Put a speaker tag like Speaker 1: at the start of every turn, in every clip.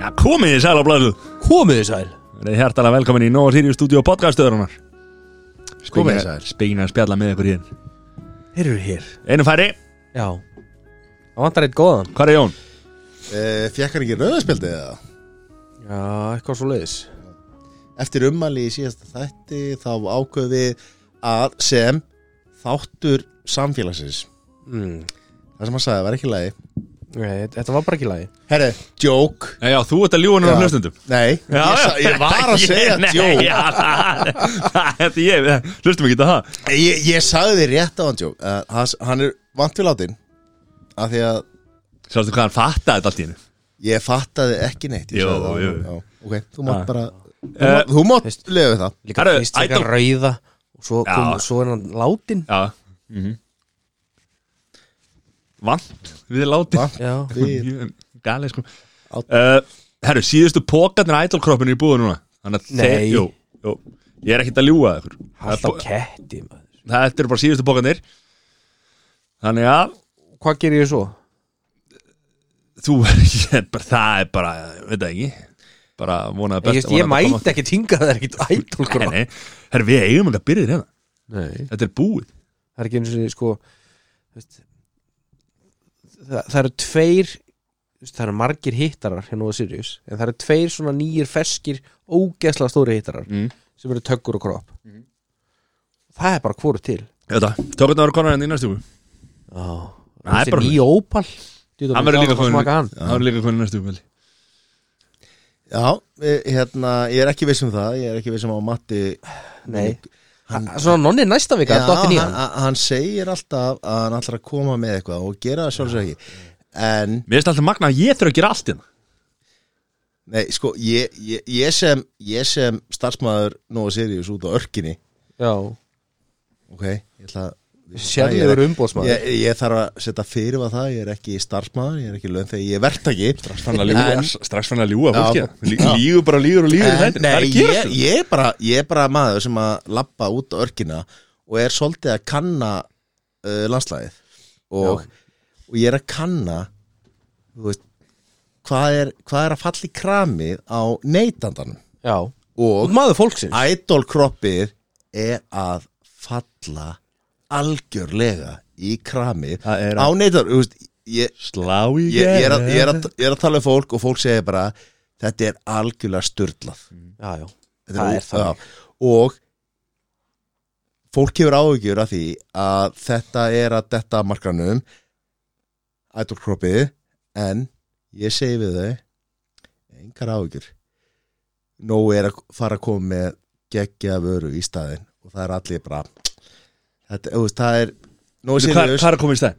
Speaker 1: Já, komið í sælablaðu
Speaker 2: Komið þið sæl
Speaker 1: Reið hjertalega velkomin í Nóa Sirius Studio podcastöðurunar
Speaker 2: Komið þið sæl
Speaker 1: Spegin að spjalla með ykkur hér
Speaker 2: Þeir eru hér
Speaker 1: Einu færi,
Speaker 2: Já Það vantar eitt góðan
Speaker 1: hvað er Jón?
Speaker 3: Fjekk Eh, hann ekki rauðarspjaldið eða?
Speaker 2: Já, eitthvað svo leiðis
Speaker 3: Eftir ummæli í síðasta þætti þá ákveðum við að sem þáttur samfélagsins
Speaker 2: mm.
Speaker 3: Hmm. Það sem hann sagði var ekki lægi
Speaker 2: Nei, Þetta var bara ekki lagi
Speaker 3: Herre, joke
Speaker 1: Já, já, þú ert að ljúa
Speaker 3: Já.
Speaker 1: núna hlustundum
Speaker 3: Nei,
Speaker 1: Já,
Speaker 3: ég,
Speaker 1: já.
Speaker 3: sa- ég var að segja
Speaker 1: Nei,
Speaker 3: joke
Speaker 1: já, það- það- Þetta er ég, við- hlustum ekki að það
Speaker 3: Eh, Ég, ég sagði þér rétt á hann joke uh, hans, Hann er vant við látin Af því að
Speaker 1: Sástu hvað hann fattaði þetta allt í hennu
Speaker 3: ég fattaði ekki neitt ég
Speaker 1: Jú,
Speaker 3: sagði það.
Speaker 1: jú.
Speaker 3: Já, Ok, þú mátt
Speaker 1: Ah.
Speaker 3: bara Þú mátt- Þú mátt lega við það
Speaker 2: Líka
Speaker 1: Herru,
Speaker 2: fyrst
Speaker 1: I
Speaker 2: eitthvað
Speaker 1: don't-
Speaker 2: rauða Og svo,
Speaker 1: Já.
Speaker 2: kom, svo er hann látin
Speaker 1: Já Mhm. Vant, við láti
Speaker 3: Vant
Speaker 2: Já
Speaker 3: við
Speaker 1: Gali sko uh, Herru, síðustu pókarnir ædolkroppinu í búið núna Þannig að
Speaker 2: Nei.
Speaker 1: jú, jú, Ég er ekkert að ljúga ykkur Það er
Speaker 2: Alltaf
Speaker 1: po-
Speaker 2: ketti maður
Speaker 1: Þetta eru bara síðustu pókarnir Þannig að
Speaker 2: Hvað gerir ég svo?
Speaker 1: þú er ég, bara, það er bara, veit það ekki bara vonaði
Speaker 2: Ég,
Speaker 1: best
Speaker 2: veist, ég mæti ekkert hingað það er ekkert sko. ædolkur
Speaker 1: Nei, herru, við eigum ekki að byrja þér hérna
Speaker 2: Nei
Speaker 1: Þetta er búið
Speaker 2: Það er ekki eins og sko þú veist, það, það eru tveir þú veist, það eru margir hittarar hérna á Sirius en það eru tveir svona nýjir feskir ógeðslega stóri hittarar
Speaker 1: Mm. Mhm.
Speaker 2: sem eru töggur og kropp það er bara hvoru til
Speaker 1: Þetta, tókarnar voru konar enn hérna í næstu viku
Speaker 2: oh.
Speaker 1: Það er
Speaker 2: þessi
Speaker 1: bara-
Speaker 2: nýja ópal Djú,
Speaker 1: Hann verður líka
Speaker 2: komið
Speaker 1: komin
Speaker 2: smaka hann
Speaker 1: Hann verður líka komin í næstu viku held ég.
Speaker 3: Já, eh, hérna, ég er ekki viss um það Ég er ekki viss um að Matti
Speaker 2: nei hann, svona nonni næsta vika
Speaker 3: Já,
Speaker 2: dottin í
Speaker 3: hann,
Speaker 2: hann
Speaker 3: hann- hann segir alltaf að hann ætlar að koma með eitthvað og gera það sjálfsög ekki en,
Speaker 1: Mér finnst alltaf magna að ég þurfa að gera allt hérna
Speaker 3: nei, sko ég, ég, ég sem, ég sem starfsmæður Nóa Sirius út á örkinni
Speaker 2: já
Speaker 3: ok, ég ætla að
Speaker 2: sérlegur
Speaker 3: Ég,
Speaker 2: umbóðsmaður
Speaker 3: ég þarf að setja fyrir að það, ég er ekki starfsmæður, ég er ekki laun þegar ég er verktaki
Speaker 1: Fann að ljúga,
Speaker 3: En-
Speaker 1: strax fann að ljúga
Speaker 3: Já.
Speaker 1: fólki hérna. Lí- Lígur bara lígur og lígur í
Speaker 3: En,
Speaker 1: þættinum. Það er að
Speaker 3: nei, ég,
Speaker 1: gerast hérna.
Speaker 3: ég, er bara, ég er bara maður sem að lappa út á örkina og er svolítið að kanna uh, landslæðið og, og ég er að kanna þú veist, hvað, er, hvað er að falla í kramið á neytandanum
Speaker 2: já og
Speaker 3: og
Speaker 2: maður fólksins
Speaker 3: idolkroppið er að falla algjörlega í kramið
Speaker 1: Það er
Speaker 3: á
Speaker 1: að-
Speaker 3: neytandanum Þú veist, ég,
Speaker 1: Slá í
Speaker 3: ég, ég, er að, ég, er að, ég er að tala um fólk og fólk segir bara þetta er algjörlega styrlað
Speaker 2: já já
Speaker 3: Þetta
Speaker 2: Það
Speaker 3: ó-
Speaker 2: er þannig.
Speaker 3: já. og fólk hefur áhugjur af því að þetta er að detta af markanum ædolkroppið en ég segi við þau engar áhugjur nóg er að fara að koma með geggja vöru í staðinn og það er allir bara þetta, þú veist, það er nóg
Speaker 1: Hvað hvað er að koma í stæð?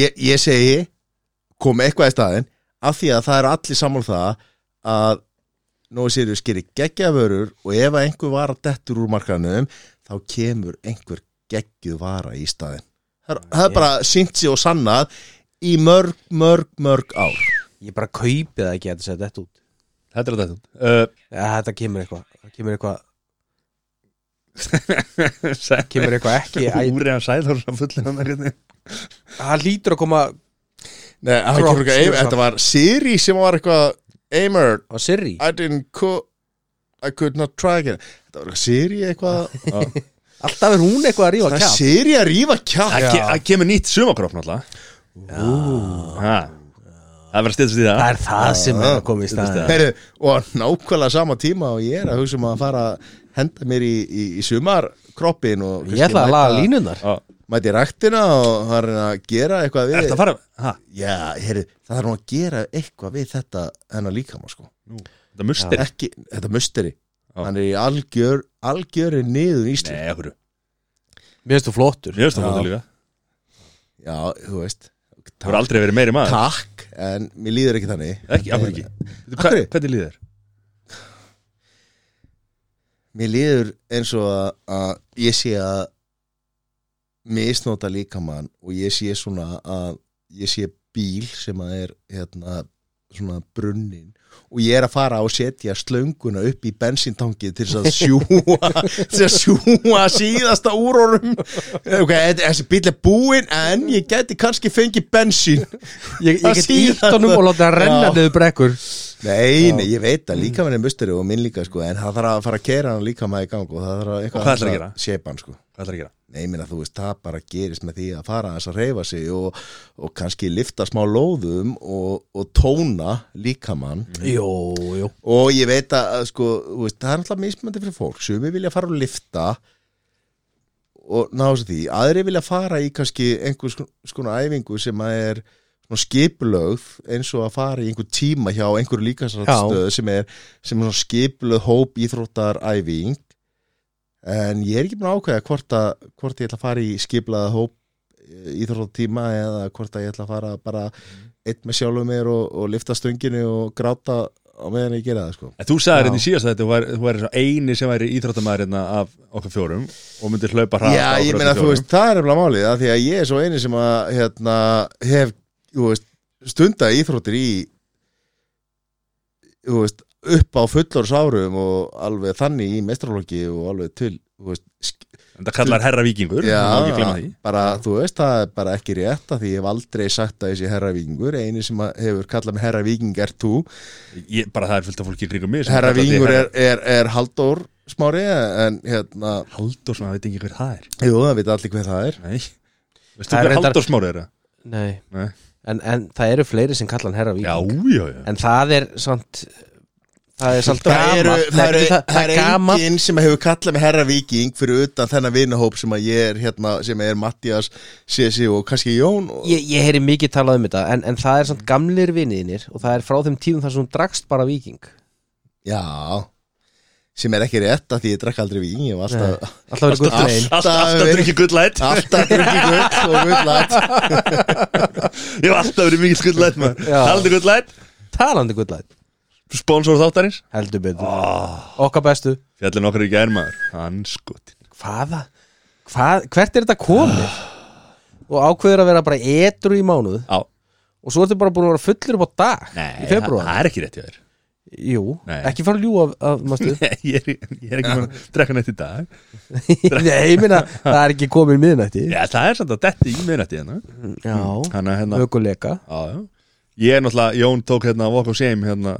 Speaker 3: ég, ég segi kom eitthvað í staðinn af því að það eru allir saman það að Nói Sirius gerir geggjavörur og ef að einhver vara dettur úr markanum þá kemur einhver geggjuð vara í staðinn það, er- það er bara sínt sér og sannað í mörg, mörg, mörg ár
Speaker 2: ég bara kaupi það ekki að þetta setja þetta út
Speaker 1: Þetta er að þetta uh,
Speaker 2: ja, þetta kemur eitthvað það kemur eitthvað
Speaker 1: Sæ-
Speaker 2: kemur eitthvað ekki æ,
Speaker 1: Úri að sæður að fulla hann hérna.
Speaker 2: það hlýtur að koma
Speaker 3: Nei,
Speaker 2: hann kemur eitthvað- þetta
Speaker 3: var Siri sem var eitthvað Eimer,
Speaker 2: á Siri
Speaker 3: I didn't co I could not try again Þetta var Siri eitthvað
Speaker 2: alltaf er hún eitthvað að rífa
Speaker 3: Það er
Speaker 2: kjátt
Speaker 3: Siri að rífa kjátt
Speaker 1: Það ke- það kemur nýtt sumakropp náttúrulega Ha. Það verður styrst í það
Speaker 2: það er það sem er að koma í staðin
Speaker 3: Heru, og á nákvæmlega sama tíma og ég er að hugsa um að fara að henda mér í, í, í sumarkroppin og
Speaker 2: ég ætla að laga línunar
Speaker 1: Já.
Speaker 3: mæti ræktina og hann er að gera eitthvað við
Speaker 1: Ertu að fara ha,
Speaker 3: já, heru, það er nú að gera eitthvað við þetta hennar líkama sko
Speaker 1: Þetta er mustir
Speaker 3: Ekki, þetta musteri
Speaker 1: Já.
Speaker 3: hann er í algjör, algjöri niður í Ísland
Speaker 1: Nei, okkur
Speaker 2: mér finnst þú flottur
Speaker 1: Mér finnst það
Speaker 3: Já.
Speaker 1: fótið líka
Speaker 3: já, þú veist
Speaker 1: Það voru aldrei verið meiri maður
Speaker 3: takk, en mér líður ekki þannig
Speaker 1: Ekki, okkur ekki Veitu, hva-
Speaker 3: Akkurri?
Speaker 1: Hvernig líður þér?
Speaker 3: mér líður eins og að, að ég sé að misnota líkamann og ég sé svona að ég sé bíl sem að er hérna svona brunnin og ég er að fara og setja slönguna upp í bensíntangið til þess að sjúa til að sjúa síðasta úrórum ok, þetta- þessi bíl er búinn en ég geti kannski fengið bensín
Speaker 2: Ég, ég
Speaker 3: Það
Speaker 2: get
Speaker 3: síðasta.
Speaker 2: ítt honum og láta hann renna
Speaker 3: Já.
Speaker 2: niður brekkur
Speaker 3: nei, nei, ég veit
Speaker 1: Mm.
Speaker 3: að líka minn er musteri og minn líka sko, en það þarf að fara að kera hann líka maður í gang og það þarf að
Speaker 1: Og hvað ætlarðu að gera?
Speaker 3: sépa hann sko
Speaker 1: Hvað ætlar að gera?
Speaker 3: Nei, ég minna, þú veist, það bara gerist með því að fara aðeins að reyfa sig og, og kannski lifta smá lóðum og, og tóna líkamann
Speaker 2: Jó, jó
Speaker 3: og ég veit að, að, sko, þú veist, það er alltaf mismöndi fyrir fólk sumi vilja fara og lifta og ná þessu því aðri vilja fara í kannski einhvers kon- skona æfingu sem að er svona skipulögð eins og að fara í einhver tíma hjá einhverju líkansrættstöð sem er, sem er svona skipulögð hóp íþróttar æfing en ég er ekki búin að ákveða hvort, að, hvort ég ætla að fara í skipulögð hóp íþróttatíma eða hvort að ég ætla að fara bara einn með sjálfum mér og, og lifta stönginu og gráta á meðan ég gera það sko
Speaker 1: En þú sagðir
Speaker 2: Já.
Speaker 1: hérna í síðast þetta, þú væri- þú væri sá eini sem væri íþróttamaður hérna af okkar fjórum og myndi hlaupa hraðast
Speaker 3: Já,
Speaker 1: af okkur
Speaker 3: ég
Speaker 1: öllum
Speaker 3: meina, þú
Speaker 1: fjórum.
Speaker 3: veist, það er nefnilega málið af því að ég er svo eini sem að hérna, hef, þú veist, stunda íþróttir í þú veist, upp á fullors árum og alveg þannig í mestralóki og alveg til, þú veist sk-
Speaker 1: En það kallar herra vikingur,
Speaker 3: já,
Speaker 1: má ekki glemma því
Speaker 3: bara, þú veist, það er bara ekki rétt af því ég hef aldrei sagt að þessi herra vikingur eini sem að hefur kallað með herra viking er þú
Speaker 1: ég, Bara það er fullt af fólki í kringum mig sem
Speaker 3: herra
Speaker 1: kallar þig
Speaker 3: vikingur
Speaker 1: herra-
Speaker 3: er, er, er Halldór smári en hérna,
Speaker 1: Halldór sem að veit ekki hver það er
Speaker 3: jú, það veit allir hver það er
Speaker 1: Nei Veistu
Speaker 2: Það er
Speaker 1: hver
Speaker 2: reyndar-
Speaker 1: Halldór smári er það?
Speaker 2: Nei,
Speaker 1: Nei.
Speaker 2: En, en það eru fleiri sem kalla hann herra vík
Speaker 1: Já, já, já
Speaker 2: En það er samt Það er samt
Speaker 3: það eru,
Speaker 2: gaman
Speaker 3: það eru,
Speaker 2: það, það
Speaker 3: það
Speaker 2: er
Speaker 3: er
Speaker 2: gaman
Speaker 3: enginn sem hefur kallað mig herra viking fyrir utan þennan vinahóp sem að ég er hérna, sem er Mattias, Sessi og kannski Jón og,
Speaker 2: Ég, ég heyri mikið talað um þetta en, en það er samt gamlir viniðinir Og það er frá þeim tímum þar sem hún drakst bara viking
Speaker 3: já sem er ekki rétt að því ég drakk aldrei viking ég var alltaf,
Speaker 2: Alltaf verið gutt veginn
Speaker 1: Alltaf alltaf
Speaker 3: verið-
Speaker 1: drukki gullætt
Speaker 3: alltaf drukki gutt og gullat
Speaker 1: Ég hef alltaf verið mikið gullætt
Speaker 2: Já.
Speaker 1: Haldi gullætt
Speaker 2: Talandi gullætt
Speaker 1: Sponsor þáttarins
Speaker 2: Heldur betur Okkar bestu
Speaker 1: Fjallin okkar ekki er maður Hann skotin
Speaker 2: Hvaða? Hvað, hvert er þetta komið? Og ákveður að vera bara etru í mánuð
Speaker 1: Á
Speaker 2: Og svo ertu bara búin að vera fullir upp á dag Í februar
Speaker 1: Það er ekki rétt hjá þér
Speaker 2: Jú,
Speaker 1: Nei.
Speaker 2: ekki fara að ljúa af, af mástu
Speaker 1: Nei, Ég er, ég er ekki mann að drekka nætt í dag
Speaker 2: Nei, ég minna, það er ekki komið miðnætti
Speaker 1: Já, það er samt að detti í minnætti hérna
Speaker 2: Já,
Speaker 1: Þannig að hérna
Speaker 2: aukuleika
Speaker 1: Já, já. Ég er náttúrulega, Jón tók hérna Walk of Shame hérna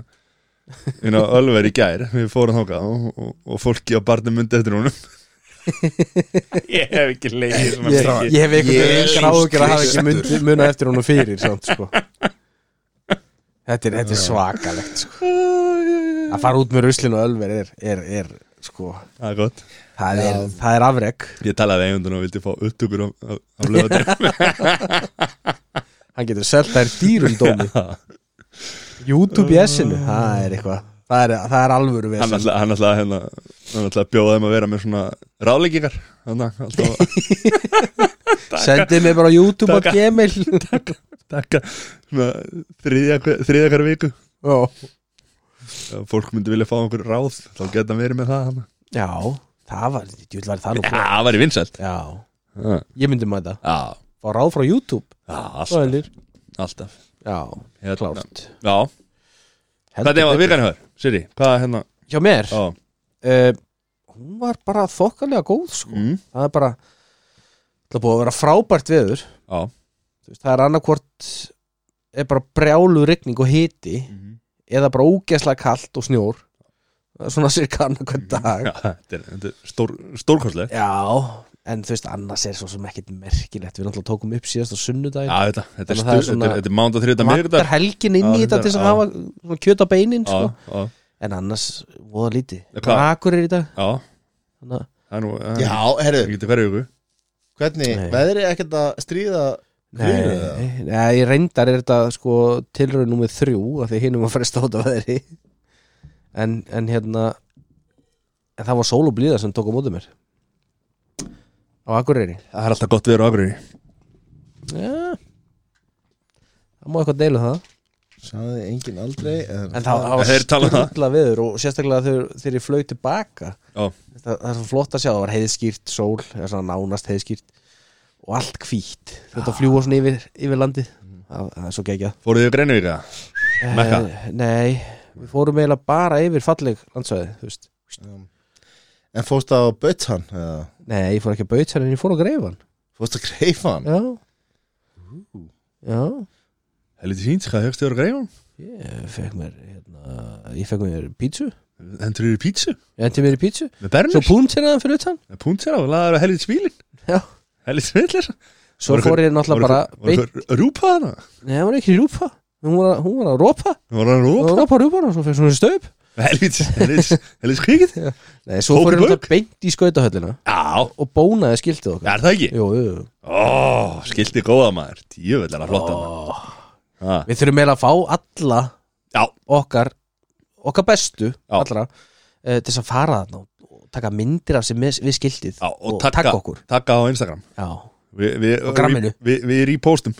Speaker 1: inn á Ölver í gær, við fórum þákað og, og, og fólki á barnum myndi eftir honum Ég hef ekki leikið svona
Speaker 2: Ég,
Speaker 1: mikið.
Speaker 2: ég hef einhvern veginn
Speaker 3: Jesus
Speaker 2: engar áhugjur að hafa ekki
Speaker 3: Kristur.
Speaker 2: myndi, muna eftir honum fyrir samt, sko. þetta, er, þetta er svakalegt sko. Að fara út með ruslinu og ölver er, er, er sko,
Speaker 1: Það er gott
Speaker 2: það er, það er afrek
Speaker 1: Ég talaði eigundun og vildi fá upptökur af, af, af lögatum
Speaker 2: Hann getur selt þær dýrum dómi YouTube í S-inu, það er eitthvað Það er, það er alvöru
Speaker 1: Hann
Speaker 2: vesen
Speaker 1: alltaf, hann alltaf, hérna, hann alltaf bjóða þeim að vera með svona ráleggingar Þannig að alltaf
Speaker 2: Sendið mér bara á YouTube og
Speaker 1: Taka.
Speaker 2: Gmail
Speaker 1: taka svona þriðja, hver- þriðja hver viku
Speaker 2: Já,
Speaker 1: Ef Fólk myndi vilja fá einhver ráð, þá geta hann verið með það hann.
Speaker 2: Já, það var, djúll var það nú
Speaker 1: Já,
Speaker 2: flott.
Speaker 1: það væri vinsælt
Speaker 2: Já,
Speaker 1: Já,
Speaker 2: ég myndi mæta
Speaker 1: já,
Speaker 2: Fá ráð frá YouTube
Speaker 1: alltaf
Speaker 2: Svælir.
Speaker 1: Alltaf
Speaker 2: Já,
Speaker 1: Hérna.
Speaker 2: klárt
Speaker 1: Já,
Speaker 2: Heldur
Speaker 1: hvernig var
Speaker 2: betur.
Speaker 1: vikan hjá þér? Siri, hvað er hérna?
Speaker 2: Hjá mér,
Speaker 1: Já,
Speaker 2: uh, hún var bara þokkalega góð sko.
Speaker 1: mm,
Speaker 2: Það er bara Það er búið að vera frábært veður
Speaker 1: já
Speaker 2: Þú veist, Það er annarkvort er bara brjálu rigning og hiti
Speaker 1: Mhm.
Speaker 2: eða bara ógeðslega kalt og snjór Það er svona cirka annarkvort dag
Speaker 1: Mhm. Já, þetta er, þetta er stór, stórkostlega
Speaker 2: Já, en þú veist annars er svo sem ekkit merkilegt Við náttúrulega tókum upp síðast á sunnudag
Speaker 1: Já, þetta, þetta er
Speaker 2: Þannig að það
Speaker 1: stuð,
Speaker 2: er svona-
Speaker 1: þetta er, þetta er mánda þriðda
Speaker 2: Vantar
Speaker 1: miðvikudag
Speaker 2: helgin
Speaker 1: Já,
Speaker 2: inn í þetta
Speaker 1: reyndar,
Speaker 2: til þess að
Speaker 1: já.
Speaker 2: hafa svona kjöt á beinin
Speaker 1: Já,
Speaker 2: sko.
Speaker 1: já,
Speaker 2: En annars, voða lítið
Speaker 1: Hvað?
Speaker 2: Bara akkur er í dag
Speaker 1: já,
Speaker 2: Þannig að
Speaker 1: það er nú
Speaker 3: já, herru,
Speaker 1: Ég geti hverju ykkur
Speaker 3: hvernig,
Speaker 2: Nei.
Speaker 3: veðrið ekkert að stríða Fyrir það?
Speaker 2: Nei, nei, reyndar er þetta sko tilraun nummið þrjú af því hinum að fresta át af veðri en, en hérna en það var sól og blíða sem tók á móti mér á Akureyri
Speaker 1: Það er alltaf gott viður á agrinni
Speaker 2: Já Það má eitthvað deilu það
Speaker 3: sagði enginn aldrei en,
Speaker 2: En það, það
Speaker 1: Þeir tala um það.
Speaker 2: var stundla viður og sérstaklega þegar, þegar ég flög tilbaka
Speaker 1: Já,
Speaker 2: það, það er svo flott að sjá, það var heiðskýrt
Speaker 1: Ah.
Speaker 2: sól, það er svona nánast heiðskýrt og allt hvítt þetta fljúa svona yfir, yfir landið það það er svo gegja
Speaker 1: Fóruðu þið greinuvíka? Mekka?
Speaker 2: Eh, Nei, við fórum eiginlega bara yfir falleg landsvæði, þú veist
Speaker 3: Um, En fórst á Bötan eða
Speaker 2: Nei, ég fór ekki að baut sér en ég fór að greifa hann
Speaker 3: Fórst á Greifan
Speaker 2: Já Já,
Speaker 1: Helviti fínt, hvað höfstu þér að greifa?
Speaker 2: ég fekk mér hérna, ég fekk mér pítsu
Speaker 1: Hendur þér í pítsu?
Speaker 2: Ég endi mér í pítsu
Speaker 1: Með
Speaker 2: Svo
Speaker 1: bernur?
Speaker 2: púntir hann fyrir utan
Speaker 1: Með púntir á, laður á helviti smílin
Speaker 2: Já.
Speaker 1: Helviti smílir
Speaker 2: Svo
Speaker 1: Voru
Speaker 2: fór ég
Speaker 1: voru
Speaker 2: náttúrulega bara beint-
Speaker 1: Rúpa hana?
Speaker 2: Nei, hún var ekki rjúpa Hún var, að- hún var að rópa
Speaker 1: Var hann
Speaker 2: Hún var
Speaker 1: rúpa?
Speaker 2: að rópa rjúpana Svo fekk svona stöp
Speaker 1: Helviti, helviti, helviti skrýkið?
Speaker 2: Nei, svo
Speaker 1: Tók
Speaker 2: fór
Speaker 1: í
Speaker 2: ég
Speaker 1: bauk?
Speaker 2: náttúrulega beint í skautahöllina
Speaker 1: Já,
Speaker 2: Og bónaði skiltið okkar
Speaker 1: er það ekki?
Speaker 2: Jú, jú, jú
Speaker 1: Ó, skildi góða maður Djöfull er að flotta maður
Speaker 2: Ó.
Speaker 1: Ha,
Speaker 2: Við þurfum eiginlega að fá alla
Speaker 1: Já.
Speaker 2: okkar okkar bestu allra uh, til þess að fara þarna og- og taka myndir af sér með, við skiltið
Speaker 1: Já, og
Speaker 2: taka,
Speaker 1: taka-
Speaker 2: okkur
Speaker 1: Takka á Instagram
Speaker 2: Já,
Speaker 1: Vi, vi,
Speaker 2: Og gramminu.
Speaker 1: Við vi, vi repostum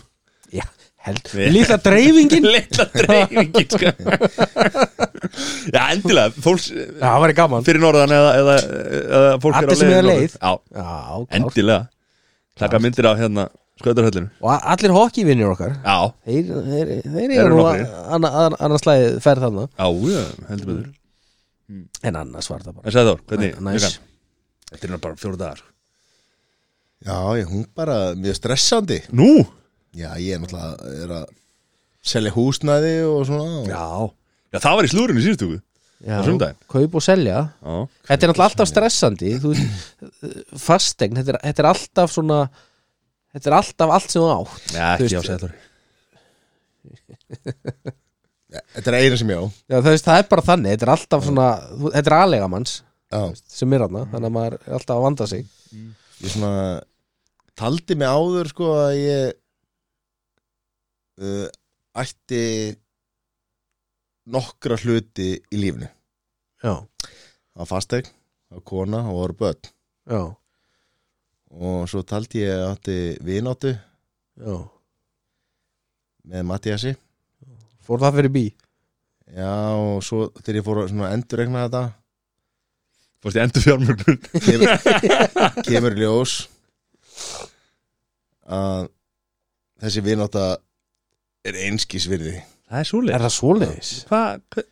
Speaker 2: já held
Speaker 1: Við-
Speaker 2: Lilla dreifingin
Speaker 1: Lilla dreifingin sko. Já, endilega Fólks
Speaker 2: Já, það væri gaman
Speaker 1: fyrir norðan eða, eða, eða fólk
Speaker 2: Allir sem
Speaker 1: leiðinni
Speaker 2: eru á
Speaker 1: norður.
Speaker 2: leið.
Speaker 1: Já,
Speaker 2: Já, klár.
Speaker 1: endilega Takka myndir á hérna Skautarhöllinu
Speaker 2: Og a- allir hokkivinnir okkar
Speaker 1: Já,
Speaker 2: Þeir, þeir, þeir
Speaker 1: Þeir
Speaker 2: eru
Speaker 1: eru
Speaker 2: nú
Speaker 1: nokkrir.
Speaker 2: að- anna- anna- annars slæði ferð þarna
Speaker 1: já, já, heldur betur
Speaker 2: En annars var það bara
Speaker 1: En sagði Þór, hvernig?
Speaker 2: Næs.
Speaker 1: vikan? Þetta er nú bara fjóru dagar
Speaker 3: Já, ég, hún bara mjög stressandi
Speaker 1: Nú?
Speaker 3: Já, ég er náttúrulega er að selja húsnæði og svona og-
Speaker 1: Já Já, það var í slúrinu síðustu viku.
Speaker 2: Já,
Speaker 1: á sunnudaginn.
Speaker 2: Kaup og selja
Speaker 1: Já
Speaker 2: Þetta er náttúrulega alltaf stressandi þú veist, Fastegn, þetta er, þetta er alltaf svona Þetta er alltaf allt sem þú átt
Speaker 1: Já,
Speaker 2: Þú
Speaker 1: ekki á
Speaker 2: veist-
Speaker 1: Sæðar
Speaker 3: Þetta er eina sem ég á
Speaker 2: Já, það, veist, það er bara þannig, þetta er alltaf svona þú- Þetta er aðlega manns
Speaker 3: Já,
Speaker 2: sem er hana Þannig að maður er alltaf að vanda sig
Speaker 3: ég svona taldi mig áður sko að ég uh, ætti nokkra hluti í lífinu
Speaker 2: Já,
Speaker 3: á fastegn, á kona og voru börn
Speaker 2: já,
Speaker 3: og svo taldi ég að átti vináttu
Speaker 2: já
Speaker 3: með Mattiasi
Speaker 2: Fór það fyrir bí
Speaker 3: Já, og svo þegar ég fór að svona endurregna þetta
Speaker 1: Fórst ég endur fjármögnun
Speaker 3: kemur, kemur í ljós að þessi vinátta er einskísvirði
Speaker 1: Það er svoleið
Speaker 2: Er það svoleiðis?
Speaker 1: Hvað, hva,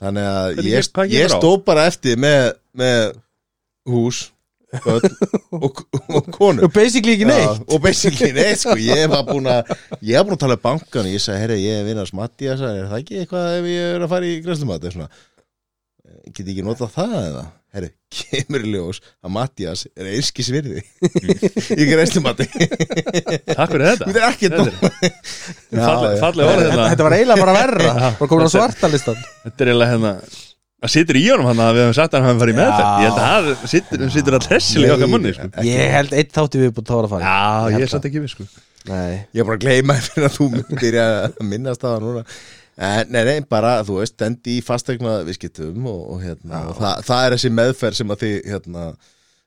Speaker 3: Þannig að
Speaker 1: Hvernig
Speaker 3: ég,
Speaker 1: gekk- hvað
Speaker 3: ég, ég
Speaker 1: kemur á?
Speaker 3: stóð bara eftir með, með hús börn og, og konu
Speaker 2: Já, basically ekki
Speaker 3: Já,
Speaker 2: neitt
Speaker 3: og basically neitt sko, ég var búin að ég var búin að tala um bankan og ég sagði, herri, ég er vinnars Mattias, er það ekki eitthvað ef ég er að fara í grænslumat eða svona, "Eh, get ekki notað það eða herri, kemur í ljós að Mattias er einskis virði í grænslumati,
Speaker 1: takk fyrir þetta
Speaker 3: það er ekki
Speaker 1: Þetta er- Falleg- falleg orð
Speaker 2: Þetta,
Speaker 1: hérna
Speaker 2: þetta var eiginlega bara verra Bara komin á
Speaker 1: Þetta-
Speaker 2: svartalistan
Speaker 1: Þetta er eiginlega hérna Það situr í honum hann að við hefum sagt að hann hafi farið
Speaker 2: Já.
Speaker 1: með þetta Ég held að það situr, situr að tressilega okkar munni sko.
Speaker 2: Ég held eitt þátti við búin tóra að fara í.
Speaker 1: Já,
Speaker 2: Ég
Speaker 1: ég
Speaker 2: held
Speaker 1: er samt ekki við sko
Speaker 2: Nei,
Speaker 3: Ég er bara að gleyma þér fyrir að þú myndir að minnast það núna en, Nei, nei, bara, þú veist, endi í fastegna viðskiptum og, og hérna og það, það er þessi meðferð sem að þið hérna,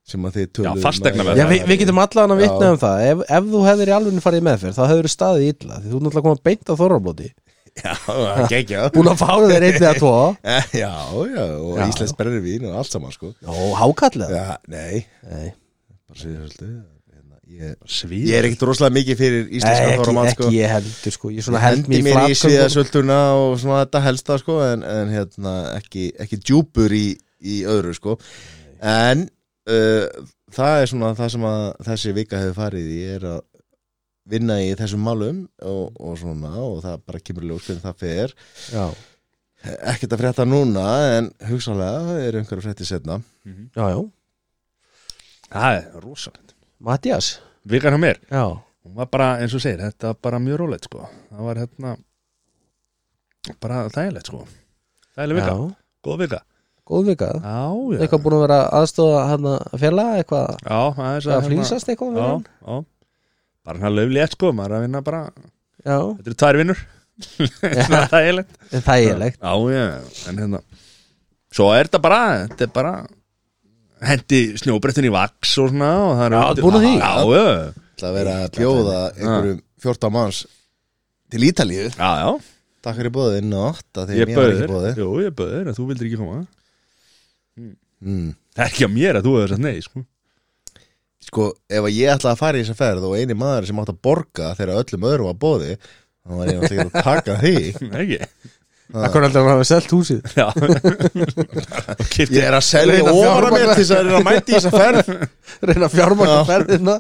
Speaker 3: sem að þið um
Speaker 1: Já,
Speaker 3: tölum
Speaker 1: fasteignameðferð.
Speaker 2: Já, við, við getum allan að vitna
Speaker 3: Já.
Speaker 2: um það ef, ef þú hefðir í alveg farið í meðferð þá hefur staðið illa því þú er náttúrulega komað beint á þorrablóti
Speaker 3: Já, það er geggjað.
Speaker 2: búin að fára þeir einni að tvo
Speaker 3: Eh, Já, já, og
Speaker 2: Já.
Speaker 3: Íslands berri vín og allt saman, sko
Speaker 2: Jó, hákallið
Speaker 3: Já, nei,
Speaker 2: Nei,
Speaker 3: bara séu svolítið hérna, ég,
Speaker 1: Svíð
Speaker 3: ég er ekkert rosalega mikið fyrir
Speaker 2: Nei,
Speaker 3: íslenska
Speaker 2: ekki,
Speaker 3: þóramann, sko
Speaker 2: ekki ég heldur sko Ég svona
Speaker 3: Ég
Speaker 2: held
Speaker 3: hendi
Speaker 2: mér í
Speaker 3: mér í
Speaker 2: flatgöngum
Speaker 3: sviðasölduna og svona þetta helsta sko en, en hérna ekki, ekki djúpur í, í öðru sko en uh, það er svona það sem að þessi vika hefur farið í er að vinna í þessum málum og, og svona og það bara kemur í ljós hvernig það fer
Speaker 2: Já,
Speaker 3: ekkert að frétta núna en hugsalega er einhverju frétti setna
Speaker 2: já, já
Speaker 1: Það er rosalegt
Speaker 2: Mattias
Speaker 1: Vikan hjá mér
Speaker 2: Já,
Speaker 1: Hún var bara, eins og segir, þetta var bara mjög rólegt sko Það var hérna Bara þægilegt sko Þægileg
Speaker 2: já
Speaker 1: vika, góð vika
Speaker 2: Góð vika
Speaker 1: Já, já
Speaker 2: Eitthvað búin að vera aðstofa hann að fjalla Eitthvað
Speaker 1: Já, aðeins
Speaker 2: að
Speaker 1: hérna-
Speaker 2: flýsast eitthvað með
Speaker 1: Já,
Speaker 2: hann?
Speaker 1: já Bara hann löflið sko, maður er að vinna bara
Speaker 2: Já,
Speaker 1: Þetta eru tvær vinnur Svona þægilegt
Speaker 2: en það er leikt
Speaker 1: Já, já, en hérna Svo er þetta bara, þetta er bara Hendi snjóbrettin í vaks og svona og það er
Speaker 2: Já, búin að því.
Speaker 1: Já, já,
Speaker 3: Það verið að bjóða
Speaker 1: Ah.
Speaker 3: einhverjum 14 manns til Ítalíu
Speaker 1: já, já
Speaker 3: Takk fyrir bóðin og 8
Speaker 1: Ég
Speaker 3: þegar mér var
Speaker 1: bauð
Speaker 3: ekki
Speaker 1: þér,
Speaker 3: bóðið
Speaker 1: jú, ég bauð þér en þú vildir ekki koma
Speaker 3: mm.
Speaker 1: Það er ekki að mér að þú hefur sagt nei, sko
Speaker 3: sko, ef að ég ætla að fara í þessa ferð og eini maður sem átt að borga þegar öllum öðrum að bóði þá var ég náttúrulega ekki að taka því
Speaker 1: ekki
Speaker 2: Það kom alltaf að hafa selt húsið
Speaker 1: Já Og kipti
Speaker 3: ég er að selja
Speaker 2: Reyna að
Speaker 3: ofan að mér
Speaker 2: fjármagna.
Speaker 3: til þess að reyna að mæti í þessa ferð
Speaker 2: Reyna að fjármagna
Speaker 3: Já.
Speaker 2: ferðina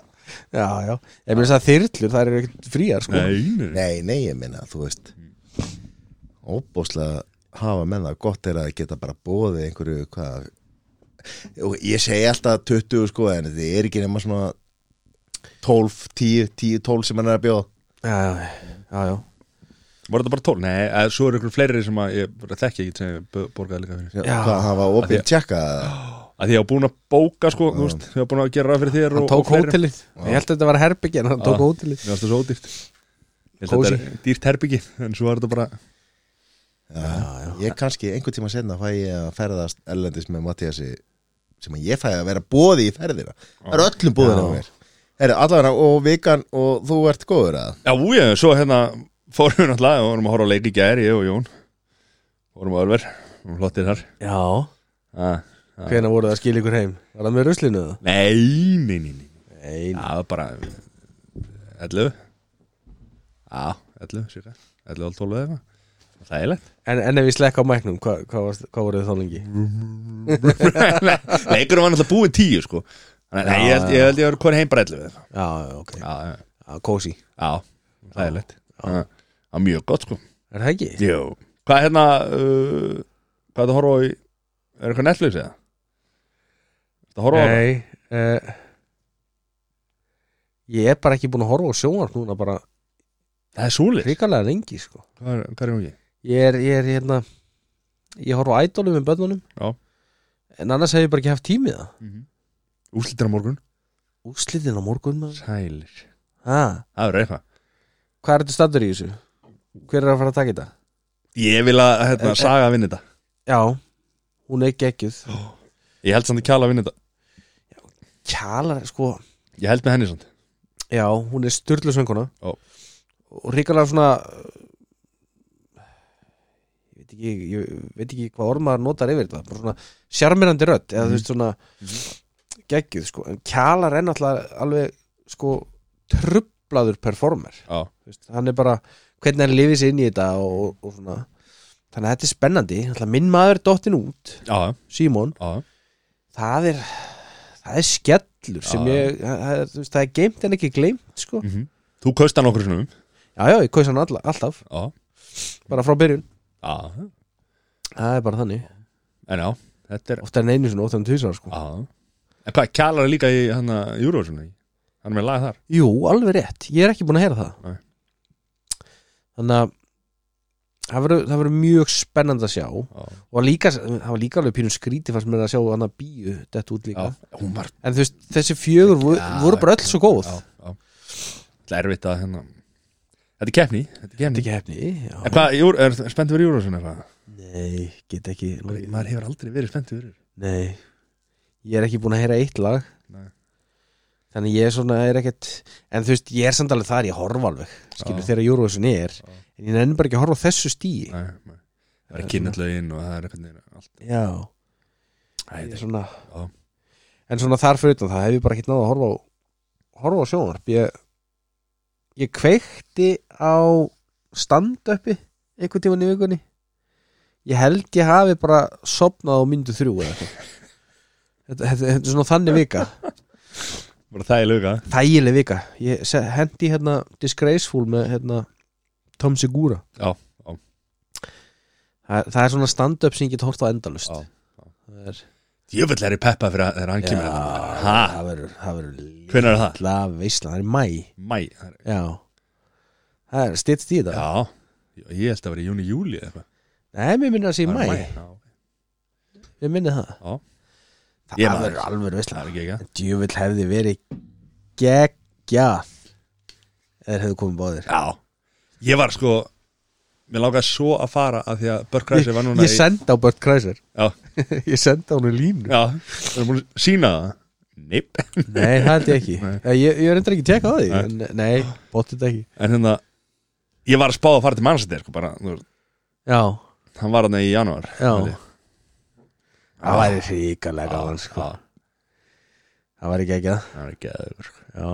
Speaker 2: Já, já Ég meins að þyrlur, það eru ekkert fríar sko
Speaker 1: Nei, nei.
Speaker 3: nei, nei, ég minna, þú veist óbúslega hafa menn það gott er að geta bara bóði einhverju, hvað og ég segi alltaf 20 sko en þetta er ekki nema svona 12, 10, 10, 12 sem hann er að bjóða
Speaker 2: Já, já, já, já.
Speaker 1: Var þetta bara tól? Nei, eða svo eru ykkur fleiri sem að ég bara þekki ekki sem ég bo- borgaði líka fyrir
Speaker 2: Já.
Speaker 3: hvað hann var
Speaker 1: Af því
Speaker 3: opið tjekka
Speaker 1: að því ég var búin að bóka sko, þú veist, ég var búin að gera ráð fyrir þér
Speaker 2: Hann
Speaker 1: og,
Speaker 2: tók
Speaker 1: og fleirum.
Speaker 2: hótelið Ég held að þetta var herbyggja en hann tók
Speaker 1: Já.
Speaker 2: hótelið
Speaker 1: Mér fannst það svo ódýrt Ég held að þetta er dýrt herbyggi en svo var þetta bara
Speaker 3: ég kannski einhvern tíma senna fæ ég að ferðast erlendis með Mattiasi sem að ég fæ að vera bóði í ferðina það eru öllum bóðin á
Speaker 2: Já.
Speaker 3: mér Heru, allavega, og vikan og þú ert góður að
Speaker 1: Já, újö, svo hérna fórum við náttúrulega og vorum að horfa á leik í gær, ég og Jón Fórum að ölver, vorum hlottir þar
Speaker 2: Já
Speaker 1: ah.
Speaker 2: Hvenær voru það að skilja ykkur heim? Var það með ruslinu það?
Speaker 1: Nei, nei, nei, nei
Speaker 2: Nei
Speaker 1: Já, það var bara 11 Já, 11, sérka 11 og 12 eða eitthvað Þægilegt
Speaker 2: En, en ef ég slekka á mæknum, hvað hva, hva, hva voru þið þá lengi?
Speaker 1: Leikurum var náttúrulega búin 10 sko Þannig að
Speaker 2: Já,
Speaker 1: ég held ég held ég var hvað heim bara 11 eða eitthvað.
Speaker 2: Já, já, ok Já,
Speaker 1: Já, já,
Speaker 2: kósi
Speaker 1: já, þægilegt Það var mjög gott sko
Speaker 2: Er það ekki?
Speaker 1: Jú Hvað er hérna uh, Hvað er það að horfa á í Er eitthvað Netflix eða? Það horfa á það?
Speaker 2: Nei uh, Ég er bara ekki búin að horfa á sjónvarp núna bara
Speaker 1: Það er súlið
Speaker 2: hrikalega lengi sko
Speaker 1: Hvað er, hvað er hún ekki?
Speaker 2: Ég er, ég er hérna Ég horfa á ædolum með börnunum
Speaker 1: Já.
Speaker 2: En annars hef ég bara ekki haft tímið það
Speaker 1: Úslitir á morgun
Speaker 2: Úrslitin á morgun maður.
Speaker 1: Sælir
Speaker 2: ha,
Speaker 1: Það er eitthvað
Speaker 2: Hvað er þetta standur í þessu? Hver er að fara að taka þetta?
Speaker 1: Ég vil að hérna, saga að vinna þetta
Speaker 2: Já, hún er geggjuð
Speaker 1: Ég held samt að kjala að vinna þetta
Speaker 2: Kjalar, sko
Speaker 1: Ég held með henni samt
Speaker 2: Já, hún er styrlu sönguna
Speaker 1: Já.
Speaker 2: og ríkala svona ég veit ekki, ég veit ekki hvað orð maður notar yfir þetta bara svona sjarmirandi rödd eða þú veist svona geggjuð sko, en kjalar er náttúrulega alveg sko trublaður performer,
Speaker 1: Já
Speaker 2: þú veist, hann er bara hvernig hann lifið sér inn í þetta og, og svona, þannig að þetta er spennandi náttúrulega minn maður dottin út,
Speaker 1: Já,
Speaker 2: Simon
Speaker 1: já
Speaker 2: það er það er skellur sem
Speaker 1: Já.
Speaker 2: ég, það er, þú veist, það er geimt en ekki gleimt sko
Speaker 1: mm Þú kaust hann okkur sinnum
Speaker 2: Já, já, ég kaus hann alla, alltaf,
Speaker 1: Já
Speaker 2: bara frá byrjun
Speaker 1: Já
Speaker 2: Það er bara þannig,
Speaker 1: En já Þetta er
Speaker 2: oftar en einu svona, oftar en tvisar sko
Speaker 1: Já En hvað kjalar er líka í hann að Eurovision ekki? Hann er með lag þar
Speaker 2: Jú, alveg rétt, ég er ekki búin að heyra það
Speaker 1: Nei.
Speaker 2: Þannig að það verður- það verður mjög spennandi að sjá
Speaker 1: Já,
Speaker 2: og líka, það var líka alveg pínum skríti fannst mér að sjá hann að bíu þetta út líka
Speaker 1: Hún var
Speaker 2: En þú veist, þessi fjögur voru,
Speaker 1: Já,
Speaker 2: voru bara öll svo góð
Speaker 1: já, já. Það er erfitt að hérna Þetta er keppni Þetta er
Speaker 2: Þetta
Speaker 1: keppni
Speaker 2: ekki hefni, já
Speaker 1: En hvað, Júr, er spenntið fyrir Júrósun eitthvað?
Speaker 2: Nei, get ekki
Speaker 1: Maður hefur aldrei verið spenntið fyrir
Speaker 2: Nei, ég er ekki búin að heyra eitt lag
Speaker 1: Nei.
Speaker 2: Þannig ég er svona, er ekkert En þú veist, ég er samt alveg þar, ég horfa alveg Skilur
Speaker 1: Já.
Speaker 2: þegar Eurovision er En ég nenni bara ekki að horfa á þessu stíi
Speaker 1: Nei, nei Það er kynnetlögin og það er eitthvað allt
Speaker 2: Já, ég er
Speaker 1: Æ,
Speaker 2: svona
Speaker 1: Já.
Speaker 2: En svona þar fyrir utan það hef ég bara ekkert náð að horfa á Horfa á sjónvarp Ég, ég kveikti á stand-upi Einhvern tímann í vikunni Ég held ég hafi bara sopnað á myndu þrjú eða eitthvað Þetta, þetta, þetta er svona þannig vika
Speaker 1: bara það er löga
Speaker 2: þægileg vika ég se- hendi hérna Disgraceful með hérna Tom Segura
Speaker 1: Já, já.
Speaker 2: Það, það er svona stand-up sem ég get hort á endalust
Speaker 1: Já,
Speaker 2: Það er-
Speaker 1: Djöfull er í peppa fyrir að þegar hann kemur hérna. Ha,
Speaker 2: það verður það verður
Speaker 1: hvernig er það?
Speaker 2: litla veisla, það er í mæ
Speaker 1: Mæ það er-
Speaker 2: já það er stýtt í þetta
Speaker 1: Já, ég held að vera í júni júli eða eitthvað
Speaker 2: nei, mér minna það sé í
Speaker 1: Það
Speaker 2: mæ,
Speaker 1: er já.
Speaker 2: mér minna það
Speaker 1: Já. Ég
Speaker 2: það
Speaker 1: man
Speaker 2: verður alveg
Speaker 1: Það
Speaker 2: veisla
Speaker 1: er ekki ekki
Speaker 2: djúvill hefði verið geggjað eða hefði komið báðir
Speaker 1: Já, ég var sko Mér langaði svo að fara að því að Börkræsir var núna
Speaker 2: ég sendi á Bert Kreiser
Speaker 1: Já.
Speaker 2: ég sendi á hún línu
Speaker 1: í Já, það er búin að sína það Neip
Speaker 2: Nei, það held ég ekki
Speaker 1: Nei.
Speaker 2: Ég, ég, ég er endur ekki að tjekka á því
Speaker 1: Nei.
Speaker 2: en, Nei, bótti þetta ekki
Speaker 1: En hérna, ég var að spáða að fara til mannsættir sko, bara, þú veist,
Speaker 2: Já,
Speaker 1: Hann var hann í janúar
Speaker 2: Já.
Speaker 1: held ég.
Speaker 3: Ah.
Speaker 2: það væri ríkalega gaman
Speaker 1: Já.
Speaker 2: sko. það var ekki ekki það
Speaker 1: Það er ekki aðeins
Speaker 2: já,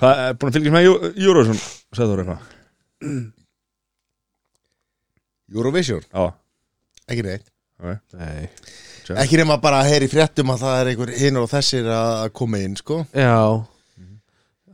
Speaker 1: Hvað, er búin að fylgjast með Euro- Eurovision Sæður þú eitthvað?
Speaker 3: Eurovision,
Speaker 1: Já,
Speaker 3: ekki neitt
Speaker 2: nei
Speaker 3: Ekki nema bara að heyri fréttum að það er einhver hinn og þessir að að koma inn sko
Speaker 2: já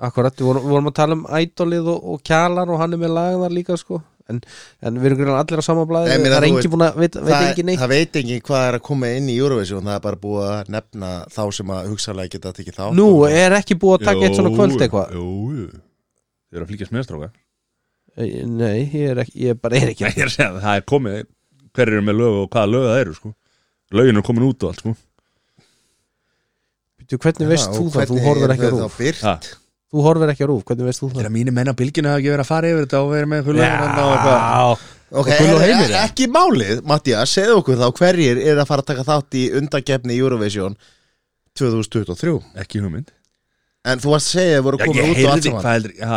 Speaker 2: akkurat, við vorum, við vorum að tala um ædolið og, og kjalar og hann er með lag þar líka sko en, en við erum greinilega allir á sama blaði
Speaker 3: Nei, ég meina,
Speaker 2: það er
Speaker 3: þú
Speaker 2: engin
Speaker 3: veist,
Speaker 2: búin að, veit, veit
Speaker 3: það,
Speaker 2: engin neitt
Speaker 3: það veit engin hvað er að koma inn í Eurovision Það er bara búið að nefna þá sem að hugsalega geta að tekið þá
Speaker 2: nú, eh, er ekki búið að taka eitt svona
Speaker 1: Jú,
Speaker 2: kvöld eitthvað
Speaker 1: Jú, jú Þið eru að fylgjast með stróka
Speaker 2: nei, ég er ekki, ég bara er ekki
Speaker 1: Nei, ég er að segja það, það er komið Hver eru með lög og hvaða lög það eru, sko Lögin eru komin út og allt, sko
Speaker 2: Þú, hvernig veist
Speaker 3: Já,
Speaker 2: þú það,
Speaker 3: og
Speaker 2: þú
Speaker 3: hvernig
Speaker 2: horfir
Speaker 3: er
Speaker 2: ekki að
Speaker 3: það
Speaker 2: rúf
Speaker 3: þá birt?
Speaker 1: Ha,
Speaker 2: Þú horfir ekki að rúf, hvernig veist þú
Speaker 1: Þegar
Speaker 2: það
Speaker 1: mínir menn á bylginu hafa ekki verið að fara yfir þetta og verið með eitthvað lögin þarna og eitthvað
Speaker 2: Já,
Speaker 3: Ok,
Speaker 2: Og Gull og
Speaker 3: er,
Speaker 2: Heimir,
Speaker 3: er,
Speaker 2: eða?
Speaker 3: ekki málið, Mattia, segðu okkur þá hverjir er að fara að taka þátt í undakefni Eurovision 2023
Speaker 1: Ekki hugmynd
Speaker 3: En þú varst að segja að þau voru
Speaker 1: Já,
Speaker 3: komin
Speaker 1: ég
Speaker 3: út og allt
Speaker 1: heyrði
Speaker 3: saman
Speaker 1: hvað heldur Já,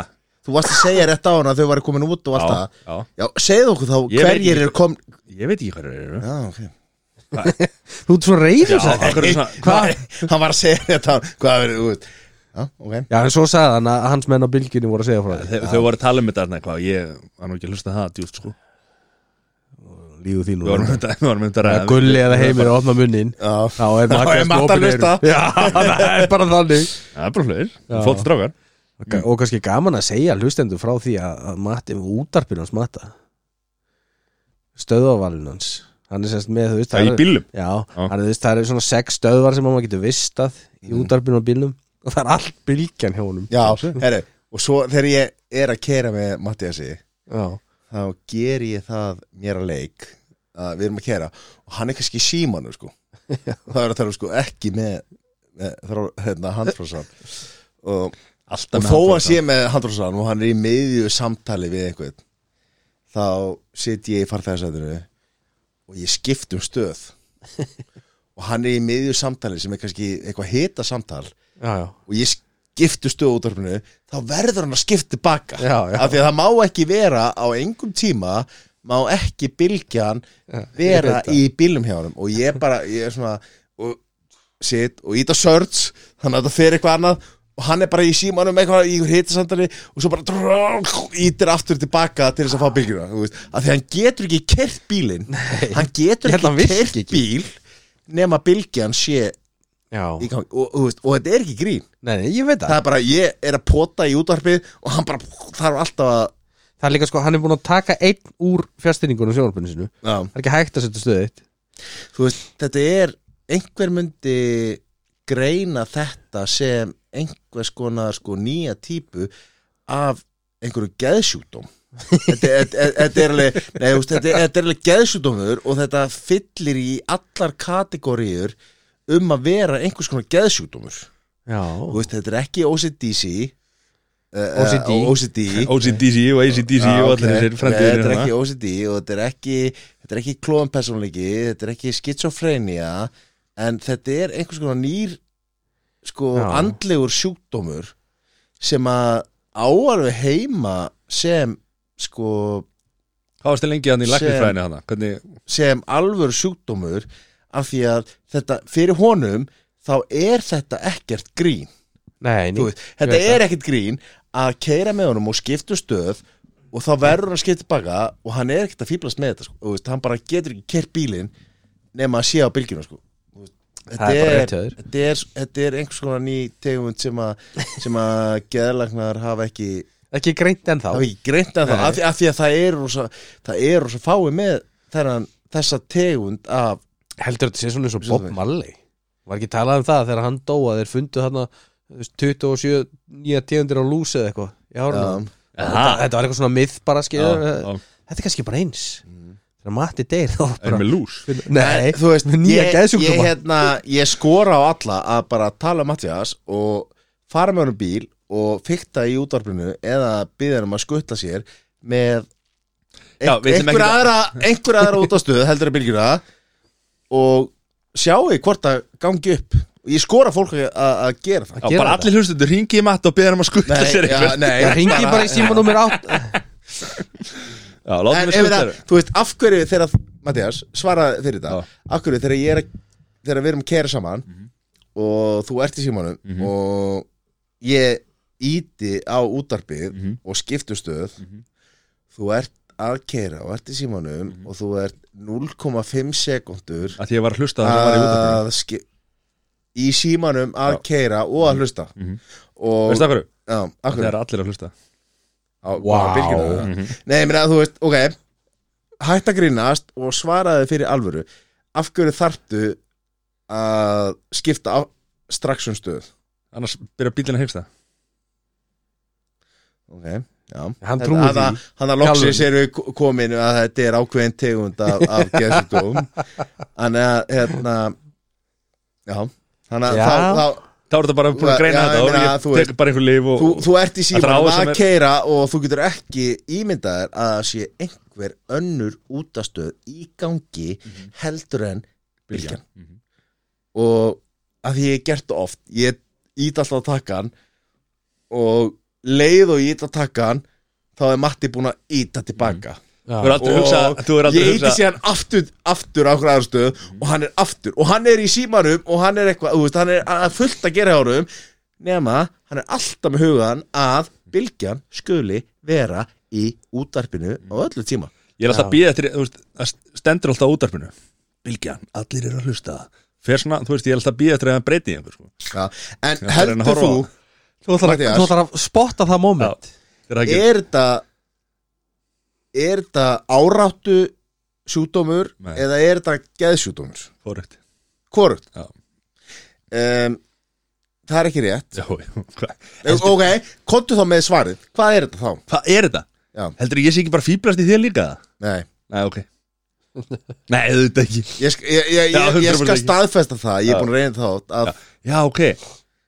Speaker 3: Þú varst að segja rétt á hana að þau voru komin út og allt
Speaker 1: já,
Speaker 3: það
Speaker 1: já
Speaker 3: Já, segðu okkur þá
Speaker 1: Ég veit
Speaker 3: hverjir
Speaker 1: ekki.
Speaker 3: er komin
Speaker 1: Ég veit ekki hvað það eru
Speaker 3: Já, ok
Speaker 2: þú ert svo reyður
Speaker 1: Já,
Speaker 2: sagði-
Speaker 1: akkur er svona
Speaker 2: Hvað?
Speaker 3: Hann var að segja rétt á hana Hvað verður þú út Já, ok
Speaker 2: Já, en svo sagði hann að hans menn á bylginni voru að segja frá því
Speaker 1: Þau þau voru að tala um þetta þarna eitthvað og Ég var nú ekki að hlusta á það djúpt sko
Speaker 2: Líðu þín
Speaker 1: Við vorum um þetta- við vorum um þetta að
Speaker 2: Það
Speaker 1: ræða
Speaker 2: er gulli eða heimir að opna munnin
Speaker 3: Já,
Speaker 2: Þá er
Speaker 3: Þá er
Speaker 2: maður
Speaker 3: Matta að hlusta.
Speaker 2: Já, það er bara þannig
Speaker 1: Það er bara hlur
Speaker 2: Já.
Speaker 1: Fótt strákar
Speaker 2: Ga- Og kannski gaman að segja hlustendur frá því að að Matti útarpinn hans Matta Stöðavalinn hans Hann er semst með, þú veist
Speaker 1: Það er í
Speaker 2: það
Speaker 1: bílum
Speaker 2: Já, hann er, þú veist, það er svona sex stöðvar sem maður getur vistað í útarpinn og bílnum og það er allt bylgjan hjá honum
Speaker 3: já, herru Og svo þegar ég er að kera með Mattiasi
Speaker 2: Já.
Speaker 3: Þá ger ég það mér að leik að Við erum að kera Og hann er kannski símanu, sko Það er að tala um, sko, ekki með, með þrá- Hérna, handfrásan Og
Speaker 1: Alltaf
Speaker 3: og
Speaker 1: með
Speaker 3: þó að
Speaker 1: handbolta.
Speaker 3: sé með handrósan og hann er í miðju samtali við einhvern þá sit ég í farþæðarsæðinu og ég skipt um stöð og hann er í miðju samtali sem er kannski eitthvað hita samtal
Speaker 2: Já, já
Speaker 3: og ég skiptu stöð útvarpinu þá verður hann að skipta tilbaka
Speaker 2: Já, já.
Speaker 3: af því að það má ekki vera á engum tíma má ekki bylgjan
Speaker 2: ég
Speaker 3: vera
Speaker 2: veit það.
Speaker 3: í bílum hjá hann og ég bara, ég er svona og sit og íta search þannig að það fer eitthvað annað og hann er bara í símanum eitthvað í hittasandari og svo bara drrrr, ítir aftur tilbaka til þess að fá bylgjuna þú veist, af því að hann getur ekki kert bílinn hann
Speaker 2: Ég
Speaker 3: getur
Speaker 2: held að hann
Speaker 3: ekki
Speaker 2: virki
Speaker 3: kert
Speaker 2: ekki.
Speaker 3: bíl nema bylgjan sé
Speaker 2: Já,
Speaker 3: í gangi og, og, og, og þetta er ekki grín
Speaker 2: nei, nei, ég veit það
Speaker 3: það er bara, ég er að pota í útvarpið og hann bara þarf alltaf að
Speaker 2: Það er líka sko, hann er búin að taka einn úr fjastýringunum sjónarpunni sinu Það
Speaker 3: já,
Speaker 2: er ekki hægt að setja stöðið eitt
Speaker 3: þú veist, þetta er einhver myndi greina þetta sem einhvers konar sko nýja típu af einhverju geðsjúkdóm þetta, er- þetta, þetta er alveg nei, þú veist, þetta, er- þetta er alveg geðsjúkdómur og þetta fyllir í allar kategóriur um að vera einhvers konar geðsjúkdómur
Speaker 2: Já,
Speaker 3: Þú veist, þetta er ekki OCDC eh,
Speaker 2: OCD.
Speaker 3: eh, OCD
Speaker 1: OCDC og ACDC
Speaker 3: Já,
Speaker 1: og
Speaker 3: ok.
Speaker 1: allir þessir hérna.
Speaker 3: Nei, Þetta
Speaker 1: frendiðir
Speaker 3: er ekki OCD og þetta er ekki þetta er ekki klóðan personleiki þetta er ekki skitsofrenia en þetta er einhvers konar nýr sko
Speaker 2: Já.
Speaker 3: andlegur sjúkdómur sem að áarfi heima sem sko
Speaker 1: Hvað varst þið lengi hann í
Speaker 3: Sem-
Speaker 1: læknisfræðinu hann? Hvernig,
Speaker 3: sem alvör sjúkdómur af því að þetta fyrir honum þá er þetta ekkert grín
Speaker 2: nei,
Speaker 3: Þú
Speaker 2: nei
Speaker 3: veist, þetta
Speaker 2: Ég veit
Speaker 3: er ekkit grín að keira með honum og skipta um stöð og þá verður hann að skipta tilbaka og hann er ekkit að fýblast með þetta sko. Þú veist, hann bara getur ekki kert bílinn nema að sé á bylgjuna sko. Þú veist, þetta,
Speaker 2: Það er bara
Speaker 3: er,
Speaker 2: rétt hjá þér.
Speaker 3: þetta, er, þetta er einhvers konar ný tegund sem að, sem að geðlagnar hafa ekki
Speaker 2: Ekki greint ennþá
Speaker 3: hafa ekki greint að það
Speaker 2: Nei.
Speaker 3: af því, af því að það er rosa, það er rosa fáið með þennan, þessa tegund af
Speaker 2: Heldur þetta sé svona eins og Bob
Speaker 3: Svo-
Speaker 2: Marley Var ekki talað um það þegar hann dó að þeir fundu þarna þú veist, 27 nýja tegundir á lúsi eða eitthvað Já,
Speaker 3: Já.
Speaker 2: um, þetta, þetta var eitthvað svona myð bara skilja
Speaker 1: Já, já.
Speaker 2: Þetta er kannski bara eins Þegar Matti deyr þá var
Speaker 1: er
Speaker 2: bara
Speaker 1: með lús?
Speaker 2: Nei,
Speaker 3: þú veist,
Speaker 2: nýja
Speaker 3: ég, ég,
Speaker 2: geðsjúkdóma
Speaker 3: hérna, ég skora á alla að bara tala um Mattias og fara með honum bíl og fykta í útvarpinu eða byggja hann um að skutta sér með
Speaker 1: Já, við ætlum
Speaker 3: einhver
Speaker 1: ekki að-
Speaker 3: aðra, einhver aðra út á stöð heldur að bylgjuna og sjáu hvort að gangi upp og ég skora fólk að- að að gera það
Speaker 1: Já,
Speaker 2: Gera
Speaker 1: bara
Speaker 2: þetta.
Speaker 1: allir hlustundur ringi í matt og beða hann um að skutta
Speaker 3: Nei,
Speaker 1: sér
Speaker 3: já,
Speaker 1: eitthvað
Speaker 3: nei,
Speaker 2: Það ringi bara í síma nummer 8
Speaker 1: Já, látum við
Speaker 3: en ef
Speaker 1: skutta
Speaker 3: það,
Speaker 1: þér
Speaker 3: þú veist, af hverju þegar Mattias, svaraði fyrir þetta
Speaker 1: Já.
Speaker 3: af hverju þegar ég er að þegar við erum að kæra saman og þú ert í símanum
Speaker 1: Mhm.
Speaker 3: og ég íti á útarpið
Speaker 1: Mhm.
Speaker 3: og skiptustöð
Speaker 1: Mhm.
Speaker 3: þú ert að keira og ert í símanum
Speaker 1: Mhm.
Speaker 3: og þú ert 0,5 sekundur
Speaker 1: að því ég var að hlusta það sem
Speaker 3: Uh,
Speaker 1: var í útvarpinu
Speaker 3: að skip í símanum að
Speaker 1: Já.
Speaker 3: keira og að hlusta
Speaker 1: Mhm.
Speaker 3: og
Speaker 1: Veistu það hverju?
Speaker 3: já,
Speaker 1: Það
Speaker 3: akkur,
Speaker 1: er allir að hlusta Mhm.
Speaker 3: á,
Speaker 2: Vá.
Speaker 3: á bylgjuna það. Nei, ég meina þú veist, ok Hætt að grínast og svaraði fyrir alvöru Af hverju þarftu að skipta á strax um stöð
Speaker 1: Annars byrja bílina að heimsta
Speaker 3: Ok, já
Speaker 2: Hann trúir því.
Speaker 3: Hann að loksins
Speaker 2: Sjálfur.
Speaker 3: eru ko- komin að þetta er ákveðin tegund af, af geðsjúkdóm Þannig að, hérna Já, þannig að
Speaker 2: Já.
Speaker 3: þá, þá,
Speaker 1: Þá er þetta bara búin að greina
Speaker 3: Já, ég
Speaker 1: þetta
Speaker 3: meina,
Speaker 1: og
Speaker 3: þú
Speaker 1: ég tek bara einhver lif og
Speaker 3: þú, þú ert í
Speaker 1: Þetta er á
Speaker 3: símanum
Speaker 1: sem
Speaker 3: að
Speaker 1: er-
Speaker 3: keira og þú getur ekki ímyndaðir að það sé einhver önnur útastöð í gangi heldur en bylgjan
Speaker 1: Mhm.
Speaker 3: og að því ég hef gert það oft ég ít alltaf að taka hann og leið og ég ít að taka hann þá er Matti búin að íta tilbaka
Speaker 1: Þú er aldrei að hugsa
Speaker 3: og
Speaker 1: Þú er aldrei
Speaker 3: ég
Speaker 1: að
Speaker 3: íti
Speaker 1: hugsa
Speaker 3: síðan aftur, aftur á okkur aðarstöð mm. og hann er aftur og hann er í símanum og hann er eitthvað, þú veist, hann er að- fullt að gera árum nema hann er alltaf með hugan að bylgjan skuli vera í útarpinu á öllu tíma
Speaker 1: Ég er alltaf að býða eftir Þú veist Það stendur alltaf á útarpinu Bylgjan, allir eru að hlusta Fer svona, þú veist, ég er alltaf að býða eftir að hann breyti í einhver sko.
Speaker 3: ja. en
Speaker 1: Ég ætla að reyna að
Speaker 3: heldur þú
Speaker 1: horfa
Speaker 2: Þú ætlar að-
Speaker 3: Matthías.
Speaker 2: þú ætlar að spotta það moment
Speaker 1: Þegar það gerir
Speaker 3: er þetta er þetta áráttu sjúkdómur
Speaker 1: Nei.
Speaker 3: eða er þetta geðsjúkdómur
Speaker 1: fórögt
Speaker 3: hvort
Speaker 1: Já.
Speaker 3: um, það er ekki rétt
Speaker 1: Já, já, hvað-
Speaker 3: ok, kontu þá með svarið hvað er þetta þá?
Speaker 1: Hvað er þetta?
Speaker 3: Já.
Speaker 1: Heldur ég sé ekki bara fýblast í þér líka?
Speaker 3: Nei,
Speaker 1: Nei, ok Nei, auðvitað ekki
Speaker 3: ég, sk- ég, ég,
Speaker 1: Já,
Speaker 3: ég, ég
Speaker 1: 100%
Speaker 3: skal
Speaker 1: ekki.
Speaker 3: staðfesta það
Speaker 1: Já.
Speaker 3: ég er búin að reyna þá að,
Speaker 1: Já, ok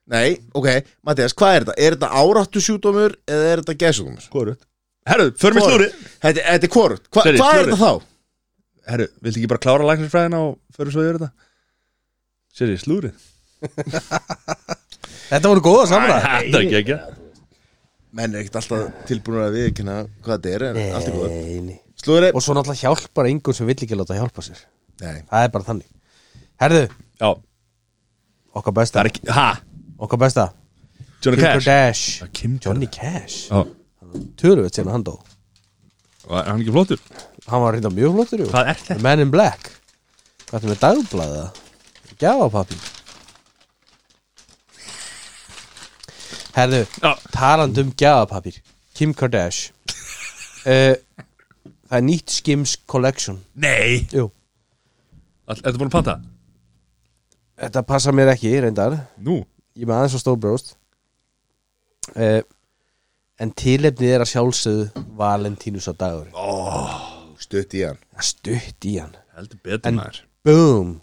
Speaker 3: nei, ok, Mattias, hvað er þetta? er þetta áráttu sjúkdómur eða er þetta geðsjúkdómur?
Speaker 1: Hvorut Herru, förum í slúri
Speaker 3: þetta, þetta er hvort, Hva,
Speaker 1: Sorry,
Speaker 3: hvað er
Speaker 1: slúðrið.
Speaker 3: þetta þá?
Speaker 1: Herru, viltu ekki bara klára læknisfræðina og förum svo yfir þetta? Sér ég slúri
Speaker 2: Þetta voru góða samræð
Speaker 1: Þetta ekki ekki
Speaker 3: menn er ekkert alltaf tilbúin að viðkynna hvað þetta er, en allt er góð
Speaker 2: Nei, nei.
Speaker 3: slúðrið,
Speaker 2: Og svo náttúrulega hjálpar einhvern sem vill ekki láta hjálpa sér
Speaker 3: nei
Speaker 2: Það er bara þannig Herðu,
Speaker 1: Já,
Speaker 2: okkar
Speaker 1: það
Speaker 2: besta
Speaker 1: er ekki Ha?
Speaker 2: Okkar besta
Speaker 1: Johnny
Speaker 2: Kim
Speaker 1: Cash
Speaker 2: Kardashian
Speaker 1: Já, Kim
Speaker 2: Johnny Cash
Speaker 1: Já,
Speaker 2: Tölvöld sem hann dó
Speaker 1: var hann ekki flottur?
Speaker 2: Hann var reynda mjög flottur jú.
Speaker 1: Hvað er
Speaker 2: The Man in Black Hvað er með dagblæða? Gjafapappi Herðu,
Speaker 1: Já.
Speaker 2: talandi um gjafapapir Kim Kardashian uh, Það er nýtt Skims Collection
Speaker 1: Nei
Speaker 2: Jú,
Speaker 1: All- Ertu búin að panta?
Speaker 2: þetta passa mér ekki reyndar
Speaker 1: Nú
Speaker 2: Ég er með aðeins á stór brjóst uh, En tilefnið er að sjálfsögðu Valentínus á dagur
Speaker 3: stutt í hann
Speaker 2: Það er stutt í hann
Speaker 1: Heldur betur
Speaker 2: En-
Speaker 1: maður
Speaker 2: Boom,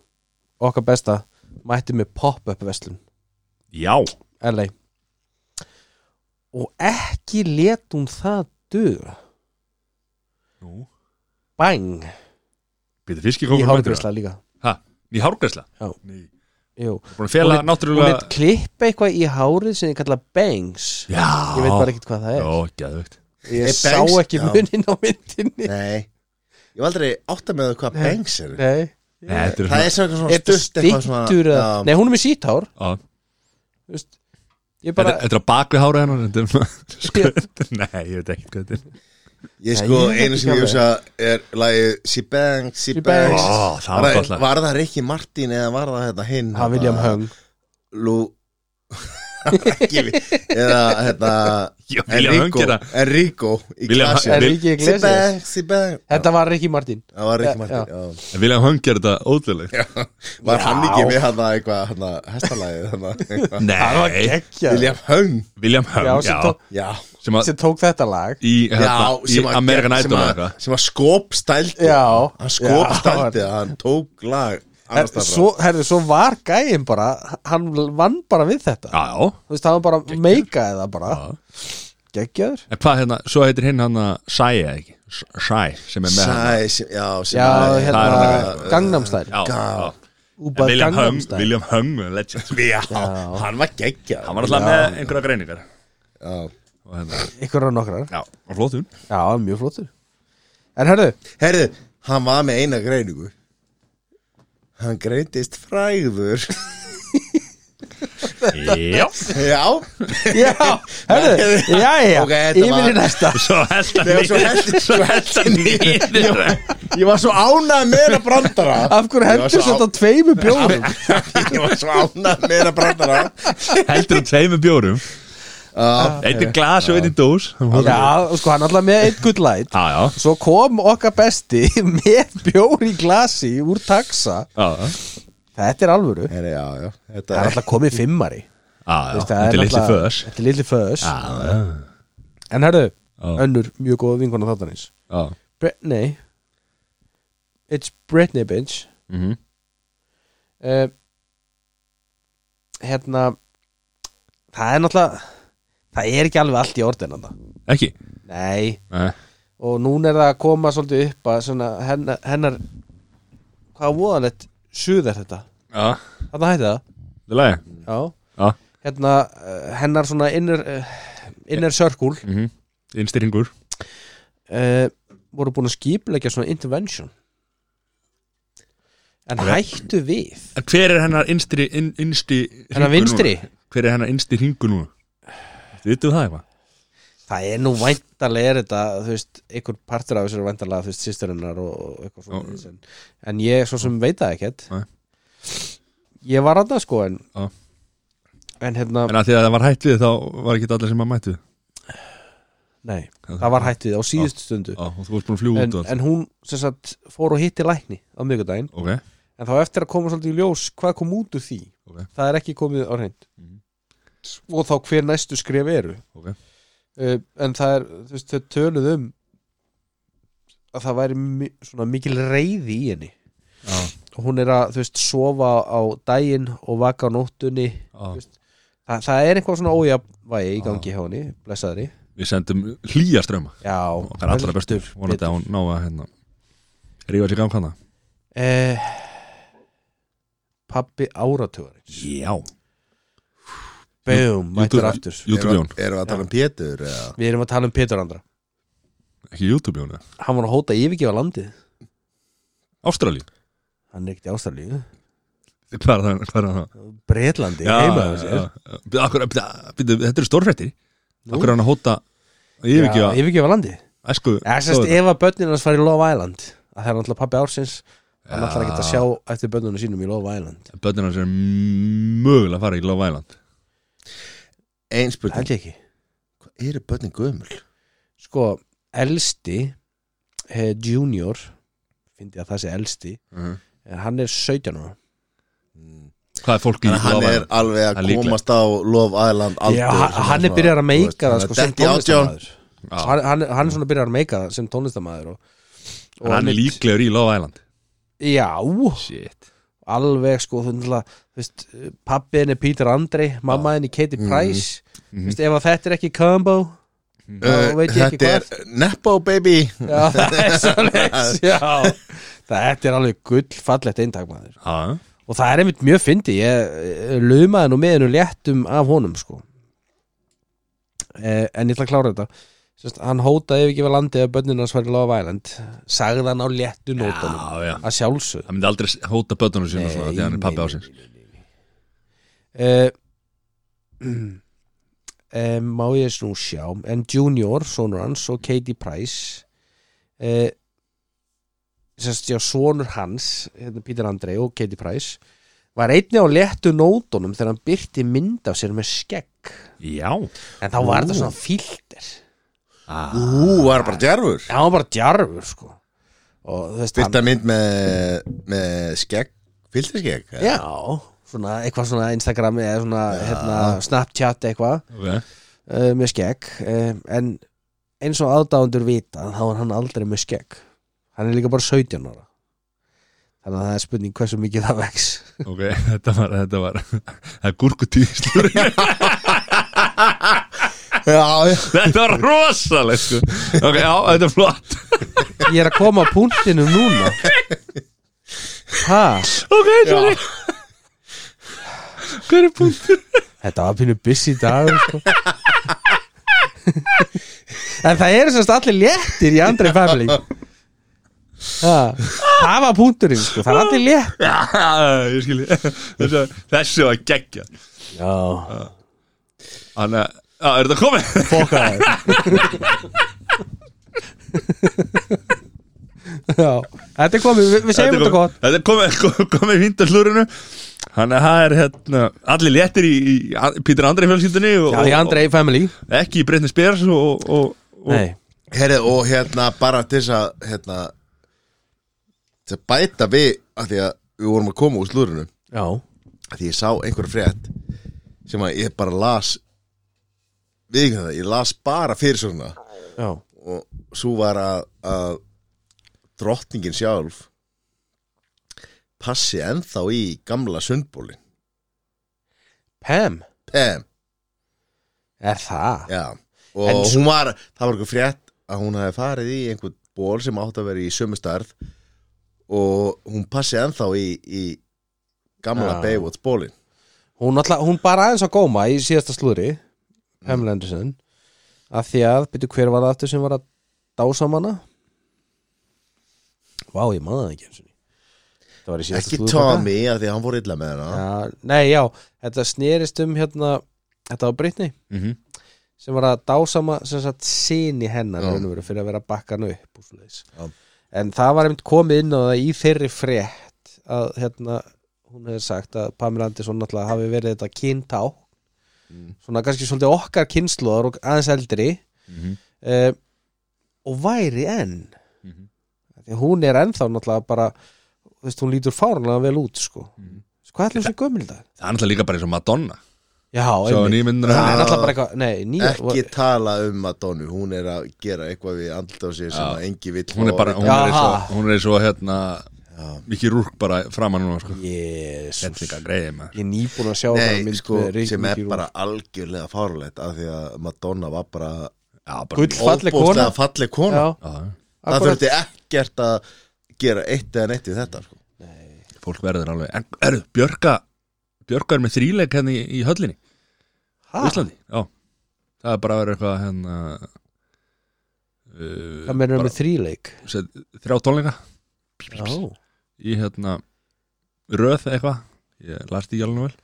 Speaker 2: okkar besta Mætti með pop-up veslun
Speaker 1: Já
Speaker 2: LA og ekki let hún það duga
Speaker 1: Nú
Speaker 2: bang
Speaker 1: Býtu fiski
Speaker 2: í
Speaker 1: komur
Speaker 2: hálfgræsla líka
Speaker 1: Ha? Í hárgræsla?
Speaker 2: Já.
Speaker 1: Ný
Speaker 2: Jú.
Speaker 1: Búin að fela
Speaker 2: Hún lét- hún
Speaker 1: náttúrulega
Speaker 2: let klippa eitthvað í hárið sem þið kalla bangs
Speaker 1: Já
Speaker 2: ég veit bara ekkert hvað það er
Speaker 1: Já, geðvögt
Speaker 2: ég
Speaker 3: Er
Speaker 2: sá
Speaker 3: bangs?
Speaker 2: ekki
Speaker 3: Já.
Speaker 2: munin á myndinni
Speaker 3: Nei, ég var aldrei átt að með það hvað bangs eru
Speaker 2: nei
Speaker 1: Þetta
Speaker 3: Það er sem eitthvað svona
Speaker 2: er það
Speaker 3: stutt eitthvað svona-
Speaker 2: stittur eða
Speaker 3: Já.
Speaker 2: nei hún er með síthár
Speaker 1: svona
Speaker 2: þú veist. ég
Speaker 1: Þetta
Speaker 2: bara
Speaker 1: þetta er á bakvið hára hennar þetta er svona- sko- Nei, ég veit ekki hvað þetta er
Speaker 3: Ég
Speaker 2: Nei,
Speaker 3: sko,
Speaker 2: ég veit
Speaker 3: einu
Speaker 2: ekki
Speaker 3: sem ég
Speaker 2: alveg.
Speaker 3: hugsa er lagið She Bangs, She
Speaker 2: She
Speaker 3: Bangs
Speaker 2: Bangs.
Speaker 1: Ó, það var
Speaker 3: Var
Speaker 1: gott lag.
Speaker 3: Var það Ricky Martin eða var það þetta hinn
Speaker 2: hann William
Speaker 3: hérna,
Speaker 2: Hung
Speaker 3: Lú Ekki við- Eða þetta
Speaker 1: Já, William Hung
Speaker 3: Enrico
Speaker 1: gera
Speaker 3: Enrico í
Speaker 1: William
Speaker 3: glasi
Speaker 1: Hung-
Speaker 2: er
Speaker 1: Vil-
Speaker 2: ekki
Speaker 3: She
Speaker 2: glesið
Speaker 3: Bangs, She Bangs
Speaker 2: þetta var Ricky Martin
Speaker 3: Það var Ricky
Speaker 2: Já,
Speaker 3: Martin já.
Speaker 1: En William Hung gera þetta ótrúlega
Speaker 3: Var hann ekki með hann eitthvað hann hestalagið hann eitthvað
Speaker 1: Nei,
Speaker 2: ekki
Speaker 3: William Hung
Speaker 1: William Hung,
Speaker 2: Já, sem
Speaker 1: já
Speaker 2: tók-
Speaker 3: Já,
Speaker 1: Sem að
Speaker 2: sem tók þetta lag
Speaker 1: í, hérna, í
Speaker 3: sem að-
Speaker 1: American
Speaker 3: sem
Speaker 1: Idol
Speaker 3: að-
Speaker 1: eða eitthvað
Speaker 3: Sem að skóp stældi
Speaker 2: Já.
Speaker 3: Hann
Speaker 2: Já.
Speaker 3: skóp stældi Hann tók lag annars staðar frá.
Speaker 2: svo, herri, svo var gæin bara hann vann bara við þetta
Speaker 1: Já, já
Speaker 2: þú veist, hann bara meikaði það bara
Speaker 1: Já.
Speaker 2: geggjaður
Speaker 1: En hvað hérna, svo heitir hinn hann að Sæ eða ekki S- Sæ, sem er með hann
Speaker 3: Sæ, sem, já, sem
Speaker 2: já,
Speaker 3: að-
Speaker 1: það er
Speaker 2: hérna,
Speaker 1: alveg-
Speaker 2: gangnamstæl
Speaker 1: Já,
Speaker 3: Gá.
Speaker 1: já En
Speaker 2: úbað
Speaker 1: William Hung,
Speaker 2: gangnamstæl
Speaker 1: William Hung, er legend
Speaker 3: Já, hann var geggja
Speaker 1: Hann var alltaf með einhverja greiningar Og hérna,
Speaker 2: ykkur og nokkrar,
Speaker 1: já, og flott hún
Speaker 2: já, mjög flottur en herru,
Speaker 3: Herðu, hann var með eina greiningu Hann greindist fræður
Speaker 1: Já,
Speaker 3: Já,
Speaker 2: Já, herðu, já, já,
Speaker 3: Ok, þetta
Speaker 2: yfir í
Speaker 3: var-
Speaker 2: næsta
Speaker 1: svo held
Speaker 3: Nei, og svo
Speaker 1: hann
Speaker 3: held-
Speaker 1: Svo held hann nýður
Speaker 3: ég var svo ánægð með hana brandara
Speaker 2: Af hverju
Speaker 3: Ég var
Speaker 2: hendur
Speaker 3: svo á-
Speaker 2: þetta tveimu bjórum?
Speaker 3: Ég var svo ánægð með hana brandara
Speaker 1: Heldur hann tveimur bjórum
Speaker 3: uh,
Speaker 1: Eitt er glas og eitt er dós Já,
Speaker 2: Já, sko, hann alltaf með einn gullæt
Speaker 1: já,
Speaker 2: Svo kom okkar besti með bjór í glasi úr taxa
Speaker 1: já, já,
Speaker 2: Þetta er alvöru
Speaker 3: Já, já, þetta
Speaker 2: Það er
Speaker 3: er
Speaker 2: alltaf komið fimmari
Speaker 1: já
Speaker 2: Veist,
Speaker 1: Þetta
Speaker 2: það
Speaker 1: er litli
Speaker 2: náttúrulega-
Speaker 1: föðs
Speaker 2: Þetta er litli föðs
Speaker 1: Já, já,
Speaker 2: En herðu,
Speaker 1: Já.
Speaker 2: önnur mjög góð vinkona þáttanins
Speaker 1: já
Speaker 2: Britney It's Britney bitch
Speaker 1: mhm.
Speaker 2: uh, Hérna Það er náttúrulega Það er ekki alveg allt í orðinanda
Speaker 1: Ekki
Speaker 2: Nei
Speaker 1: Nei.
Speaker 2: Og núna er það að koma svolítið upp að svona hennar, hennar Hvað voðalegt suð er þetta
Speaker 1: Já,
Speaker 2: Þarna hætti það
Speaker 1: það er lagi
Speaker 2: Já
Speaker 1: Já.
Speaker 2: Hérna eh, hennar svona inner, eh, inner circle
Speaker 1: Mhm. Innstyrringur
Speaker 2: uh, voru búin að skipleggja svona intervention en
Speaker 1: Alveg.
Speaker 2: hættu við
Speaker 1: Hver er hennar innstri, inn, innsti
Speaker 2: hennar
Speaker 1: hringur
Speaker 2: vinstri,
Speaker 1: núna? Hver er hennar innsti hringur núna? Þetta vittum það eitthvað
Speaker 2: það er nú væntalega er þetta, þú veist, einhver partur af þessu er væntalega, þú veist, sýsturinnar og, og eitthvað
Speaker 1: Já.
Speaker 2: svona en, en ég svo sem veit það ekkert
Speaker 1: Nei.
Speaker 2: ég var að það sko en
Speaker 1: Já.
Speaker 2: en hérna,
Speaker 1: En að því að það var hætt við þá var ekki allir sem að mættu
Speaker 2: nei, það var hætt við á síðustu stundu
Speaker 1: Já, og þú varst búin að fljúga
Speaker 2: en,
Speaker 1: út og allt
Speaker 2: en hún sem sagt fór og hitti lækni á miðgudaginn
Speaker 1: Ok,
Speaker 2: en þá eftir að koma svolítið í ljós hvað kom út úr því
Speaker 1: Ok.
Speaker 2: það er ekki komið á reynd
Speaker 1: Mhm.
Speaker 2: og þá hver næstu skref eru
Speaker 1: Ok.
Speaker 2: uh, en það er þú veist, þau töluð um að það væri mi svona mikil reyði í henni
Speaker 1: já,
Speaker 2: og hún er að þú veist sofa á daginn og vaka á nóttunni
Speaker 1: já
Speaker 2: Þa, það er eitthvað svona ójafvægi í
Speaker 1: Ah.
Speaker 2: gangi hjá henni blessaðri
Speaker 1: Við sendum hlýja ströma
Speaker 2: já,
Speaker 1: Okkar allra bestu Vonandi að hún ná að hérna Rífa sér gang hana
Speaker 2: uh, pappi áratugarins
Speaker 1: Já
Speaker 2: boom, mættur aftur
Speaker 1: YouTube Jón
Speaker 3: Erum við að tala um Pétur? eða?
Speaker 2: við erum að tala um Pétur Andra
Speaker 1: Ekki YouTube Jón eða?
Speaker 2: hann var að hóta að yfirgefa landið
Speaker 1: Ástralíu
Speaker 2: hann er ekkert í ástæðlíu
Speaker 1: Hvað er það? Hvað er það?
Speaker 2: Breitlandi, heima hjá sér
Speaker 1: já. Akkur, byrju, Þetta eru stórfrættir
Speaker 2: Nú.
Speaker 1: Akkur er hann að hóta
Speaker 2: Já,
Speaker 1: Yfirgefa
Speaker 2: yfirgefa landi
Speaker 1: Æsku
Speaker 2: eða sérst ef að börnin hans fari í Love Island að það er náttúrulega pappi ársins hann
Speaker 1: Já.
Speaker 2: ætlar ekki að sjá eftir börnunum sínum í Love Island
Speaker 1: Bönnir hans er mögulega að fara í Love Island
Speaker 3: Ein
Speaker 2: það
Speaker 3: spurning
Speaker 2: held ég ekki
Speaker 3: Hvað eru börnin gömul?
Speaker 2: sko, elsti eh, junior fyndi að það sé elsti
Speaker 3: Mhm.
Speaker 2: en hann er 17 ára
Speaker 1: Hvað er fólk í
Speaker 3: Þannig að hann
Speaker 1: Love
Speaker 3: er
Speaker 1: Island?
Speaker 3: alveg
Speaker 1: Það er
Speaker 3: að
Speaker 1: líklegt.
Speaker 3: komast á Love Island aldur
Speaker 2: Já, hann- hann er byrjar að meika það sko, sem
Speaker 3: Detti átján
Speaker 2: tónlistamæður hann, hann, hann er svona byrjar að meika það sem tónlistamæður og, og
Speaker 1: Hann er
Speaker 2: mitt-
Speaker 1: líklegur í Love Island
Speaker 2: já,
Speaker 1: Shit
Speaker 2: alveg sko þú náttúrulega, þú veist, pappi henni er Peter Andrei mamma henni Katie Price mm. veist, ef að þetta er ekki combo þá veit ég ekki
Speaker 3: Eh, Þetta er
Speaker 2: hvað
Speaker 3: Nepo baby
Speaker 2: já, það er svoleiðis, já. þetta er alveg gull fallegt eintak maður
Speaker 1: Já,
Speaker 2: og það er einmitt mjög fyndi ég eh, lumaði nú með hennu léttum af honum sko eh, en ég ætla að klára þetta Sest, hann hótaði ef ekki var landið að bönninu hans var í Love Island sagði hann á léttu nótunum
Speaker 1: já, já
Speaker 2: að sjálfsög
Speaker 1: Hann myndi aldrei hóta bötunum sína svona
Speaker 2: Nei,
Speaker 1: því að hann er pappi
Speaker 2: nei,
Speaker 1: ásins
Speaker 2: nei, nei, nei, nei. Eh, eh, Má ég snú sjá En Junior, sonur hans og Katie Price uh, Sérst, já, sonur hans hérna Peter Andrei og Katie Price Var einnig á léttu nótunum Þegar hann byrti mynd af sér með skegg
Speaker 1: Já
Speaker 2: En þá var þetta svona filter
Speaker 1: ah.
Speaker 3: Ú, var bara djarfur
Speaker 2: Já, hann var bara djarfur, sko Og þú veist, hann
Speaker 3: Byrta mynd með, með skegg Filterskegg eða?
Speaker 2: Já, svona eitthvað svona Instagram eða svona hérna, Snapchat eitthvað
Speaker 1: okay.
Speaker 2: uh, með skegg uh, en eins og aðdáðundur vita þá er hann aldrei með skegg hann er líka bara 17 ára þannig að það er spurning hversu mikið það vex
Speaker 1: ok, þetta var, þetta var Það er gúrkutýrslur
Speaker 3: Já, já
Speaker 1: Þetta var rosaleg sko. Ok, já, þetta er flott
Speaker 2: ég er að koma að punktinu núna ha,
Speaker 1: Ok, sorry Hver er punkt?
Speaker 2: þetta var pínu busy dagur sko. en það eru semst allir léttir í Andrei Family Ha, það var punkturinn sko, það er allir létt
Speaker 1: Já, ég skil ég. þessi, þessi var geggja
Speaker 2: já,
Speaker 1: Þannig að, já, er þetta komið?
Speaker 2: fokka já, þetta er komið við, við segjum þetta
Speaker 1: kom-
Speaker 2: gott
Speaker 1: Þetta er komið, komið, komið fínt að slúrinu Þannig að það er hérna Allir léttir í, í Pítur Andrei fjölskyldunni og,
Speaker 2: já, í Andrei Family
Speaker 1: og ekki í Breitni Spears og, og, og
Speaker 2: nei,
Speaker 3: Herri, og hérna bara til þess að hérna, til að bæta við af því að við vorum að koma úr slúrinu
Speaker 2: já,
Speaker 3: af því ég sá einhver frétt sem að ég bara las við ekki það, ég las bara fyrir svona
Speaker 2: já
Speaker 3: og svo var að, að drottningin sjálf passi ennþá í gamla sundbólin
Speaker 2: Pam,
Speaker 3: Pem,
Speaker 2: er það?
Speaker 3: já og
Speaker 2: En svo-
Speaker 3: hún var, það var einhver frétt að hún hafi farið í einhver ból sem átt að vera í sömu starð og hún passi ennþá í, í gamla
Speaker 2: Já.
Speaker 3: Baywatch bólin
Speaker 2: Hún, alltaf, hún bara aðeins að góma í síðasta slúðri Pam Lenderson af því að, byrju hver var það aftur sem var að dásam hana vá, ég maður það ekki einu sinni. það var í síðasta
Speaker 3: ekki
Speaker 2: slúðurpakka.
Speaker 3: Tommy af því að hann voru illa með hana
Speaker 2: Já, nei, já, þetta snerist um hérna, þetta var Britney
Speaker 1: Mhm.
Speaker 2: sem var að dásama sem sagt sinni hennar
Speaker 3: Já.
Speaker 2: raunveru, fyrir að vera að bakka hann upp og svoleiðis.
Speaker 3: Já.
Speaker 2: en það var einmitt komið inn á það í þeirri frétt að hérna, hún hefði sagt að Pamela Anderson náttúrulega hafi verið þetta kynntá
Speaker 3: Mm.
Speaker 2: svona kannski svolítið okkar kynnslóðar og aðeins eldri
Speaker 1: Mhm.
Speaker 2: eh, og væri enn
Speaker 1: Mhm.
Speaker 2: því að hún er ennþá náttúrulega bara þú veist, hún lítur fárunlega vel út sko.
Speaker 3: Mhm.
Speaker 2: hvað ætlum þessi gömul í dag?
Speaker 1: Það er náttúrulega líka bara eins og Madonna
Speaker 2: Já,
Speaker 1: Svo
Speaker 2: einmitt.
Speaker 1: nýmyndina
Speaker 2: Það er náttúrulega bara eitthvað Nei, nýja
Speaker 3: ekki tala um Madonna hún er að gera eitthvað við andlut á sér sem
Speaker 1: Já.
Speaker 3: að engi vill
Speaker 1: Hún er bara, hún
Speaker 2: Já.
Speaker 1: er eins og, hún er eins og hérna
Speaker 3: Já.
Speaker 1: Mikið rúrk bara framan núna sko. Þetta er
Speaker 2: Jésus
Speaker 1: líka greiði maður
Speaker 2: Ég er nýbúin að sjá þennan
Speaker 3: Nei,
Speaker 2: mynd
Speaker 3: sko,
Speaker 2: með Ricky
Speaker 3: sem er
Speaker 2: Rúnar.
Speaker 3: bara algjörlega fárulegt af því að Madonna var bara
Speaker 1: Já, bara
Speaker 2: Gull falleg kona
Speaker 3: óbúslega falleg kona
Speaker 1: Já,
Speaker 2: Já,
Speaker 1: já.
Speaker 3: það
Speaker 2: akkurat.
Speaker 3: þurfti ekkert að gera eitt eða neitt við þetta sko.
Speaker 1: fólk verður alveg En er, Björka, Björka er með þríleik hérna í, í höllinni
Speaker 2: Ha?
Speaker 1: Í Íslandi, já Það er bara að vera eitthvað hérna uh,
Speaker 2: Það meður
Speaker 1: bara-
Speaker 2: með þríleik
Speaker 1: set, þrjá tónleika
Speaker 2: Já,
Speaker 1: í hérna röð eitthvað, ég lærst í jálunum vel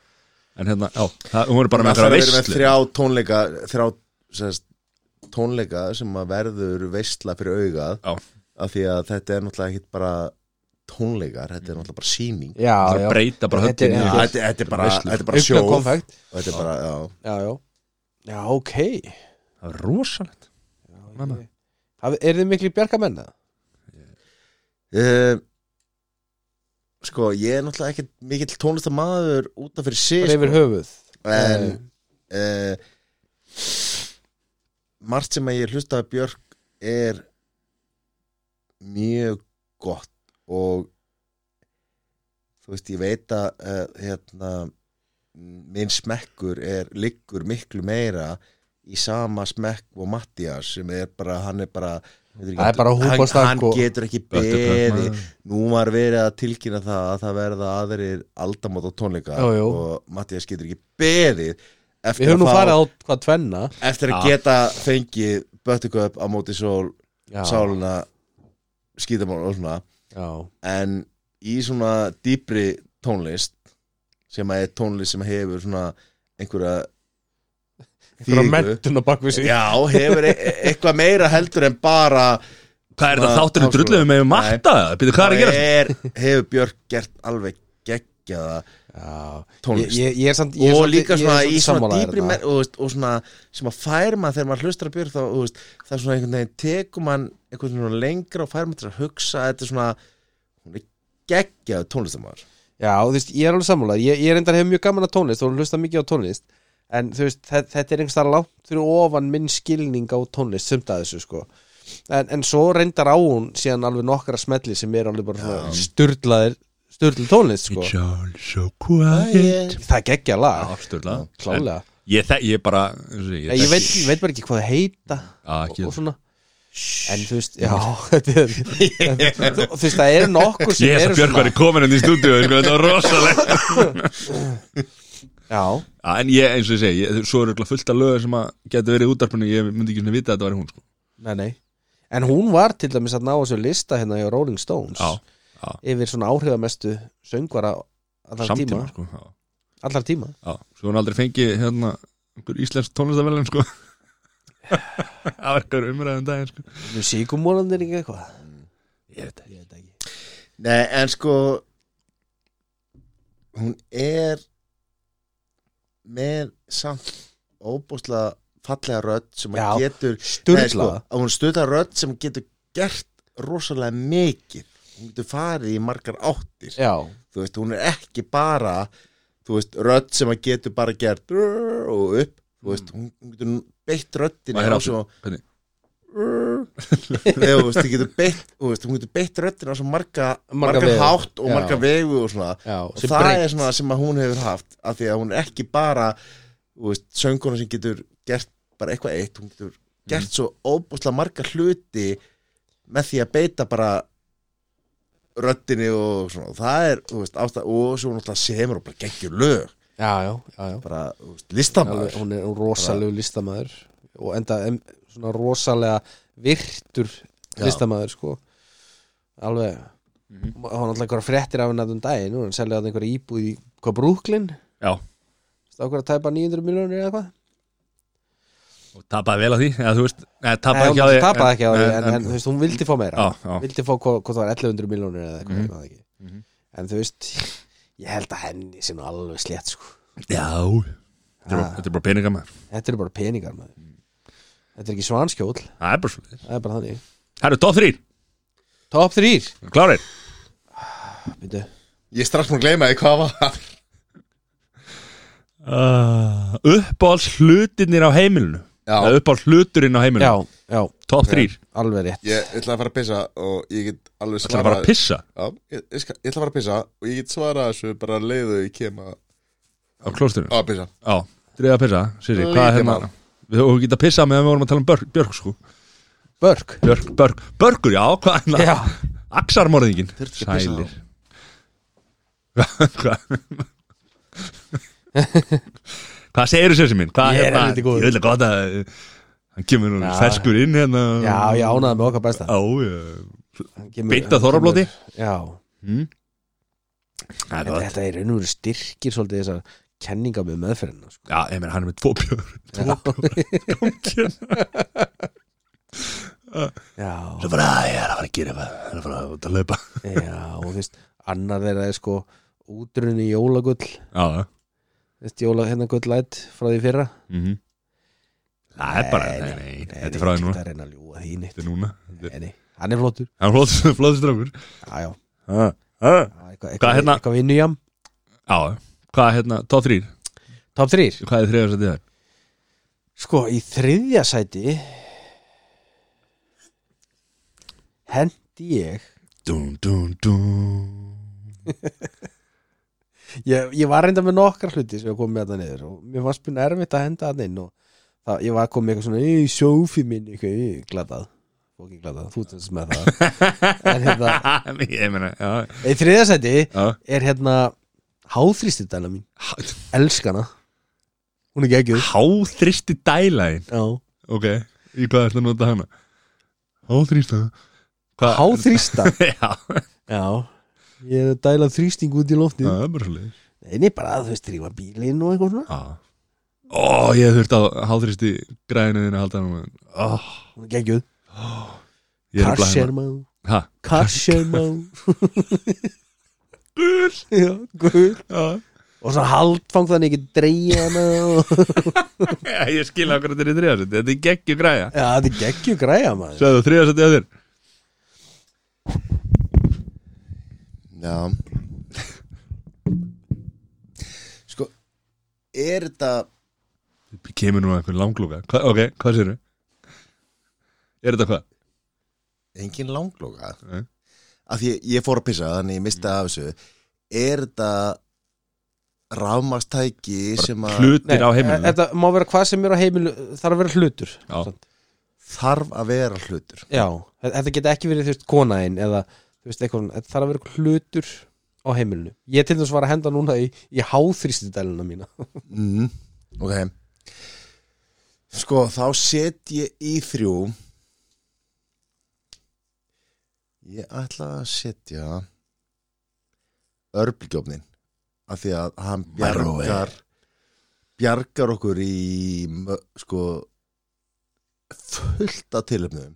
Speaker 1: en hérna, já, það, hún verður bara með
Speaker 3: Það
Speaker 1: eitthvað
Speaker 3: verður með
Speaker 1: veistlu
Speaker 3: þrjá tónleika þrjá sest, tónleika sem að verður veistla fyrir augað
Speaker 1: Já.
Speaker 3: af því að þetta er náttúrulega ekki bara tónleikar, þetta er náttúrulega bara síning
Speaker 2: já,
Speaker 1: það
Speaker 2: já.
Speaker 1: breyta bara
Speaker 2: Þetta er-
Speaker 1: höllin
Speaker 2: Já.
Speaker 1: í-
Speaker 3: þetta, þetta er bara,
Speaker 1: Veislu.
Speaker 3: þetta er bara
Speaker 2: Aukna
Speaker 3: sjóf og
Speaker 2: konfekt
Speaker 3: þetta er bara, já
Speaker 2: Já, já Já, ok
Speaker 1: það er rosalegt Mamma.
Speaker 2: Haf- Er þið miklu bjargamenn það?
Speaker 3: Eh, Sko, ég er náttúrulega ekkert mikill tónlistamæður út af fyrir sig
Speaker 2: Bara yfir
Speaker 3: sko,
Speaker 2: höfuð
Speaker 3: En uh, Margt sem að ég hlusta að Björk er mjög gott og þú veist, ég veit að uh, hérna minn smekkur er liggur miklu meira í sama smekk og Mattias sem er bara, hann er bara
Speaker 2: Eh, Það er bara sko.
Speaker 3: hann,
Speaker 2: húbastakk
Speaker 3: hann
Speaker 2: og-
Speaker 3: getur ekki beðið Nú var verið að tilkynna það að það verða aðrir aldamót á tónleika
Speaker 2: Jú, jú.
Speaker 3: og Mattias getur ekki beðið
Speaker 2: Við
Speaker 3: eftir
Speaker 2: höfum
Speaker 3: að,
Speaker 2: nú
Speaker 3: sko fá,
Speaker 2: farið á hvað tvenna
Speaker 3: eftir að
Speaker 1: Já.
Speaker 3: geta fengið Böttiköp á móti sól
Speaker 2: Já,
Speaker 3: sáluna skítamál og svona
Speaker 2: já,
Speaker 3: en í svona dýpri tónlist sem að er tónlist sem hefur svona einhverja
Speaker 2: einhverja
Speaker 3: þýðingu.
Speaker 2: mentun á bakvið sig
Speaker 3: Já, hefur e e eitthvað meira heldur en bara
Speaker 1: hvað er
Speaker 3: Svona
Speaker 1: það þátturinn
Speaker 3: háskóla.
Speaker 1: drulluðum með matta, býttu hvað er að gera
Speaker 3: er, hefur Björk gert alveg geggjaða
Speaker 2: Já, ég,
Speaker 3: tónlist
Speaker 2: ég, ég er samt ég er
Speaker 3: og
Speaker 2: svolítið-
Speaker 3: líka
Speaker 2: ég er
Speaker 3: svona í
Speaker 2: svolítið
Speaker 3: svona
Speaker 2: sammála þér
Speaker 3: dýpri
Speaker 2: þarna.
Speaker 3: mer, og, veist, og svona sem að fær maður þegar maður hlustar að björg þá þú veist, það er svona einhvern veginn tekum mann einhvern veginn lengra og fær maður til að hugsa þetta er svona hún er geggjað tónlistamæður
Speaker 2: Já, þú veist, ég er alveg sammála Ég, ég reyndar hef mjög gaman að tónlist og hlusta mikið á tónlist En þú veist, þe- þetta er einhvers þar látt fyrir ofan minn skilning á tónlist sumt að þessu, sko en, en svo reyndar á hún síðan alveg nokkra smelli sem er alveg bara svona sturdlaðir Sturdl tónlist, sko
Speaker 1: all so quiet
Speaker 2: Það geggja lag,
Speaker 1: afsturla
Speaker 2: klálega
Speaker 1: ég, þek- ég bara eins og
Speaker 2: Ég, ég veit, ég veit bara ekki hvað það heita
Speaker 1: Já,
Speaker 2: og,
Speaker 1: ekki-
Speaker 2: og svona En þú veist, já þetta er- Þú þú veist, það eru nokkur sem
Speaker 1: ég hef
Speaker 2: eru
Speaker 1: að Björk var í komin henni í stúdíu sko, þetta var rosalegt
Speaker 2: Já,
Speaker 1: Já, en ég, eins og ég segi, ég, svo eru örugglega fullt af lögur sem að geta verið í útarpinu, ég myndi ekki svona vita að þetta var hún sko.
Speaker 2: Nei, nei en hún var til dæmis að ná þessu lista hérna hjá Rolling Stones
Speaker 1: Já, já.
Speaker 2: yfir svona áhrifamestu söngvara allar
Speaker 1: samtíma
Speaker 2: tíma,
Speaker 1: sko, já,
Speaker 2: allar tíma.
Speaker 1: já. Svo hún aldrei fengi hérna einhver íslensk tónlistavelin sko Það var eitthvað
Speaker 2: um
Speaker 1: umræðum daginn sko
Speaker 2: Sýkumólandir ekki eitthvað
Speaker 1: Ég veit
Speaker 2: Ég veit ekki
Speaker 3: Nei, en sko hún er með samt óbúslega fallega rödd sem
Speaker 2: Já,
Speaker 3: að getur
Speaker 2: Sturla
Speaker 3: Nei, sko, að hún stöðla rödd sem getur gert rosalega mikið hún getur farið í margar áttir
Speaker 2: Já,
Speaker 3: þú veist, hún er ekki bara þú veist, rödd sem að getur bara gert rrrr og upp, þú veist, hún hún getur beitt röddina
Speaker 1: Maður er
Speaker 3: á
Speaker 1: aftur.
Speaker 3: svo
Speaker 1: Hvernig?
Speaker 3: eða, þú veist, hún getur beitt þú veist, hún getur beitt röddina á svo marga
Speaker 2: Marga
Speaker 3: marga
Speaker 2: vegu.
Speaker 3: hátt og
Speaker 2: Já.
Speaker 3: marga vegu og svona
Speaker 2: já
Speaker 3: og
Speaker 2: sem
Speaker 3: það
Speaker 2: breytt.
Speaker 3: er svona sem að hún hefur haft af því að hún er ekki bara þú veist, sönguna sem getur gert bara eitthvað eitt, hún getur gert svo óbúslega marga hluti með því að beita bara röddinni og svona og það er, þú veist, ástæð og svo hún alltaf semur og bara geggjur lög
Speaker 2: Já, já, já, já.
Speaker 3: bara, þú veist,
Speaker 2: Alveg,
Speaker 3: listamæður
Speaker 2: Hún er rosalegu listamaður og enda em, svona rosalega virtur
Speaker 3: Já. Mhm.
Speaker 2: listamaður sko Alveg mm -hmm. Hún alltaf einhverja fréttir af henni að um daginn hún selja að einhverja íbúð í hvað Brooklyn
Speaker 1: Já,
Speaker 2: Stákur að tæpa 900 miljonir eða eitthvað
Speaker 1: og tapaði vel á því eða þú veist, eða
Speaker 2: Nei,
Speaker 1: tapaði
Speaker 2: hún
Speaker 1: ekki á því
Speaker 2: tapaði ekki á því en, en,
Speaker 1: en-
Speaker 2: þú veist, hún vildi fá meira
Speaker 1: Já, já.
Speaker 2: vildi fá hvað, hvað það var 1100 miljónir eða eitthvað, mm -hmm. ekki
Speaker 1: Mhm.
Speaker 2: en þú veist, ég held að henni sé nú alveg slétt sko
Speaker 1: Já, þetta er bara-
Speaker 2: Ah.
Speaker 1: þetta er bara peninga maður
Speaker 2: þetta eru bara peningar maður
Speaker 1: Mm.
Speaker 2: þetta er ekki svanskjól,
Speaker 1: Það er bara svo
Speaker 2: það er bara þannig
Speaker 1: Það eru top 3,
Speaker 2: top 3
Speaker 1: klárir
Speaker 2: Býtu.
Speaker 3: ég er strax mér að gleyma því hvað var
Speaker 1: uh, Uppáhalds hlutinir á heimilinu
Speaker 3: já,
Speaker 1: Eða uppáhalds hluturinn á heimilinu
Speaker 2: já, já,
Speaker 1: Top 3,
Speaker 2: alveg rétt
Speaker 3: ég ætla að fara að pissa og ég get alveg
Speaker 1: það er bara að pissa
Speaker 3: já, ég, ég, skal- ég ætla að fara að pissa og ég get svarað þessu bara leiðu ég kem að
Speaker 1: á klóstunum
Speaker 3: að pissa
Speaker 1: Já, dreigða að pissa, Siri,
Speaker 3: Það
Speaker 1: hvað
Speaker 3: er
Speaker 1: er hérna?
Speaker 3: mál.
Speaker 1: Við höfum ekki að pissa meðan við vorum að tala um börg, björg sko
Speaker 2: Börk,
Speaker 1: Björg, börg, börgur, já, hvað er hérna?
Speaker 2: já,
Speaker 1: Axarmorðingin
Speaker 3: Þurfti ekki að pissa á.
Speaker 1: Sælir Hvað- Hvað Hvað segir þú sér sem minn? Hvað,
Speaker 2: Ég er
Speaker 1: hérna,
Speaker 2: helviti góður.
Speaker 1: Ég vil að gott að uh, hann kemur nú
Speaker 2: Já.
Speaker 1: ferskur inn hérna
Speaker 2: já, ég ánaði með okkar besta
Speaker 1: Á,
Speaker 2: Hann kemur-
Speaker 1: Beint
Speaker 2: hann
Speaker 1: að þorrablóti?
Speaker 2: kemur- já,
Speaker 1: hm? Það er
Speaker 2: en
Speaker 1: gott
Speaker 2: þetta er raunum styrkir svolítið þessar kenningar með meðferðina sko.
Speaker 1: Já, ég meina, hann er með tvo björg Tvo björg
Speaker 2: já,
Speaker 1: Svo bara, "Æ, ég er að fara að gera eitthvað Það er að fara að út að laupa
Speaker 2: Já, og þú veist, annar þeirra er sko útrunni jólagull
Speaker 1: Já, já
Speaker 2: veist, jóla, hérna gullæt frá því fyrra
Speaker 1: -hmm. Það er bara, nei, nei, þetta er frá þér
Speaker 2: Þetta
Speaker 1: núna
Speaker 2: er reyna að ljúga því neitt
Speaker 1: Þetta er núna Þetta er-
Speaker 2: Nei, nei, hann er flottur
Speaker 1: Það er flóðs, flóðs drákur
Speaker 2: Já, já,
Speaker 1: Já,
Speaker 2: eitthvað eitthva,
Speaker 1: Hvað, hérna?
Speaker 2: Eitthvað vinnu jam
Speaker 1: hvað er hérna, top 3
Speaker 2: Top 3
Speaker 1: Hvað er þriðast að þið er?
Speaker 2: Sko, í þriðja sæti Hendi ég
Speaker 1: Dún, dún, dún
Speaker 2: Ég, ég var reynda með nokkra hluti sem ég kom með þetta niður og mér fannst spynu erfitt að henda þetta inn og það, ég var kom með eitthvað svona í sjófi minn, eitthvað, í, glatað fókin glatað, þú tennst með það en hérna,
Speaker 1: Ég meina, já,
Speaker 2: í þriðasæti
Speaker 1: já
Speaker 2: er hérna háþrýsti dæla mín, elskana hún er geggjuð
Speaker 1: Háþristi dælæn
Speaker 2: Já.
Speaker 1: Ok, í hvað ertu að nota hana? Háþrista
Speaker 2: háþrýsta,
Speaker 1: Já,
Speaker 2: já ég er að dæla þrýsting út í loftið
Speaker 1: það er bara svo leiðis
Speaker 2: en ég bara, þú veist, drífa bílinn og eitthvað svona
Speaker 1: Já Ó, ég hef þurft á háþristi græðinu þínu að halda hana Ó,
Speaker 2: hún er geggjuð,
Speaker 1: ég er að blæða hérna.
Speaker 2: karsjermá
Speaker 1: Hæ?
Speaker 2: karsjermá gul já, gul
Speaker 1: Já
Speaker 2: og svo haldfang þannig ekki dreyja hana og...
Speaker 1: Já, ég skil akkur þetta er í þriðarsætti, þetta er geggju græja
Speaker 2: Já, þetta er geggju græja maður
Speaker 1: Sæðu þriðarsætti að þér
Speaker 3: Já Sko Er þetta
Speaker 1: Kemur nú einhvern langlúka, Hva, ok, hvað sér við? Er þetta
Speaker 3: Uh,
Speaker 1: hvað?
Speaker 3: engin langlóka
Speaker 1: Nei.
Speaker 3: Af því ég- ég fór að pissa þannig ég misti af þessu Er þetta rámastæki sem að
Speaker 1: Hlutir á
Speaker 3: eh,
Speaker 1: heimilinu
Speaker 2: Þetta má vera hvað sem er á heimilu þarf að vera hlutur
Speaker 1: Já.
Speaker 2: Samt.
Speaker 3: þarf að vera hlutur
Speaker 2: Já. Þetta geta ekki verið þú veist konaðin eða þú veist eitthvað svona. Þetta þarf að vera hlutur á heimilinu Ég til þess var að henda núna í, í háþrýstidæluna mína
Speaker 3: mm. Ok Sko þá set ég í þrjú Ég ætla að setja Örblgjófnin af því að hann
Speaker 1: Microwave.
Speaker 3: bjargar bjargar okkur í mö- sko fullt af tilöfnum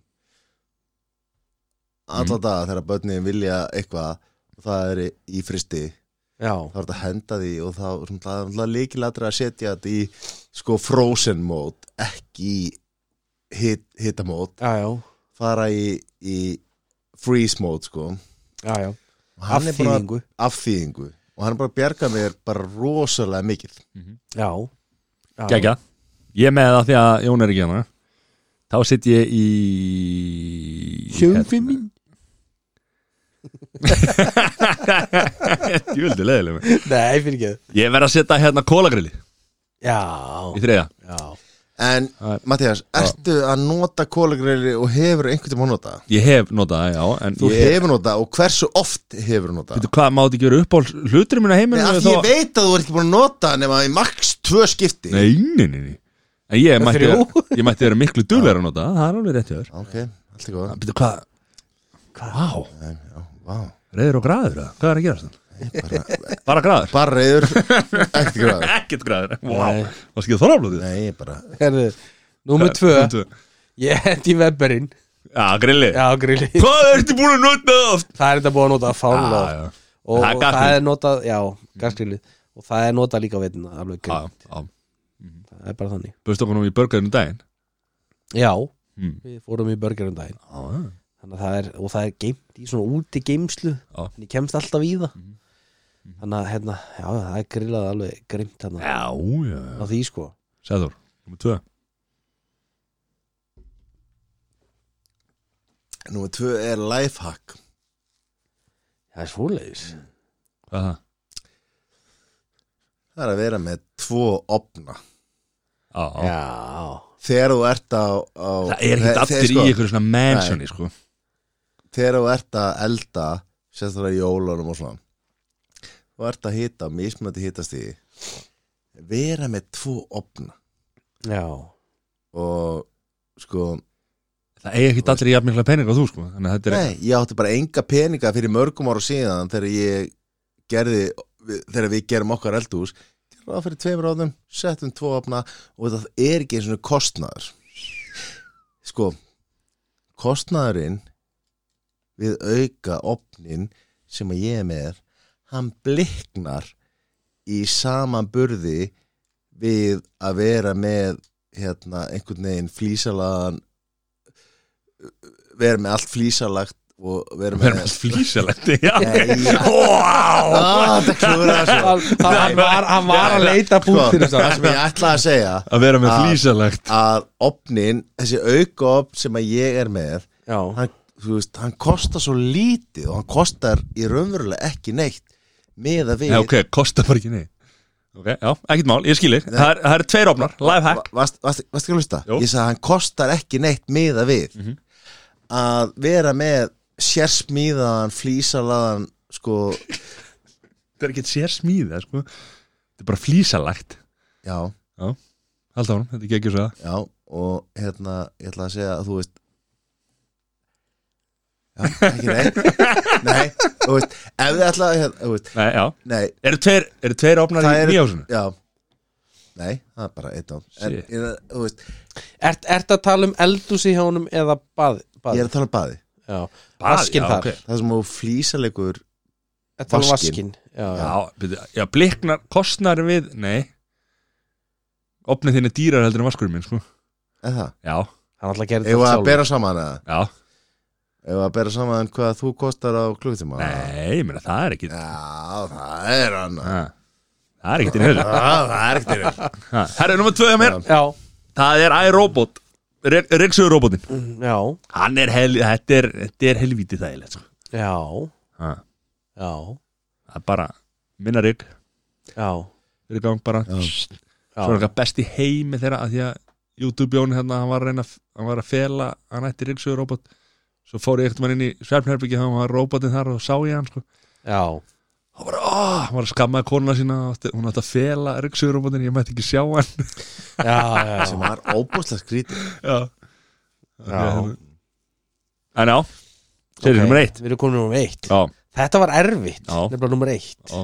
Speaker 3: alla daga þegar börnin vilja eitthvað og það er í fristi
Speaker 2: já,
Speaker 3: þá er þetta að henda því og þá er náttúrulega líkilættur að setja þetta í sko frozen mode ekki í hit, hitamót
Speaker 2: já, já,
Speaker 3: fara í, í freeze mode sko
Speaker 2: já, já.
Speaker 3: Og hann er bara-
Speaker 2: Afþýðingu.
Speaker 3: afþýðingu og hann er bara að bjarga mér bara rosalega mikið
Speaker 2: já, já.
Speaker 1: Gægja Mhm. Ég er með það því að Jón er ekki hana Þá sitt ég í
Speaker 2: Hjumfi mín
Speaker 1: Ég vildi leiðilega mig
Speaker 2: Nei, fyrir ekki
Speaker 1: Ég verð að setja hérna kólagrilli
Speaker 2: Já,
Speaker 1: í þriða
Speaker 2: já
Speaker 3: en
Speaker 1: Það er-
Speaker 3: Mattias, ertu að nota kólagreili og hefur einhvern tímann nota
Speaker 1: Ég hef notað það, já En
Speaker 3: þú
Speaker 1: ég,
Speaker 3: hefur nota og hversu oft hefur nota
Speaker 1: veitu hvað, mátt ekki vera upp á hlutur minna
Speaker 3: Nei,
Speaker 1: heiminu
Speaker 3: af því ég veit að þú ert ekki búin að nota nema í max tvö skipti
Speaker 1: Nei, nei, nei, nei En ég mætti,
Speaker 2: Þrjú.
Speaker 1: vera- ég mætti vera miklu duglegar að nota það, Það er alveg rétt hjá þér
Speaker 3: ok, allt er góð
Speaker 1: Býtu hvað Vá,
Speaker 3: En, já, vá,
Speaker 1: reyður og græður það? Hvað er að gera þann?
Speaker 3: bara,
Speaker 1: Bara græður
Speaker 3: bara reyður ekkert gráð
Speaker 1: Ekkert græður
Speaker 2: Nei.
Speaker 1: Vá, það skilja þoraflótið
Speaker 3: nei, bara
Speaker 2: Herðu, númer tvö Ég hendi vebberinn
Speaker 1: Já, grilli
Speaker 2: Já, grilli
Speaker 1: Hvað ertu búin að nota það oft?
Speaker 2: Það er þetta búið að nota fánulega
Speaker 1: Ah, Já, já.
Speaker 2: og,
Speaker 1: Það er Mm.
Speaker 2: og það
Speaker 1: gasgrill.
Speaker 2: er notað, já, gasgrillið og það er notað líka á veitina, alveg grill
Speaker 1: Já, já
Speaker 2: það er bara þannig,
Speaker 1: Bauðst Ah, okkur nú í burgerinu daginn
Speaker 2: já,
Speaker 1: Mm.
Speaker 2: við fórum í burgerum daginn
Speaker 1: Já, Ah, já
Speaker 2: þannig að það er, og það er geimt í svona úti geimslu, þannig ég kemst alltaf í það
Speaker 1: Mhm.
Speaker 2: þannig að, hérna, já, það er grillað alveg grimt þannig
Speaker 1: Já, já
Speaker 2: á því, sko
Speaker 1: Sæður, nummer tvö
Speaker 3: númer tvö er lifehack
Speaker 2: það er svoleiðis,
Speaker 1: Hvað er það?
Speaker 3: það er að vera með tvo opna
Speaker 1: Já, já
Speaker 2: já
Speaker 3: þegar þú ert á, á
Speaker 1: Ah, Það er ekkert
Speaker 3: þe-
Speaker 1: allir
Speaker 3: sko,
Speaker 1: í ykkur svona mansioni, sko
Speaker 3: þegar þú ert að elda sérstaklega í jólunum og svona þú ert að hita, mismunandi hitast í vera með tvo opna
Speaker 2: já,
Speaker 3: og sko
Speaker 1: Það eigi ekkert allir í jafn mikla pening á þú, sko Þannig að þetta er
Speaker 3: nei, ég átti bara enga peninga fyrir mörgum ára síðan þegar ég gerði við- þegar við gerum okkar eldhús gerum það fyrir tveimur áðum, settum tvo opna og það er ekki eins og kostnaður sko kostnaðurinn við auka opnin sem að ég er með hann bliknar í saman burði við að vera með hérna, einhvern veginn flísalagan vera með allt flísalagt og vera
Speaker 1: Við
Speaker 3: með
Speaker 1: erum alls flýsalegt Já,
Speaker 3: Nei, já.
Speaker 1: Vá
Speaker 3: Ah, þetta klúður
Speaker 2: hann,
Speaker 3: þessu
Speaker 2: hann, var, hann var að leita
Speaker 3: Sko,
Speaker 2: bútt fyrir
Speaker 3: það
Speaker 2: það
Speaker 3: sem ég ætla að segja
Speaker 1: Að vera með
Speaker 3: Ah.
Speaker 1: flýsalegt
Speaker 3: að opnin, þessi auka opn sem að ég er með
Speaker 2: já,
Speaker 3: hann, þú veist, hann kostar svo lítið og hann kostar í raunverulega ekki neitt með að við
Speaker 1: Já, ok, kostar bara ekki neitt Ok, já, ekkert mál, ég skilir Það er- það eru tveir opnar, lifehack
Speaker 3: Va- varst, varst, varst ekki að hlusta?
Speaker 1: Jú. Mhm.
Speaker 3: Ég sagði að hann kostar ekki neitt miða við að vera með sérsmíðan, flísalaðan sko,
Speaker 1: Þetta er ekkert sér smíða, sko Þetta er bara flýsalegt
Speaker 3: já,
Speaker 1: Hald á hann, þetta er ekki svo
Speaker 3: já og hérna, ég ætla að segja að þú veist já, ekki neitt nei, þú veist, ef þið ætla að hérna, þú veist,
Speaker 1: Nei, já
Speaker 3: nei,
Speaker 1: Eru tveir, eru tveir opnar
Speaker 3: það
Speaker 1: í
Speaker 3: er
Speaker 1: nýjásunum?
Speaker 3: já, nei, það er bara eitt á en,
Speaker 1: Shit.
Speaker 3: ég, þú veist,
Speaker 2: ert, ert að tala um eldúsi hjá honum eða bað,
Speaker 3: ég
Speaker 2: bað.
Speaker 3: er að tala um baði
Speaker 2: já,
Speaker 1: Bað,
Speaker 2: vaskin
Speaker 1: já,
Speaker 2: þar
Speaker 1: ok.
Speaker 3: það sem þú flísalegur
Speaker 2: Þetta var
Speaker 3: Vaskinn.
Speaker 2: vaskin já, já.
Speaker 1: Já, byrju, já bliknar, kostnar við Nei Opnið þinn er dýrar heldur en vaskurinn minn, sko
Speaker 3: eða það,
Speaker 1: Já,
Speaker 2: Hann alltaf gerði þetta
Speaker 3: ef að
Speaker 1: um
Speaker 2: sjálf
Speaker 3: bera saman eða
Speaker 1: já,
Speaker 3: Ef að bera saman hvað þú kostar á klukkutíma
Speaker 1: nei, ég meina það er ekki
Speaker 3: Já,
Speaker 1: ha,
Speaker 3: það er hann Já,
Speaker 1: Það er ekki til höfðu
Speaker 3: það er ekkert yfir
Speaker 1: Herru, nummer tvö hjá mér
Speaker 2: Já,
Speaker 1: Það er iRobot Regsöður robotin
Speaker 2: mm, já,
Speaker 1: Hann er, hel, þetta er, þetta er helvítið þægilegt, sko
Speaker 2: já,
Speaker 1: ha,
Speaker 2: já,
Speaker 1: Það er bara minna rigg
Speaker 2: já,
Speaker 1: Fyrir gang bara
Speaker 3: Já.
Speaker 1: Svo er
Speaker 2: já.
Speaker 1: eitthvað best í heimi þeirra að því að YouTube Jón hérna, hann var að reyna að- hann var að fela, hann ætti ríksugur robot svo fór ég eitthvað inn í svefnherbyggi þá var robotin þar og sá ég hann sko.
Speaker 2: já.
Speaker 1: hann var, "Ah," hann var að skammaði konuna sína átti, hún átti að fela ríksugur robotin ég mætti ekki sjá hann
Speaker 2: já, já,
Speaker 3: sem
Speaker 2: já.
Speaker 3: var óbúslega skrítið
Speaker 1: já.
Speaker 2: Já.
Speaker 1: en já, Seríu númer eitt.
Speaker 2: Við erum komin nummer eitt
Speaker 1: Já,
Speaker 2: Þetta var erfitt,
Speaker 1: Já.
Speaker 2: nefnilega nummer eitt
Speaker 1: Já.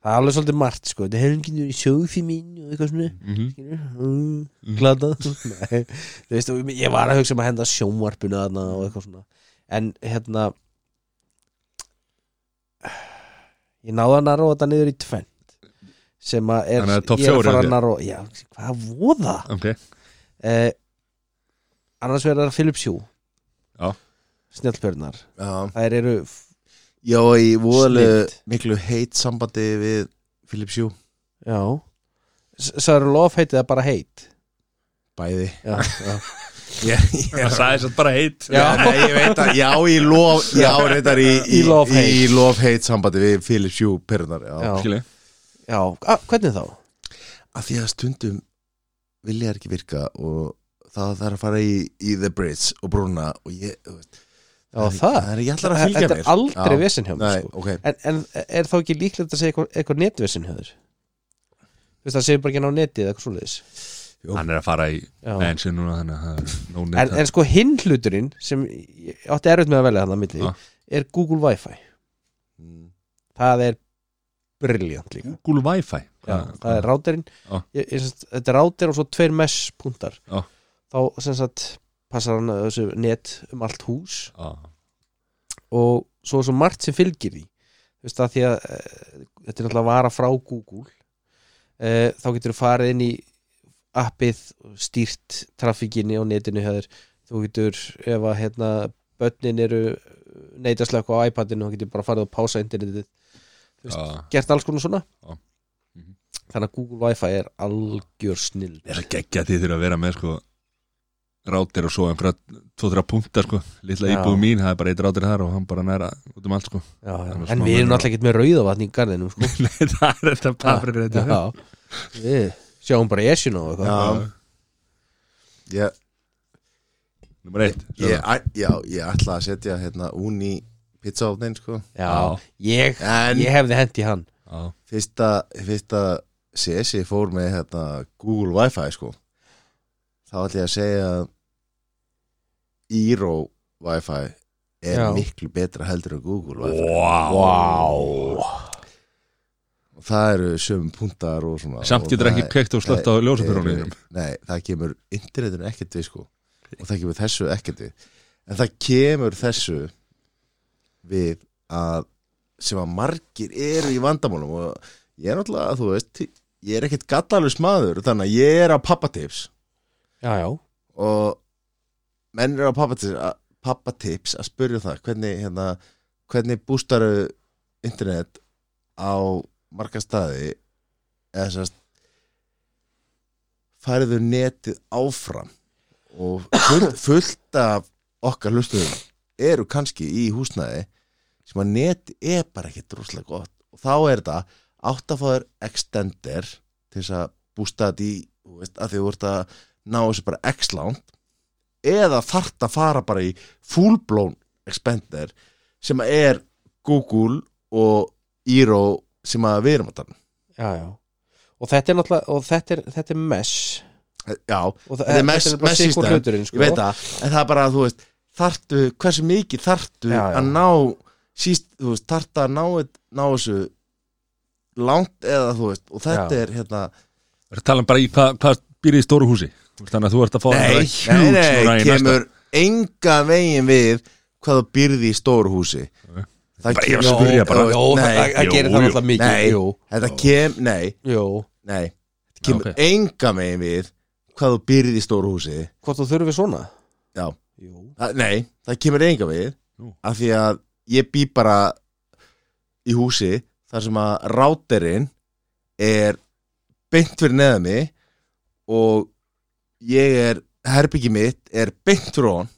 Speaker 2: Það er alveg svolítið margt sko Það hefur ekki sjófi mín og eitthvað svona
Speaker 1: mhm
Speaker 2: glada Nei, þú veist, og ég var að hugsa um að henda sjónvarpinu þarna og eitthvað svona en hérna ég náði að narra þetta niður í tvend sem að er,
Speaker 1: Þannig að topp
Speaker 2: ég er
Speaker 1: fjórir,
Speaker 2: að fara
Speaker 1: held
Speaker 2: að
Speaker 1: ég.
Speaker 2: narra já, hvað voða
Speaker 1: ok
Speaker 2: eh, annars verður það Philips Hjú
Speaker 1: Já.
Speaker 2: snjallbjörnar
Speaker 3: Já,
Speaker 2: þær eru
Speaker 3: já og í voðalegu
Speaker 2: Snillt.
Speaker 3: miklu heit sambandi við Philips Hjú
Speaker 2: já um það eru lofheitið að bara heit
Speaker 3: Bæði
Speaker 2: já, já.
Speaker 3: yeah,
Speaker 1: Það sagði þess að bara heit
Speaker 2: Já.
Speaker 3: Nei, ég veit að, já, í lof Já, reyndar í,
Speaker 2: Í lof hate.
Speaker 3: í lof heit sambandi við Philips Hjú perurnar já.
Speaker 2: Já.
Speaker 1: Skilji
Speaker 2: já, ah, hvernig þá?
Speaker 3: Af því að stundum vilja þær ekki virka og það þarf að fara í, í The Bridge og brúna og ég, þú veist,
Speaker 2: Já, það,
Speaker 3: það er ekki allar að fylgja
Speaker 2: þetta
Speaker 3: mér
Speaker 2: er aldrei
Speaker 3: Já.
Speaker 2: vesinn hjá mér
Speaker 3: Nei,
Speaker 2: sko.
Speaker 3: ok
Speaker 2: en, en er þá ekki líklegt að segja eitthvað, eitthvað netvesinn hjá þér? Þú veist, það segir bara ekki ná netið eða eitthvað svoleiðis
Speaker 1: Hann er að fara í
Speaker 2: Já.
Speaker 1: enn sér núna þannig að það er no need
Speaker 2: en, en sko hinn hluturinn sem ég átti erfitt með að velja hann að milli
Speaker 1: Ah.
Speaker 2: er Google Wi-Fi
Speaker 3: Mm.
Speaker 2: það er briljant líka
Speaker 1: Google Wi-Fi
Speaker 2: Já, það er ráterinn
Speaker 1: Já.
Speaker 2: ég, ég, sem sagt- þetta er ráter og svo tveir mesh punktar
Speaker 1: Já.
Speaker 2: þá sem sagt passar hann að þessu net um allt hús
Speaker 1: Já.
Speaker 2: og svo er svo margt sem fylgir því þú veist það því að e, þetta er náttúrulega vara frá Google e, þá getur þú farið inn í appið og stýrt trafíkinni á netinu hefur þú getur ef að hérna börnin eru neytaslöku á iPadinu þá getur bara farið og pása internetið þú veist,
Speaker 1: Já.
Speaker 2: gert alls konar svona
Speaker 1: Já. Mhm.
Speaker 2: þannig að Google Wi-Fi er algjör snill
Speaker 1: Er það geggja því þurfa að vera með sko Rátir og svo einhverja Tvo-þra punktar sko Lilla
Speaker 2: Já.
Speaker 1: íbúð mín Það er bara eitt rátir þar og hann bara næra Út um allt sko
Speaker 2: já, já.
Speaker 1: Annars má
Speaker 2: en við
Speaker 1: menn-
Speaker 2: erum náttúrulega ekkert með rauðavatn í garðinum sko.
Speaker 1: Nei, það er þetta paprikrættu
Speaker 2: já, við sjáum bara esjuna og eitthvað
Speaker 3: Já, ég,
Speaker 1: Númer eitt
Speaker 3: ég, æ- já, ég ætla að setja hérnaún í pizzaofnin sko.
Speaker 2: Já, ég,
Speaker 3: En-
Speaker 2: ég hefði hendi hann
Speaker 1: Já.
Speaker 3: Fyrsta, fyrsta CSI fór með hérna, Google Wi-Fi sko. Þá ætla ég að segja að Eero Wi-Fi er
Speaker 2: Já.
Speaker 3: miklu betra heldur en Google Wi-Fi
Speaker 1: Vá
Speaker 3: og það eru sömu puntar og svona
Speaker 1: Samt
Speaker 3: og
Speaker 1: getur
Speaker 3: það
Speaker 1: ekki kveikt og slögt á ljósapyrunum
Speaker 3: eru- Eh, Nei, það kemur internetinu ekkert við sko og það kemur þessu ekkert við en það kemur þessu við að sem að margir eru í vandamálum og ég er náttúrulega, þú veist ég er ekkert gallalus maður þannig að ég er á pappatips
Speaker 2: Já, já,
Speaker 3: og menn eru á pappatips að, pappatips að spyrja það hvernig, hérna, hvernig bústaru internet á marga staði eða sérst færiðu netið áfram og full, fullt af okkar hlustuðum eru kannski í húsnæði sem að netið er bara ekki droslega gott og þá er þetta áttafáður extender til þess að bústa þetta í þú veist, að því þú ert að ná þessu bara x-langt eða þart að fara bara í full-blown expander sem að er Google og Eero sem að við erum að tala um.
Speaker 2: já, já Og þetta er náttúrulega, og þetta er, þetta er mesh
Speaker 3: Eh, Já,
Speaker 2: og
Speaker 3: Þetta er mesh-
Speaker 2: bara
Speaker 3: mesh
Speaker 2: sikkur
Speaker 3: system.
Speaker 2: hluturinn,
Speaker 3: ég
Speaker 2: sko
Speaker 3: veit það en það er bara að þú veist þartu, hversu mikið þartu
Speaker 2: Já, já.
Speaker 3: að ná síst, þú veist, þartu að ná, ná þessu langt eða þú veist og þetta
Speaker 2: Já.
Speaker 3: er hérna
Speaker 1: Það er að tala um bara í hvað hva býr í stóru húsi Þannig að þú ert að fá
Speaker 3: nei, nei,
Speaker 1: nei,
Speaker 3: nei,
Speaker 1: nei
Speaker 3: kemur enga vegin við hvað þú byrði í stóru húsi
Speaker 1: Nei.
Speaker 3: það
Speaker 1: Eh. Bara ég var að
Speaker 2: Jó,
Speaker 1: spyrja bara.
Speaker 2: jó,
Speaker 3: Nei,
Speaker 2: það það
Speaker 1: jú,
Speaker 2: gerir það
Speaker 1: jú.
Speaker 2: náttúrulega mikið
Speaker 3: Nei.
Speaker 2: Jú,
Speaker 3: Þetta kem, nei,
Speaker 2: jú
Speaker 3: nei Þetta kemur
Speaker 1: ok.
Speaker 3: enga megin við hvað þú byrðið í stóru húsi
Speaker 2: Hvort þú þurfi svona?
Speaker 3: Já,
Speaker 2: Jú
Speaker 3: það, nei, það kemur enga við
Speaker 1: Nú.
Speaker 3: af því að ég bý bara í húsi þar sem að ráterinn er beint fyrir neða mig og ég er herbyggi mitt er beint fyrir hon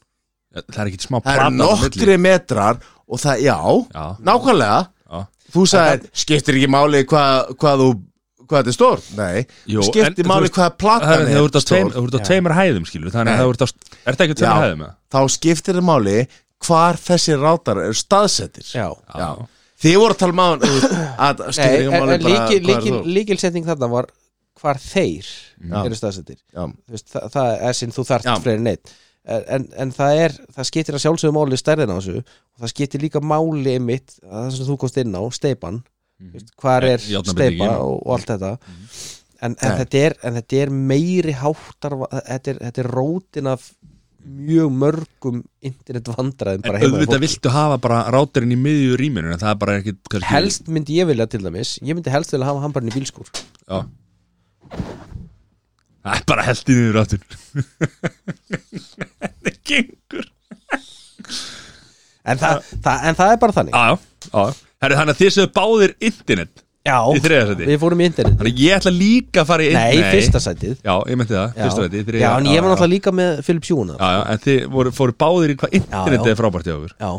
Speaker 1: Það er ekkit smá
Speaker 3: það eru
Speaker 1: plata á milli.
Speaker 3: nokkri metrar og það, já,
Speaker 1: Já,
Speaker 3: nákvæmlega
Speaker 1: já
Speaker 3: þú sagðir, skiptir ekki máli hvað, hvað þú hvað þetta er stór, nei
Speaker 1: Jó,
Speaker 3: skiptir
Speaker 1: en þú
Speaker 3: máli
Speaker 1: veist,
Speaker 3: hvaða
Speaker 1: Það er
Speaker 3: platan
Speaker 1: að þú ert að tveim-
Speaker 3: stór,
Speaker 1: þú ert á
Speaker 2: Já.
Speaker 1: tveimur hæðum skilur Þannig
Speaker 3: Nei.
Speaker 1: að þú ert að Er þetta ekki á
Speaker 3: Já.
Speaker 1: tveimur hæðum? eða?
Speaker 3: þá skiptir það máli hvar þessir rátar eru staðsettir
Speaker 2: Já
Speaker 3: Já. þið voru að tala um máli að það skiptir
Speaker 2: Nei,
Speaker 3: ekki
Speaker 2: en, en
Speaker 3: máli bara
Speaker 2: líkil,
Speaker 3: hvað
Speaker 2: líkil,
Speaker 3: er þú
Speaker 2: líkilsetning þarna var hvar þeir
Speaker 3: Já.
Speaker 2: eru staðsettir
Speaker 3: Já.
Speaker 2: Þú veist, það, það er sinn þú þarft
Speaker 3: Já.
Speaker 2: fleiri neitt en, en, en það er, það skiptir að sjálfsögum máli stærðin á þessu og það skiptir líka máli mitt, það sem þú komst inn á steipan, mm -hmm. hvar
Speaker 4: Eh,
Speaker 2: er
Speaker 4: járnabindingin
Speaker 2: steipa
Speaker 4: og-
Speaker 2: og, og allt þetta
Speaker 3: Mhm.
Speaker 2: en, en,
Speaker 3: Nei.
Speaker 2: þetta er, en þetta er meiri háttar þetta er, þetta er rótin af mjög mörgum internetvandræðum
Speaker 1: En
Speaker 2: bara heima hjá
Speaker 1: auðvitað
Speaker 2: fólki.
Speaker 1: viltu hafa bara ráturinn í miðju rýminu en það er bara ekkit kannski-
Speaker 2: helst myndi ég vilja til dæmis ég myndi helst vilja hafa hann bara inn í bílskúr
Speaker 1: Já Það er bara held í niður ráttur Þetta gengur
Speaker 2: en, það, það, en það er bara þannig
Speaker 1: Já, já, já Herru, þannig að þið séu báðir internet Í
Speaker 2: já,
Speaker 1: þriðja sæti.
Speaker 2: við fórum í internet
Speaker 1: Þannig að ég ætla líka að fara í
Speaker 2: nei, fyrsta sætið
Speaker 1: Já, ég meinti það,
Speaker 2: já.
Speaker 1: fyrsta sæti í þriðja-
Speaker 2: já, en ég var
Speaker 1: já,
Speaker 2: náttúrulega líka með Philip Sjúna
Speaker 1: Já, já, en þið voru, fóru báðir í hvað internetið
Speaker 2: já.
Speaker 1: er frábært hjá okkur
Speaker 2: já,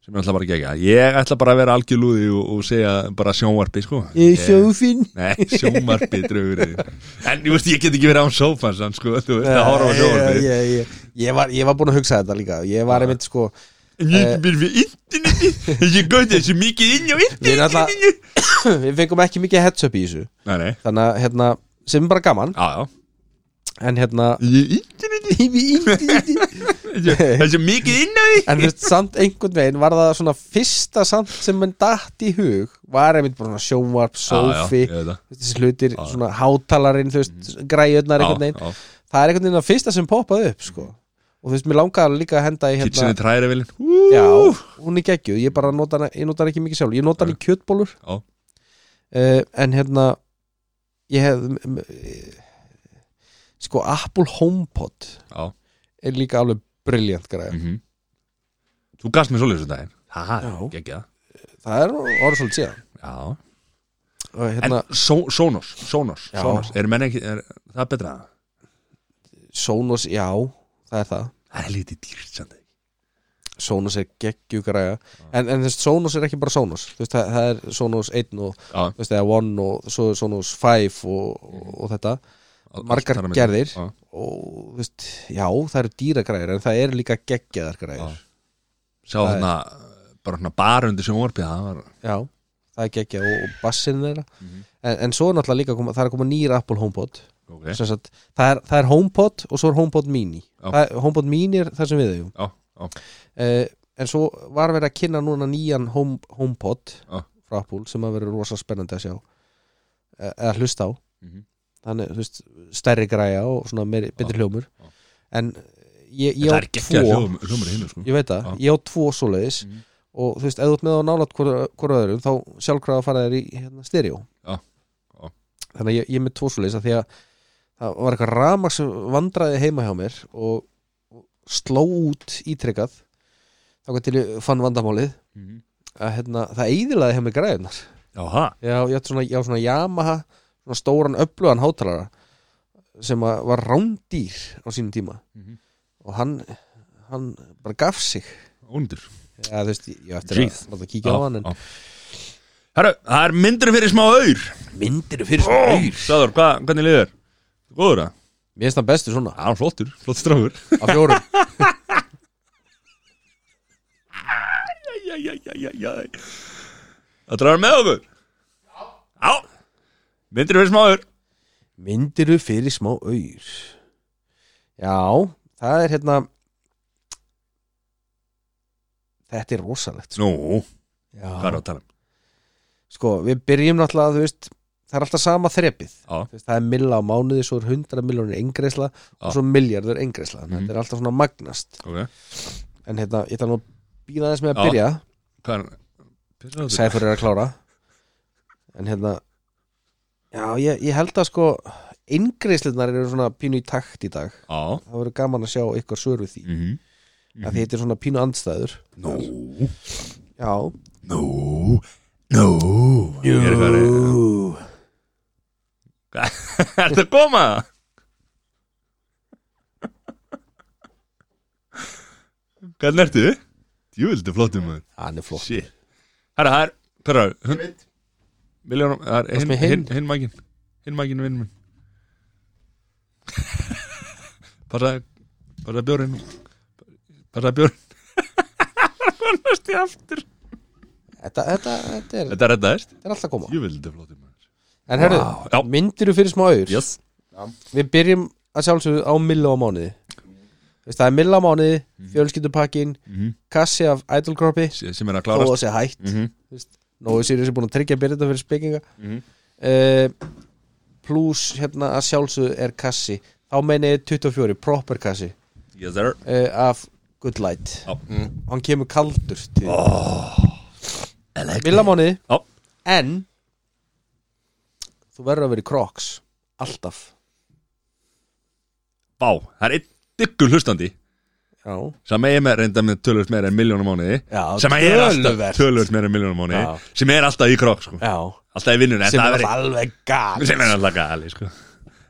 Speaker 1: sem er alltaf bara gegja Ég ætla bara að vera algjörlúði og, og segja bara sjónvarpi, sko
Speaker 2: ég sjófinn
Speaker 1: Nei, sjónvarpi draugur þinn. En þú veist, ég get ekki verið án sófans sko, þú veist, að horfa á
Speaker 2: ég,
Speaker 1: sjónvarpi
Speaker 2: ég, ég, ég, var, ég var búin að hugsa þetta líka ég var einmitt sko
Speaker 1: En ég er við interneti Ég góði þessu mikið inn á
Speaker 2: Við erum við fengum ekki mikið heads up í þessu
Speaker 1: Nei, nei,
Speaker 2: þannig að hérna, sem er bara gaman
Speaker 1: já, já
Speaker 2: en hérna
Speaker 1: Ég er interneti Það er svo mikið inn á því
Speaker 2: en þú veist, samt einhvern veginn var það svona fyrsta samt sem mann datt í hug var einmitt bara svona sjónvarp, sófi
Speaker 1: Já, já, ég veit það.
Speaker 2: þú veist, þessi hlutir, svona hátalarinn þú veist, græjurnar einhvern
Speaker 1: já,
Speaker 2: veginn
Speaker 1: já.
Speaker 2: það er einhvern veginn að fyrsta sem poppaði upp sko. og þú veist, mér langaði líka að henda í
Speaker 1: Kitchen
Speaker 2: hérna,
Speaker 1: er træri vilin
Speaker 2: já, hún er geggjuð ég bara nota hana, ég nota hana ekki mikið sjálf ég nota hana í kjötbólur
Speaker 1: Já.
Speaker 2: uh, en hérna ég hef m- m- sko, Apple HomePod
Speaker 1: Já.
Speaker 2: er líka alveg briljant
Speaker 1: Mm.
Speaker 2: græja
Speaker 1: Mhm. Þú gafst mér svoleiðis um daginn
Speaker 2: Já.
Speaker 1: Haha, geggja
Speaker 2: það er orðið svolítið síðan
Speaker 1: Já,
Speaker 2: og
Speaker 1: en
Speaker 2: hérna,
Speaker 1: so, Sonos Sonos,
Speaker 2: Já.
Speaker 1: Sonos, er menn ekki er, Það er betra
Speaker 2: Sonos, já það er það,
Speaker 1: Það er lítið dýrt samt ekki.
Speaker 2: Sonos er geggjugræja en, en þess, Sonos er ekki bara Sonos þú veist, það, það er Sonos 1 og
Speaker 1: Já,
Speaker 2: þú veist, eða 1 og svo er Sonos 5 og,
Speaker 1: Mhm.
Speaker 2: og, og þetta
Speaker 1: allt
Speaker 2: Margar
Speaker 1: þar á milli.
Speaker 2: gerðir.
Speaker 1: Já.
Speaker 2: og þú veist, já, það eru dýra græjar en það eru líka geggjaðar græjar já.
Speaker 1: Sjá
Speaker 2: Það er-
Speaker 1: þarna bara hérna bara undir sjónvarpið það var
Speaker 2: það er geggjað og, og bassin þeirra
Speaker 1: Mhm.
Speaker 2: en, en svo er náttúrulega líka, að koma, það er að koma nýra Apple HomePod
Speaker 1: okay.
Speaker 2: Sem sagt, það, er, það er HomePod og svo er HomePod Mini
Speaker 1: Já.
Speaker 2: það, HomePod Mini er það sem við eigum
Speaker 1: Já, já,
Speaker 2: uh, en svo var verið að kynna núna nýjan home, HomePod
Speaker 1: Já.
Speaker 2: frá Apple sem að vera rosa spennandi að sjá eh, eða hlusta á
Speaker 1: Mhm.
Speaker 2: þannig, þú veist, stærri græja og svona meiri, betri hljómur
Speaker 1: Já.
Speaker 2: en ég,
Speaker 1: En
Speaker 2: ég
Speaker 1: það
Speaker 2: á
Speaker 1: er
Speaker 2: tvo
Speaker 1: geggjað hljóðum, hljómur hinn sko.
Speaker 2: ég veit það,
Speaker 1: Já. Mhm.
Speaker 2: ég á tvo svoleiðis og þú veist, ef þú ert með á nálat hvora öðrum þá sjálfkrafa fara þér í hérna, stereo
Speaker 1: Já. Já.
Speaker 2: þannig að ég, ég er með tvo svoleiðis að því að það var eitthvað ramags vandraði heima hjá mér og, og sló út ítrekkað þá til ég fann vandamálið
Speaker 1: Mhm.
Speaker 2: að hérna, það eðilaði hjá mér græðunar
Speaker 1: Jáha,
Speaker 2: já, ég átti svona, ég á svona Yamaha svona stóran öflugan hátalara sem að var rándýr á sínum tíma
Speaker 1: Mhm.
Speaker 2: og hann, hann bara gaf sig
Speaker 1: undur
Speaker 2: Já, þú veist, ég á eftir
Speaker 1: Jeez.
Speaker 2: að láta kíkja á hann en
Speaker 1: Herru, það er myndur fyrir smá aur
Speaker 2: myndir fyrir
Speaker 1: Sáður, hvað, hvernig liður? Góður það?
Speaker 2: Mér finnst það bestu svona,
Speaker 1: Já, flottur, flott strákur
Speaker 2: á fjórum
Speaker 1: Það dráður með okkur Já Myndur fyrir smá aur
Speaker 2: Myndir fyrir smá auður Já, það er hérna Þetta er rosalegt sko.
Speaker 1: Nú, hvað er
Speaker 2: Já.
Speaker 1: að tala um?
Speaker 2: Sko, við byrjum náttúrulega, þú veist Það er alltaf sama þrepið
Speaker 1: Já.
Speaker 2: Þú veist, Það er milla á mánuði, svo er 100 miljónir engreisla
Speaker 1: Já.
Speaker 2: og svo miljardur engreisla mm
Speaker 1: Mhm.
Speaker 2: Þetta er alltaf svona magnast
Speaker 1: Ok,
Speaker 2: En hérna, ég ætla nú að býða aðeins með að
Speaker 1: Já.
Speaker 2: byrja
Speaker 1: hvað er Pissaðu þér?
Speaker 2: Sæfur er að klára En hérna Já, ég, ég held að sko Ingreislunar eru svona pínu í takt í dag
Speaker 1: Já
Speaker 2: Það verður gaman að sjá ykkar svör við því mm
Speaker 1: Mhm.
Speaker 2: -hmm. Þetta er svona pínu andstæður
Speaker 1: Nú
Speaker 2: Já
Speaker 1: Nú Nú Ég er eitthvað að- Er þetta að koma? Hvernig ertu? Djúvildu flottum maður
Speaker 2: Hann er flott
Speaker 1: Shit Herra, það er Hverra, hund Miljónum, það er
Speaker 2: Varstu
Speaker 1: hinn
Speaker 2: með hinn?
Speaker 1: hin, hin mækin Hinn mækin vinn minn Passaði Passaði bjórin Passaði bjórin Hvernast ég aftur
Speaker 2: Þetta, þetta, þetta er,
Speaker 1: Þetta er þetta erst
Speaker 2: þetta er alltaf að koma
Speaker 1: Djúvildu flottum maður
Speaker 2: En herru,
Speaker 1: Vá, já.
Speaker 2: myndir þú fyrir smá auður
Speaker 1: Yes
Speaker 2: Við byrjum að sjálfsögðu á millu á mánuði Veist, það er millamánuði, fjölskyldupakkin
Speaker 1: Mhm.
Speaker 2: kassi af idolkroppi
Speaker 1: sem sem er að
Speaker 2: þó
Speaker 1: klárast
Speaker 2: að sé hætt
Speaker 1: mm -hmm.
Speaker 2: Nói Sirius er búin að tryggja byrja þetta fyrir spekinga
Speaker 1: Mhm.
Speaker 2: uh, pluss hérna að sjálfsögðu er kassi þá meini ég 24, proper kassi
Speaker 1: Yes sir
Speaker 2: uh, af Good Light
Speaker 1: Já.
Speaker 3: Mm.
Speaker 2: hann kemur kaldur til
Speaker 3: I like
Speaker 2: Villamániði
Speaker 1: Já.
Speaker 2: En Þú verður að vera í Crocs Alltaf
Speaker 1: Bá, það er einn diggur hlustandi
Speaker 2: Já,
Speaker 1: sem er með reynda með tölvöld meira en miljónum mánuði
Speaker 2: já
Speaker 1: sem er alltaf
Speaker 2: töluvert.
Speaker 1: tölvöld meira en miljónum
Speaker 2: Já.
Speaker 1: mánuði sem er alltaf í krok sko.
Speaker 2: Já,
Speaker 1: alltaf í vinnunni en
Speaker 2: sem
Speaker 1: það
Speaker 2: er
Speaker 1: væri-
Speaker 2: alveg gal
Speaker 1: sem er alltaf gali sko.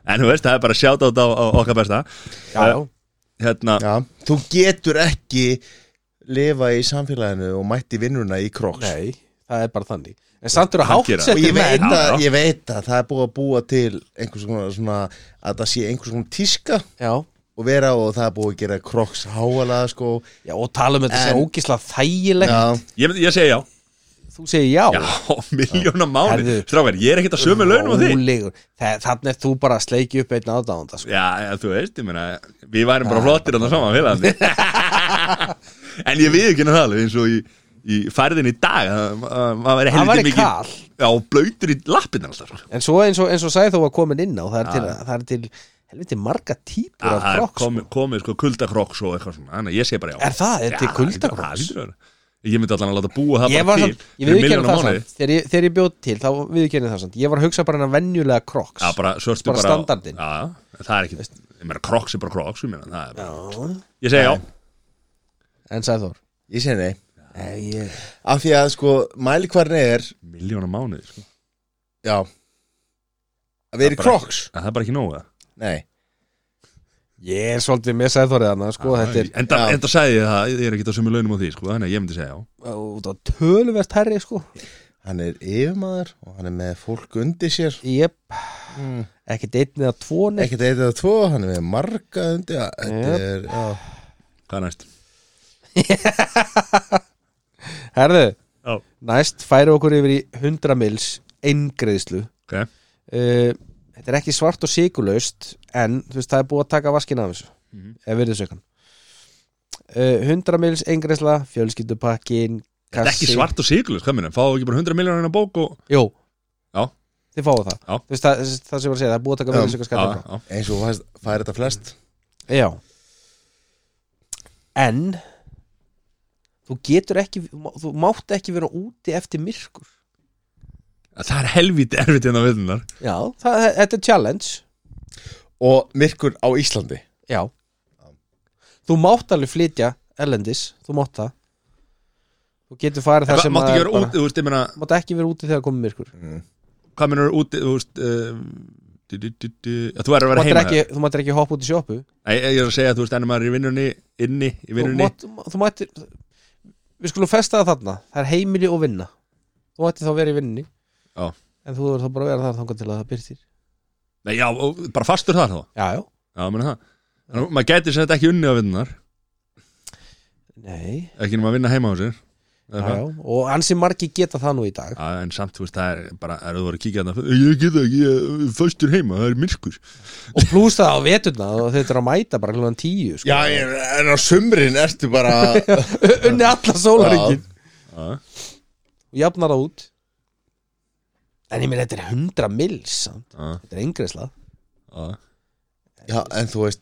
Speaker 1: en þú veist, það er bara sjátt á, á okkar besta
Speaker 2: Já, já,
Speaker 1: hérna,
Speaker 3: Já, þú getur ekki lifa í samfélaginu og mætti vinnuna í kroks
Speaker 2: nei, það er bara þannig En samt eru
Speaker 1: Hann
Speaker 2: hátt
Speaker 1: gerir það.
Speaker 3: og ég
Speaker 2: settir
Speaker 3: veit,
Speaker 2: menn
Speaker 1: Já,
Speaker 3: að,
Speaker 1: já.
Speaker 3: ég veit að það er búið að búa til einhvers konar svona að það sé einhvers konar tíska
Speaker 2: Já,
Speaker 3: og vera og það er búið að gera kroks háalega sko
Speaker 2: já, og tala um þetta sem
Speaker 3: En-
Speaker 2: ógislega þægilegt
Speaker 3: Já,
Speaker 1: ég, myndi- ég segi já
Speaker 2: Þú segir já,
Speaker 1: já, miljónum mánuði
Speaker 2: Herðu.
Speaker 1: strákar, ég er ekkert að sömu launum á því
Speaker 2: Rólegur. Þa- Þannig er þú bara að sleiki upp einn aðdáðanda sko.
Speaker 1: já, já, þú veist, ég meina við værum
Speaker 2: Ah.
Speaker 1: bara flottir andan saman félagandi en ég við ekki það alveg eins og í, í færðin í dag að- að- að maður væri
Speaker 2: Hann
Speaker 1: heldur
Speaker 2: væri
Speaker 1: mikið
Speaker 2: kall.
Speaker 1: já, og blöytur í lappin alltaf sko.
Speaker 2: En svo eins og, eins og sagði þó að komin inn á Það er til, það er til helviti marga típur af
Speaker 1: það er
Speaker 2: Crocs
Speaker 1: komið komi, sko kuldakrokks og eitthvað svona, þannig að ég segi bara já
Speaker 2: Er það? Er til
Speaker 1: Já,
Speaker 2: kuldakroks?
Speaker 1: það hlýtur að vera. ég myndi allan að láta búa það
Speaker 2: ég
Speaker 1: bara
Speaker 2: var
Speaker 1: til
Speaker 2: samt, ég viðurkenni
Speaker 1: milljónum
Speaker 2: það
Speaker 1: mánuði.
Speaker 2: samt þegar ég, þegar ég bjóð til, þá viðurkenni það samt ég var að hugsa bara hennar venjulega kroks
Speaker 1: Já, bara svörstu
Speaker 2: Bara
Speaker 1: bara,
Speaker 2: standardinn.
Speaker 1: Já, já, en það er ekki, ég meina kroks er bara kroks ég, meina, það er bara,
Speaker 2: já,
Speaker 1: ég segi já
Speaker 2: en sagði Þór
Speaker 3: ég segi nei
Speaker 2: Nei,
Speaker 1: Eh,
Speaker 2: ég...
Speaker 3: Af því að sko mælikvarni er
Speaker 1: Miljónum mánuði, sko
Speaker 3: Já Að vera
Speaker 1: Það
Speaker 3: í
Speaker 1: bara-
Speaker 3: kroks
Speaker 1: En Það er bara ekki nóga
Speaker 3: Nei
Speaker 2: ég er svolítið með sagði Þórið hann sko,
Speaker 1: Ah,
Speaker 2: þetta er
Speaker 1: Enda,
Speaker 3: já.
Speaker 1: enda sagði ég það, ég er ekki að sömu launum á því, sko Þannig að ég myndi segja já
Speaker 2: uh, út á töluvert herri sko.
Speaker 3: Hann er yfirmaður og hann er með fólk undir sér
Speaker 2: ég,
Speaker 3: mm.
Speaker 2: ekkert einn eða tvo neitt
Speaker 3: Ekkert eitt eða tvo, hann er með marga undir Já, Þetta
Speaker 2: Jep.
Speaker 3: er, já
Speaker 1: Hvað er næst?
Speaker 2: herðu,
Speaker 1: Já.
Speaker 2: næst færi okkur yfir í 100 mils eingreðslu
Speaker 1: Ok,
Speaker 2: uh, þetta er ekki svart og sigurlaust en þú veist það er búið að taka vaskin af þessu
Speaker 1: Mhm.
Speaker 2: eða virðisaukan uh, 100 mils engresla fjölskyldupakkin
Speaker 1: þetta er ekki svart og siglust, hvað minna Fá ekki bara 100 miljónir en að bók og
Speaker 2: Jó,
Speaker 1: Já.
Speaker 2: þið fáið það
Speaker 1: Já.
Speaker 2: Þú veist, það, það sem ég var að segja, það er búið að taka
Speaker 3: Já.
Speaker 2: virðisaukan
Speaker 1: Já,
Speaker 2: skatt
Speaker 1: já.
Speaker 3: Eins og fæst- fær þetta flest
Speaker 2: frá Já En þú getur ekki þú mátt ekki vera úti eftir myrkur
Speaker 1: Það er helvítið erfitt hérna við þunnar
Speaker 2: Já, það, þetta er challenge
Speaker 3: Og myrkur á Íslandi
Speaker 2: Já Þú mátt alveg flytja erlendis Þú mátt það Þú getur farið það sem
Speaker 1: Máttu
Speaker 2: að
Speaker 1: ekki
Speaker 2: er
Speaker 1: vera
Speaker 2: bara-
Speaker 1: út, þú veist, ég meina
Speaker 2: Mátt ekki vera úti þegar komið myrkur
Speaker 1: Hvað minna eru úti, þú veist um, du- du- du- du- Þú er að
Speaker 2: Þú
Speaker 1: vera
Speaker 2: máttir
Speaker 1: heima
Speaker 2: ekki, þú máttir ekki hoppa út í sjoppu
Speaker 1: Nei, ég er að segja, þú veist, ennum maður er í vinnunni Inni, í
Speaker 2: Þú
Speaker 1: vinnunni
Speaker 2: mátt, þú máttir Við skulum festa það þarna Það er heimili og vinna Þú máttir þá vera í vinnunni
Speaker 1: Já.
Speaker 2: En þú verður þá bara að vera þar þangað til að það byrtir
Speaker 1: Nei, já, og bara fastur þar þá
Speaker 2: Já, já
Speaker 1: Já, meni það Þannig, að maður gæti sem þetta ekki unni á vinnunar
Speaker 2: Nei
Speaker 1: Ekki nema að vinna heima á sér
Speaker 2: Já,
Speaker 1: Eða
Speaker 2: já
Speaker 1: hvað?
Speaker 2: Og ansi margir geta það nú í dag
Speaker 1: Já, en samt, þú veist, það er bara Er þú voru að kíkja þarna Ég get það ekki, ég er fastur heima, það er myrkur
Speaker 2: Og plús það á veturna og Þau eru að mæta bara hljóðan tíu sko.
Speaker 3: ég, en á sumrin ertu bara
Speaker 2: Unni alla sólaringin
Speaker 1: Já,
Speaker 2: og jafnar það út en ég minn þetta er 100 mils samt.
Speaker 1: já,
Speaker 2: þetta er engresla
Speaker 1: já
Speaker 3: Já, en þú veist,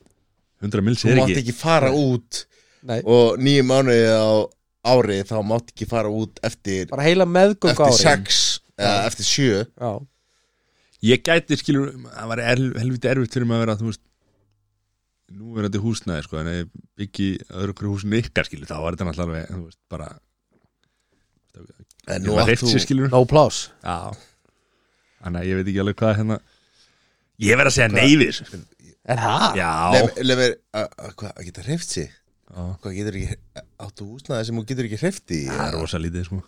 Speaker 1: 100 mils
Speaker 3: þú
Speaker 1: er
Speaker 3: mátt
Speaker 1: ekki
Speaker 3: ekki fara út
Speaker 2: Nei,
Speaker 3: og nýju mánuði á ári þá mátt ekki fara út eftir
Speaker 2: bara heila meðgöngu
Speaker 3: eftir
Speaker 2: ári
Speaker 3: sex, eða eftir sjö
Speaker 2: já,
Speaker 1: Ég gæti, skilur, það var er, helviti erfitt fyrir maður að vera, þú veist Nú er þetta húsnaði, sko En ef ekki öðru hverju húsin ykkar, skilur Þá var þetta náttúrulega, alveg, þú veist, bara
Speaker 3: en
Speaker 1: Ég
Speaker 3: nú
Speaker 1: var
Speaker 3: átt
Speaker 1: heyrt sér,
Speaker 3: þú
Speaker 1: skilur
Speaker 2: no plus
Speaker 1: Já Þannig að ég veit ekki alveg hvað hérna Ég verð að segja neyfis
Speaker 2: er það?
Speaker 1: Já
Speaker 3: Leif mér, að- að hvað, að geta hreift sig
Speaker 1: Já.
Speaker 3: hvað getur ekki, áttu húsnaði sem þú getur ekki hreift í
Speaker 1: Það er rosa lítið sko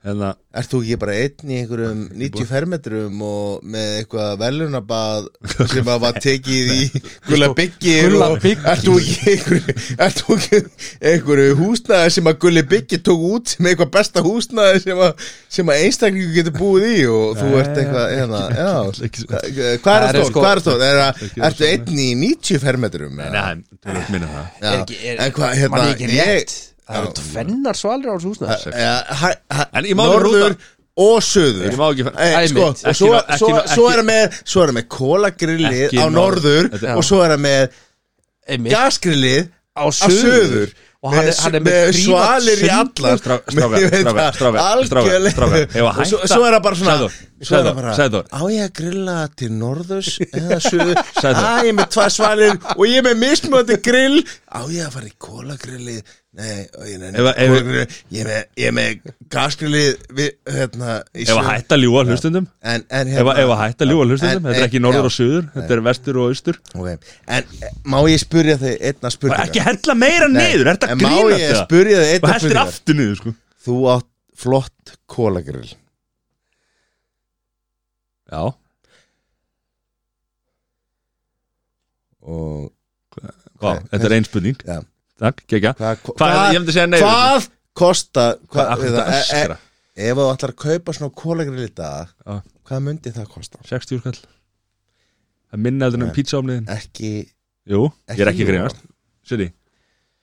Speaker 1: hérna,
Speaker 3: Ert þú ekki bara einn í einhverjum 90 fermetrum og með eitthvað velunabað sem að var tekið í gulla byggir
Speaker 2: Gulla
Speaker 3: og
Speaker 2: Biggi.
Speaker 3: ert þú ekki einhverju, ert þú ekki einhverju húsnaði sem að gulli byggir tók út sem eitthvað besta húsnaði sem að, sem að einstaklingu getur búið í og þú
Speaker 1: Nei,
Speaker 3: ert eitthvað eða, já,
Speaker 1: ekki svo-
Speaker 3: hvað
Speaker 2: Það
Speaker 3: er
Speaker 2: er
Speaker 3: stóð,
Speaker 2: sko-
Speaker 3: hvað er stóð er að,
Speaker 1: Ekki
Speaker 3: ertu
Speaker 1: rosa-
Speaker 3: einn í 90 fermetrum eða?
Speaker 1: Nei, þú veist minna það
Speaker 3: Já.
Speaker 2: Er ekki- er-
Speaker 3: en hvað, hérna,
Speaker 2: man ég ekki rétt Það eru
Speaker 3: Já.
Speaker 2: tvennar svalir á þessu húsnaði
Speaker 1: En
Speaker 3: ég
Speaker 1: ég má alveg
Speaker 3: Eh, norður
Speaker 1: rúta.
Speaker 3: og söður
Speaker 1: Ég má ekki fara-
Speaker 3: Nei,
Speaker 2: Æ,
Speaker 3: sko,
Speaker 2: mitt.
Speaker 3: og svo,
Speaker 1: Ekki-
Speaker 3: svo,
Speaker 1: ekki-
Speaker 3: svo er það með svo er það með kólagrillið
Speaker 1: Ekki
Speaker 3: á
Speaker 1: norð-
Speaker 3: norður
Speaker 1: Þetta-
Speaker 3: og svo er það með
Speaker 2: Einmitt,
Speaker 3: gasgrillið
Speaker 2: á
Speaker 3: á söður
Speaker 2: Og hann er, hann er með prívat
Speaker 3: svalir í
Speaker 2: sund.
Speaker 3: allar
Speaker 1: Strá- strákar,
Speaker 3: Ég veit
Speaker 1: strákar,
Speaker 3: það,
Speaker 1: strákar,
Speaker 3: algjörlega.
Speaker 1: strákar, strákar. Ef að
Speaker 3: Og svo,
Speaker 1: hætta-
Speaker 3: svo er það bara svona
Speaker 1: Sæþór,
Speaker 3: svo er það
Speaker 1: Sæþór,
Speaker 3: bara,
Speaker 1: Sæþór.
Speaker 3: á ég að grilla til norðurs eða söður
Speaker 1: Sæþór.
Speaker 3: að ég er með tvær svalir og ég er með mismöndi grill á ég að fara í kólagrillið nei, og ég, nei,
Speaker 1: Ef að- ef-
Speaker 3: kólagrillið ég, er með- ég er með gasgrillið við, hérna, í
Speaker 1: Ef að
Speaker 3: suður.
Speaker 1: hætta að ljúa hlustundum
Speaker 3: en, en, hérna-
Speaker 1: Ef að ef að hætta að ljúa hlustundum
Speaker 3: En-
Speaker 1: Þetta er
Speaker 3: en-
Speaker 1: ekki norður
Speaker 3: já.
Speaker 1: og suður Þetta er vestur og austur
Speaker 3: Ok, en eh, má ég spyrja þig einna spurninga?
Speaker 1: Ekki hella meira niður, er þetta
Speaker 3: En má ég
Speaker 1: grínast það?
Speaker 3: spyrja þig
Speaker 1: Og
Speaker 3: einna
Speaker 1: hellir
Speaker 3: spurninga?
Speaker 1: aftur niður, sko
Speaker 3: Þú átt flott kólagrill
Speaker 1: Já,
Speaker 3: og
Speaker 1: Vá,
Speaker 3: Ok,
Speaker 1: þetta er ein spurning
Speaker 3: Já.
Speaker 1: Takk, kekja
Speaker 3: hvað,
Speaker 1: Hvað, ég hefndi að segja nei við þetta.
Speaker 3: hvað kosta
Speaker 1: Hvað,
Speaker 3: hvað,
Speaker 1: akkur
Speaker 3: eða,
Speaker 1: þetta
Speaker 3: e,
Speaker 1: öskra
Speaker 3: e, ef þú ætlar að kaupa svona kólagrill í dag
Speaker 1: Já.
Speaker 3: hvað myndi það kosta?
Speaker 1: 60 skall Það minna heldur en
Speaker 3: Nei.
Speaker 1: pítsaomniðin
Speaker 3: ekki
Speaker 1: Jú, ég er
Speaker 3: Ekki
Speaker 1: ekki að grínast Siri,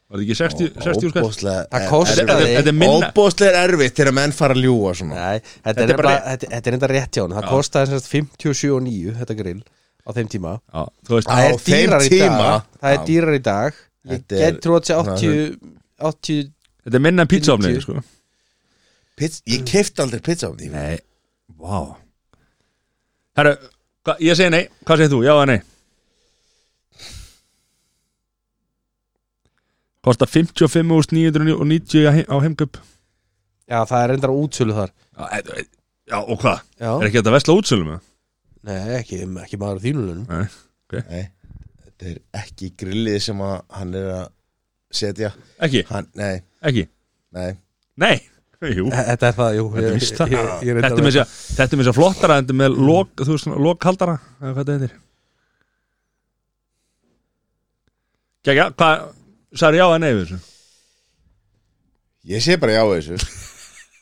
Speaker 1: var þetta ekki 60, 60 skall?
Speaker 2: Það
Speaker 3: óbóðslega
Speaker 2: kostar-
Speaker 1: Þetta þetta- þetta er minna
Speaker 3: óbóðslega erfitt þegar menn fara að ljúa svona
Speaker 2: Nei, þetta
Speaker 1: Þetta
Speaker 2: er
Speaker 1: er bara-
Speaker 2: nefnilega- þetta- þetta er enda rétt hjá hann Það
Speaker 1: Já.
Speaker 2: kostaði semst 57,9 þetta grill á þeim tíma
Speaker 1: Já, þú veist,
Speaker 3: Á
Speaker 2: Það er
Speaker 3: þeim
Speaker 2: dýrar í
Speaker 3: tíma?
Speaker 2: dag Það er
Speaker 3: Já.
Speaker 2: dýrar í dag Ég
Speaker 3: Þetta er-
Speaker 2: get trú að sé 80 80
Speaker 1: þetta er minna en pítsaomniðin,
Speaker 2: 90.
Speaker 1: sko
Speaker 3: Pits, ég kefti aldrei pizza á því
Speaker 1: Nei, vá Herru, hva, ég segi nei, hvað segir þú, já eða nei? Kosta 55.990 á he- á heimkaup
Speaker 2: Já, það er endara útsölu þar
Speaker 1: Já, e- e- já, og hvað?
Speaker 2: Já,
Speaker 1: Er ekki þetta vesla útsölum? eða?
Speaker 2: nei, ekki, ekki maður á þínulunum
Speaker 1: Nei,
Speaker 3: Nei, þetta er ekki grillið sem að hann er að setja
Speaker 1: ekki,
Speaker 3: hann, Nei,
Speaker 1: ekki
Speaker 3: nei
Speaker 1: Nei, jú
Speaker 2: Þetta er það, jú
Speaker 1: Þetta er
Speaker 2: ég-
Speaker 1: víst það.
Speaker 2: ég- ég
Speaker 3: Ah.
Speaker 1: Þetta
Speaker 2: er
Speaker 1: er
Speaker 2: reyndar-
Speaker 1: með þess að- þetta er með þess að flottara Þetta er með lok, þú veist, svona, lokhaldara eða Hvað þetta heitir Kjækja, hvað Særi já að nei við þessu
Speaker 3: Ég sé bara já á þessu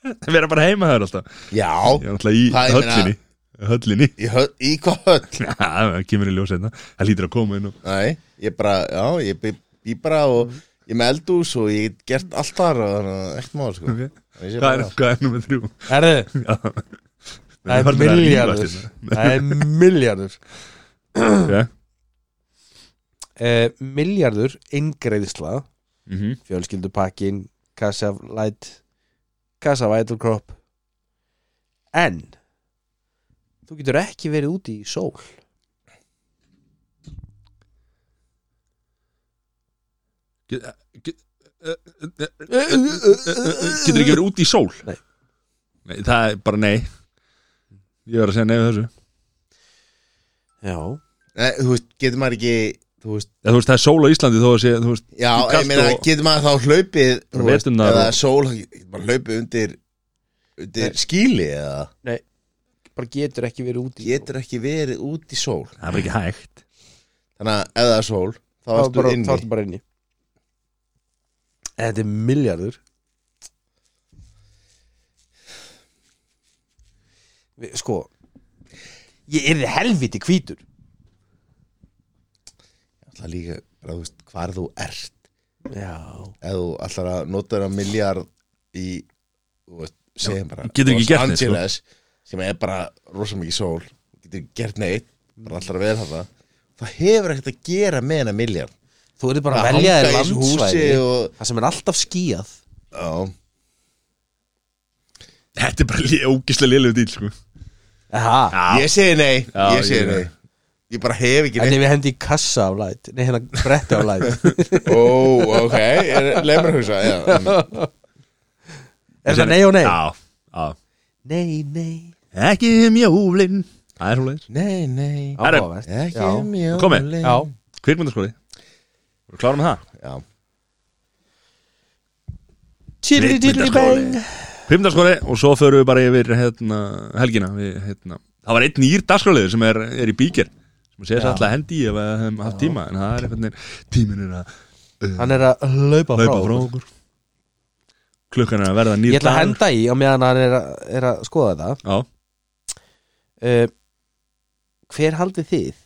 Speaker 1: Við erum bara heima þar alltaf
Speaker 3: Já,
Speaker 1: Ég er alltaf í
Speaker 3: Hvað, ég meina-
Speaker 1: höllinni Höllinni
Speaker 3: í, hö, í hvað höll
Speaker 1: Já, það kemur í ljós hérna Það lítur að koma inn og
Speaker 3: Nei, ég bara, já, ég bý, bý bara
Speaker 1: Mhm.
Speaker 3: og ég er með eldús og ég get gert allt þar og þannig að ekkert mál sko
Speaker 1: okay.
Speaker 3: Ég sé
Speaker 1: Hvað
Speaker 3: bara
Speaker 1: er,
Speaker 3: já.
Speaker 1: hvað er nummer þrjú?
Speaker 2: Herðu,
Speaker 1: Já
Speaker 2: það er hérna. miljardur Það er miljardur
Speaker 1: okay.
Speaker 2: eh, Miljardur ingreiðsla
Speaker 1: mm -hmm.
Speaker 2: fjölskyldupakkin kassalæt kassavætul kropp en þú getur ekki verið úti í sól
Speaker 1: Getur ekki verið úti í sól?
Speaker 2: Nei.
Speaker 1: nei Það er bara nei Ég verður að segja nei við þessu
Speaker 2: já,
Speaker 3: Nei, þú veist, getur maður ekki Þú veist,
Speaker 1: Eða, þú veist, það er sól á Íslandi þó að sé þú veist,
Speaker 3: já,
Speaker 1: Þú
Speaker 3: ég
Speaker 1: kast
Speaker 3: meina,
Speaker 1: og-
Speaker 3: getur maður þá hlaupið
Speaker 1: Bara
Speaker 3: þú veist,
Speaker 1: veturnar
Speaker 3: Eða
Speaker 1: og-
Speaker 3: sól, getur maður hlaupið undir undir skíli eða
Speaker 2: bara getur ekki verið úti í sól.
Speaker 3: getur ekki verið út í sól
Speaker 1: Það er bara ekki hægt
Speaker 3: Þannig að ef það er sól, þá
Speaker 2: þá
Speaker 3: ertu
Speaker 2: bara, þá
Speaker 3: inni
Speaker 2: ertu bara inni þetta er miljardur Vi- sko ég er helviti hvítur
Speaker 3: Það líka, bara, þú veist, hvar þú ert
Speaker 2: já
Speaker 3: ef þú ætlar að nota það miljard í, þú veist, segjum bara
Speaker 1: getur ekki
Speaker 3: Los
Speaker 1: gert neitt, sko.
Speaker 3: Angeles, sem er bara rosa mikið sól, getur ekki gert neitt bara ætlar að vera þetta það hefur ekkert að gera með hennar miljard
Speaker 2: þú eru bara að
Speaker 3: Að
Speaker 2: velja þér
Speaker 3: hanga í þessu
Speaker 2: landsvæði
Speaker 3: húsi og-
Speaker 2: það sem er alltaf skíað
Speaker 3: Já,
Speaker 1: Þetta er bara ógislega liðlega dýl sko.
Speaker 2: Aha.
Speaker 3: ég segi nei
Speaker 1: Já,
Speaker 3: ég segi
Speaker 1: ég-
Speaker 3: nei ég bara hef ekki
Speaker 2: en
Speaker 3: neitt
Speaker 2: ef ég hendi í kassa af læt nei hérna bretti af læt
Speaker 3: ó, ok, leið mér að hugsa já, mm.
Speaker 2: er það nei og nei?
Speaker 1: Já, já
Speaker 2: nei, nei
Speaker 1: Ekki um jólin Það er svoleiðis
Speaker 3: nei, nei
Speaker 1: Herra,
Speaker 2: Áhugavert.
Speaker 3: ekki
Speaker 2: Já.
Speaker 3: mjög
Speaker 1: Komið.
Speaker 3: leið.
Speaker 2: já,
Speaker 1: Kvikmyndaskóli Við klárum það
Speaker 3: já,
Speaker 2: Tjirri, tjirri, bang.
Speaker 1: Primdarskóri og svo förum við bara yfir hérna, helgina við, hérna. Það var einn nýr dagskráliður sem er, er í bíker sem sé þess
Speaker 2: Já.
Speaker 1: alltaf hendi í ef við hefum haft tíma en það er einhvern veginn tíminn er að
Speaker 2: Hann er að laupa frá,
Speaker 1: hlaupa frá okkur klukkan er að verða nýr
Speaker 2: Ég ætla að henda í á meðan hann er að, er að skoða þetta
Speaker 1: Já,
Speaker 2: uh, Hver haldið þið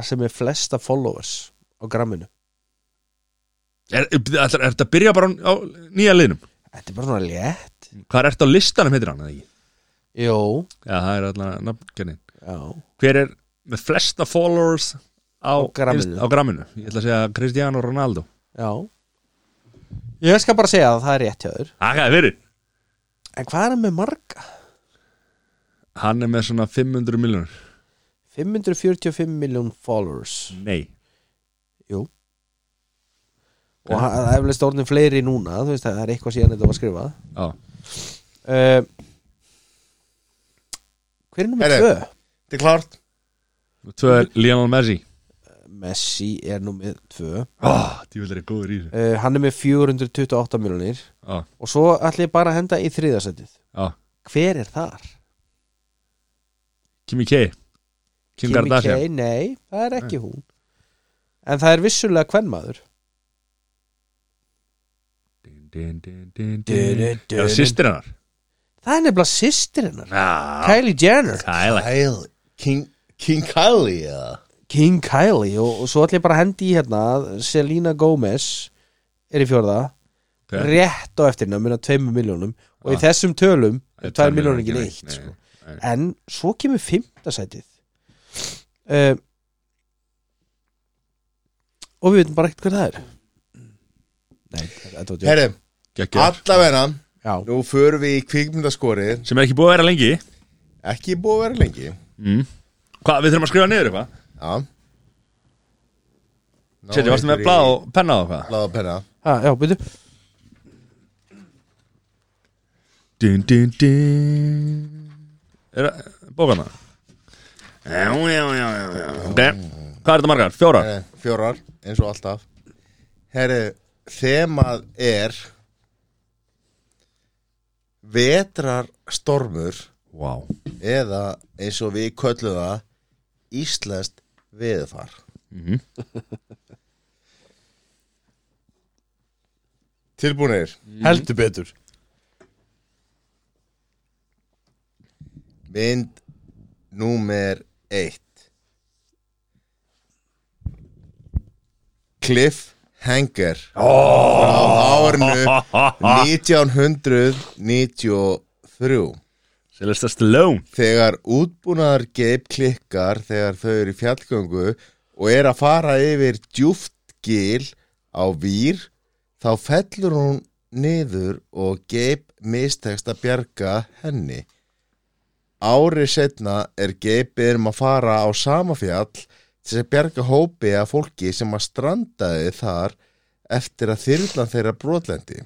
Speaker 2: að sem er flesta followers á gramminu?
Speaker 1: er, er, er, er þetta að byrja bara á, á nýja liðnum?
Speaker 2: Þetta er bara svona létt
Speaker 1: Hvað er þetta á listanum heitir hann? eða ekki?
Speaker 2: Jó
Speaker 1: Já, það er allan nafnkennin
Speaker 2: Já
Speaker 1: Hver er með flesta followers á,
Speaker 2: Á gramminu.
Speaker 1: Inst- á gramminu? Ég ætla að segja Cristiano Ronaldo
Speaker 2: Já Ég skal bara segja að það er rétt hjá þér
Speaker 1: Það er verið
Speaker 2: En hvað er hann með marga?
Speaker 1: Hann er með svona 500 miljonur
Speaker 2: 545 miljón followers
Speaker 1: Nei
Speaker 2: Og hann- það er eflust orðin fleiri núna Þú veist það er eitthvað síðan þetta var skrifað
Speaker 1: Já
Speaker 2: uh, Hver er nummer
Speaker 3: Heyrðu.
Speaker 2: 2?
Speaker 3: Þetta er klárt
Speaker 1: Tvö er Lionel Messi
Speaker 2: Messi er nummer 2 uh,
Speaker 1: oh, Djúvel er ég góður í þessu
Speaker 2: Eh, Hann er með 428 miljónir
Speaker 1: Já,
Speaker 2: Og svo ætla ég bara að henda í þriðasætið
Speaker 1: já
Speaker 2: Hver er þar?
Speaker 1: Kimi K Kim Kardashian
Speaker 2: K? Nei, það er ekki hún En það er vissulega kvenmaður
Speaker 1: Din, din, din, din, din. Er það sýstir hennar?
Speaker 2: Það er nefnilega systir hennar
Speaker 1: Já
Speaker 2: Kylie Jenner
Speaker 1: Kæla
Speaker 3: Kyle King, King Kylie eða
Speaker 2: King Kylie og, og svo ætla ég bara að henda í hérna að Selena Gomez er í fjórða
Speaker 1: Ok.
Speaker 2: rétt á eftir nömmina tveimur miljónum og í
Speaker 1: Ah.
Speaker 2: þessum tölum er
Speaker 1: Tvær
Speaker 2: tveimur miljónum ekki
Speaker 1: neitt, nei.
Speaker 2: neitt sko. en svo kemur fimmtasætið uh, og við veitum bara ekkert hver það er Nei, þetta var djók
Speaker 3: Herri,
Speaker 1: Geggjað.
Speaker 3: allavega
Speaker 2: Já,
Speaker 3: Nú förum við í kvikmyndaskorið
Speaker 1: Sem er ekki búið að vera lengi
Speaker 3: Ekki búið að vera lengi
Speaker 1: mm. Hvað, við þurfum að skrifa niður eitthvað?
Speaker 3: Já Ná,
Speaker 1: Setjum, varstu með
Speaker 3: einhverju-
Speaker 1: blað og penna og hvað?
Speaker 3: Blað og penna
Speaker 2: ha, já, byrju
Speaker 1: Dun, dun, dun. Er það bókana? Já, já, já, já, já. Ok, hvað er þetta margar? Fjórar?
Speaker 3: Herri, Fjórar, eins og alltaf Herri, þemað er Vetrarstormur
Speaker 1: Vá wow.
Speaker 3: Eða eins og við köllum það Íslenskt veðfar
Speaker 1: Mhm.
Speaker 3: Tilbúinir
Speaker 2: Heldur betur
Speaker 3: Mynd Númer eitt Cliffhanger oh! Á árinu 1993
Speaker 1: Sylvester Stallone
Speaker 3: Þegar útbúnaðar geip klikkar Þegar þau eru í fjallgöngu Og er að fara yfir djúft gil Á vír Þá fellur hún niður Og geip mistekst að bjarga henni Ári setna er geipið um að fara á sama fjall til að bjarga hópi af fólki sem að strandaði þar eftir að þyrlan þeirra brotlendi.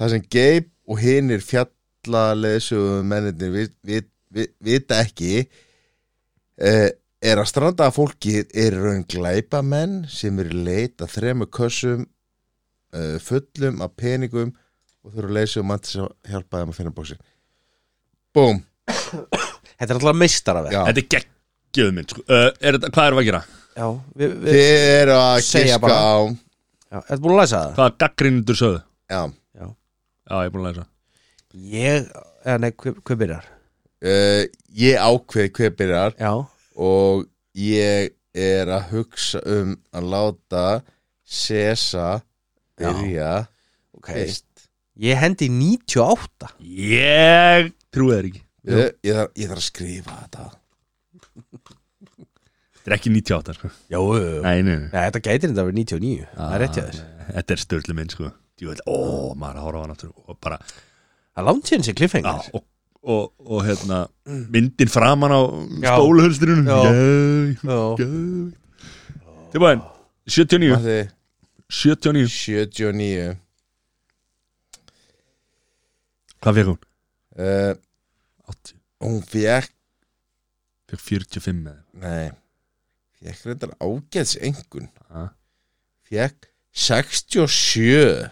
Speaker 3: Það sem geip og hinir fjallaleðsugum mennindir um vit, vit, vit, vita ekki eh, er að strandaða fólkið er í raun glæpamenn sem eru leita þremur kössum eh, fullum af peningum og þurfa að leysa um mann til að hjálpa þeim að finna bóksi. Búm!
Speaker 2: Þetta er alltaf meistar af
Speaker 3: Já.
Speaker 1: Þetta er geggjöð mynd sko. uh, er þetta, Hvað erum við að gera?
Speaker 2: Já, við, við,
Speaker 3: Þið eru að
Speaker 2: Segja
Speaker 3: giska
Speaker 2: bara.
Speaker 3: á
Speaker 2: já Þetta búin að læsa það?
Speaker 1: Hvaða gaggrindur sögðu?
Speaker 3: Já
Speaker 1: Já, ég er búin að læsa
Speaker 2: Ég, eða nei, hver, hver byrjar?
Speaker 3: uh, Ég ákveð hver byrjar
Speaker 2: Já
Speaker 3: og ég er að hugsa um að láta Sesa byrja
Speaker 2: okay.
Speaker 3: fyrst
Speaker 2: Ég hendi í 98
Speaker 1: Ég trúi þér ekki
Speaker 3: ég, ég, þarf, ég þarf að skrifa þetta
Speaker 1: Þetta er ekki 98 sko.
Speaker 2: Já, Nei,
Speaker 1: Nei, nei, nei
Speaker 2: þetta gætir þetta að vera 99 Það er rétt hjá þér
Speaker 1: Þetta er störlu mynd sko. Jú, veit, ó, maður er að horfa á hann aftur og bara
Speaker 2: Það er langt síðan sér
Speaker 1: Já,
Speaker 2: kliffengar
Speaker 1: og, og, og hérna myndin framan á
Speaker 2: Já.
Speaker 1: spóluhulstrinu
Speaker 2: Já.
Speaker 1: Jæ,
Speaker 2: Já.
Speaker 1: jæ Tilbúin 79
Speaker 3: Matti,
Speaker 1: 79
Speaker 3: 79 uh,
Speaker 1: Hvað fekk hún? 80
Speaker 3: eh, Hún fekk
Speaker 1: Fekk 45 með
Speaker 3: Nei Fekk reyndar ágæðs engun
Speaker 1: Ha?
Speaker 3: Fekk 67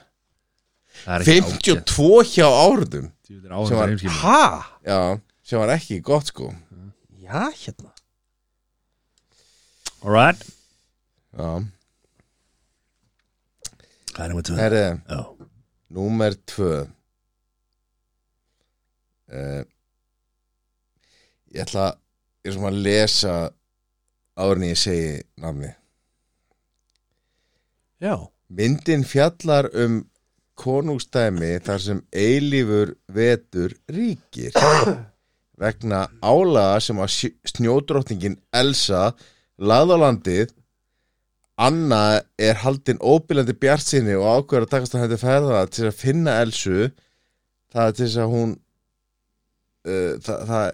Speaker 1: Það er ekki ágætt.
Speaker 3: 52 hjá árðum
Speaker 1: Djöfull er
Speaker 3: sem
Speaker 1: áhægt
Speaker 3: var-
Speaker 1: að heimskilja.
Speaker 2: Ha?
Speaker 3: Já, sem var ekki gott sko
Speaker 2: Já, hérna
Speaker 1: Alright
Speaker 3: Já,
Speaker 1: Það er nummer tvö
Speaker 3: herri
Speaker 1: Já.
Speaker 3: Númer tvö uh, Ég ætla Ég er svona að lesa Árin ég segi nafni
Speaker 2: Já
Speaker 3: Myndin fjallar um konungstæmi þar sem eilífur vetur ríkir vegna álaga sem að sj- snjódrottningin Elsa lagði á landið Anna er haldin óbílandi bjartsinni og ákveður að takast að hætti ferða til að finna Elsu það er til þess að hún uh, það, það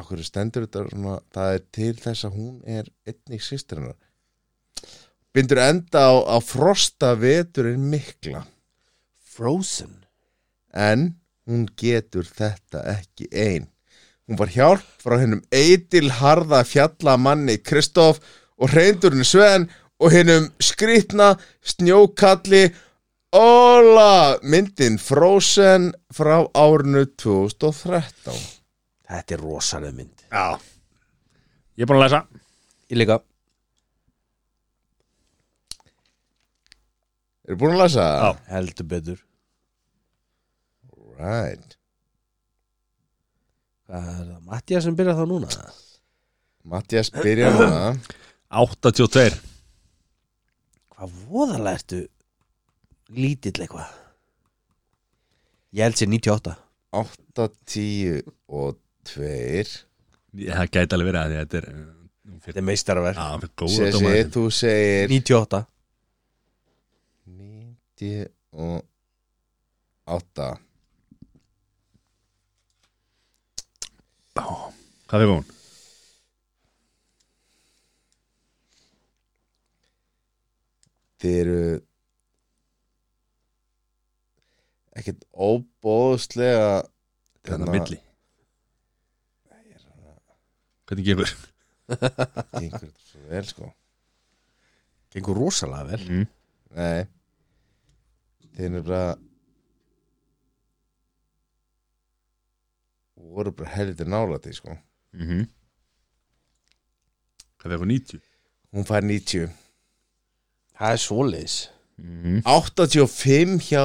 Speaker 3: okkur stendur þetta svona, það er til þess að hún er einnig sýstir hennar bindur enda á, á frosta veturinn mikla
Speaker 2: Frozen
Speaker 3: en hún getur þetta ekki ein hún var hjálp frá hennum eitilharða fjallamanni Kristoff og reyndurinn Sven og hennum skrýtna snjókalli Óla myndin Frozen frá árinu 2013
Speaker 2: Þetta er rosaleg mynd
Speaker 1: Já Ég er búin að lesa
Speaker 2: Ég líka
Speaker 3: Eru búin að lasa?
Speaker 1: Já.
Speaker 2: Heldur betur
Speaker 3: Right.
Speaker 2: Hvað er það? Mattias sem byrjar þá núna?
Speaker 3: Mattias byrja núna
Speaker 1: 82
Speaker 2: Hvað voðalega ertu lítill eitthvað Ég held sér 98
Speaker 3: 8, 10 og 2
Speaker 1: Ég- Það gæti alveg verið að því að þetta er uh, hún fyrir-
Speaker 2: Þetta er meistarverk
Speaker 1: Já, fyrir góða
Speaker 3: Sessi,
Speaker 1: dómarinn.
Speaker 3: þú segir
Speaker 2: 98
Speaker 3: 98
Speaker 1: Hvað fyrir hún?
Speaker 3: Þið eru ekkert hérna óbóðslega
Speaker 1: Þetta er milli Hvernig gefur?
Speaker 3: Gengur þetta svo vel sko
Speaker 2: Gengur rosalega vel
Speaker 1: Mm.
Speaker 3: Nei Þið eru bara voru bara helviti nála því sko
Speaker 1: Mm Hvað fyrir hún 90?
Speaker 3: Hún fær 90
Speaker 2: Það er svoleiðis
Speaker 1: Mm.
Speaker 3: 85 hjá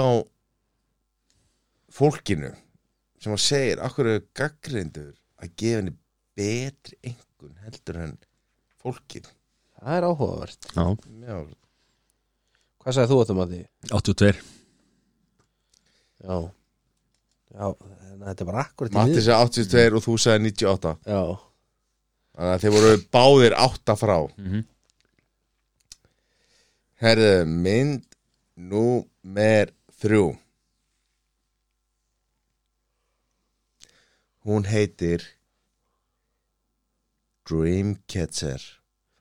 Speaker 3: fólkinu sem að segir akkur er gaggrindur að gefa henni betri einhvern heldur en fólkið
Speaker 2: Það er áhugavert
Speaker 1: Já,
Speaker 3: Já,
Speaker 2: Hvað sagði þú áttum að því?
Speaker 1: 82
Speaker 2: Já Já, en þetta er bara akkurat í
Speaker 3: Matti
Speaker 2: miðju.
Speaker 3: sagði 82 og þú sagði 98
Speaker 2: Já
Speaker 3: þannig að þeir voru báðir 8 frá
Speaker 1: Mhm.
Speaker 3: Herðu, mynd númer 3 Hún heitir Dreamcatcher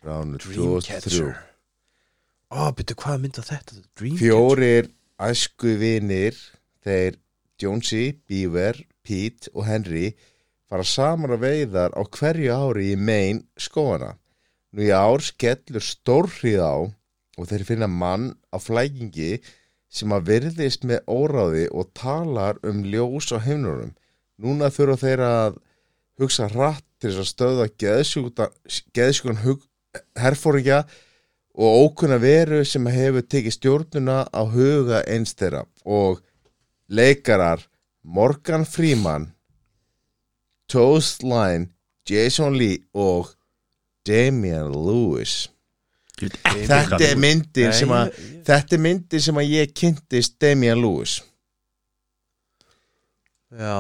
Speaker 3: frá árinu 2003
Speaker 2: Ó, byrju, hvað mynda þetta? Dreamcatcher
Speaker 3: Fjórir æsku vinir þeir Jonesy, Beaver, Pete og Henry fara saman að veiðar á hverju ári í Maine skóana. Nú í ár skellur stórhrið á og þeir finna mann á flækingi sem að virðist með óráði og talar um ljós á heimnurum. Núna þurfa þeir að hugsa hratt til þess að stöða geðsjúkta- geðsjúkan hug- herfóringja og ókunna veru sem hefur tekið stjórnuna á huga eins þeirra og leikarar Morgan Freeman Toast Line Jason Lee og Damian Lewis Þetta er myndin sem að
Speaker 2: Nei,
Speaker 3: þetta er myndin sem að ég kynntist Damian Lewis
Speaker 2: Já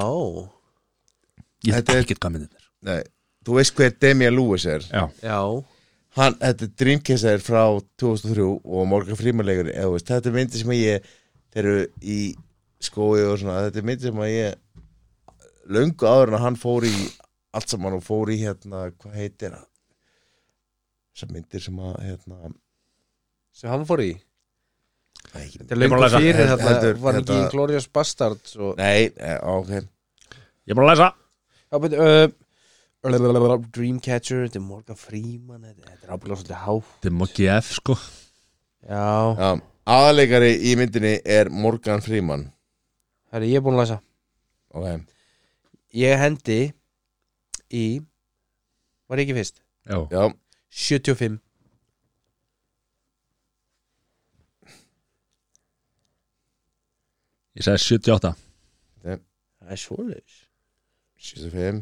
Speaker 1: Ég veit
Speaker 3: Þetta er-
Speaker 1: ekkert hvað myndin er
Speaker 3: Nei, þú veist hver Damian Lewis er
Speaker 1: Já,
Speaker 2: Já
Speaker 3: hann, þetta er Dreamcatcher frá 2003 og Morgan Freeman leikur eða, þú veist, þetta er myndi sem að ég þeir eru í skói og svona þetta er myndi sem að ég löngu áður en að hann fór í allt saman og fór í hérna, hvað heitir það þessar myndir sem að hérna,
Speaker 2: sem hann fór í
Speaker 3: það er ekki
Speaker 2: Þetta er
Speaker 1: Ég er búin
Speaker 2: löngu
Speaker 1: að lesa.
Speaker 2: fyrir
Speaker 3: Hel-
Speaker 2: þetta
Speaker 3: heldur-
Speaker 2: var ekki
Speaker 3: þetta-
Speaker 2: í Glorious Bastards og
Speaker 3: Nei, eh, ok
Speaker 1: ég er búin að lesa
Speaker 2: Já, betur, uh, blablabla, Dreamcatcher, þetta er Morgan Freeman þetta þetta er ábyggilega svolítið há
Speaker 1: Þetta er Moggi F sko
Speaker 2: Já,
Speaker 3: Já, aðleikari í myndinni er Morgan Freeman
Speaker 2: það er ég er búin að læsa
Speaker 3: okay.
Speaker 2: Ég hendi í Var ég ekki fyrst?
Speaker 1: Já,
Speaker 3: Já,
Speaker 2: 75
Speaker 1: ég segi 78
Speaker 2: Það er svoleiðis
Speaker 3: 75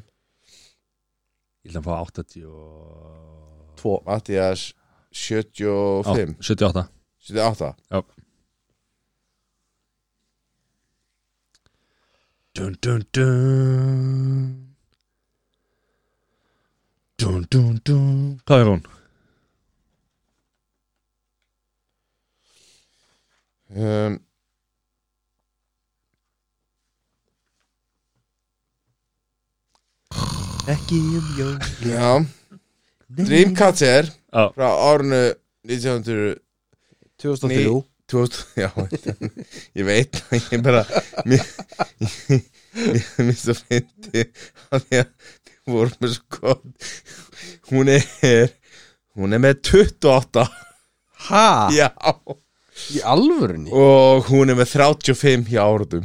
Speaker 1: Ég ætla að fá 80 og...
Speaker 2: Tvo
Speaker 3: Mattias 75
Speaker 1: Á, 78
Speaker 3: 78
Speaker 1: Já Dun dun dun Dun dun dun Hvað er hún?
Speaker 3: um,
Speaker 2: Ekki um jól
Speaker 3: Já Dreamcatcher
Speaker 1: Já.
Speaker 3: frá árinu 1900
Speaker 2: 2003
Speaker 3: 2000, já, ég veit ég bara mér mér svo fyndi að því að við vorum með svo gott hún er hún er með 28
Speaker 2: Ha?
Speaker 1: Ah.
Speaker 3: já,
Speaker 2: Í alvörunni?
Speaker 3: og hún er með 35 hjá áratum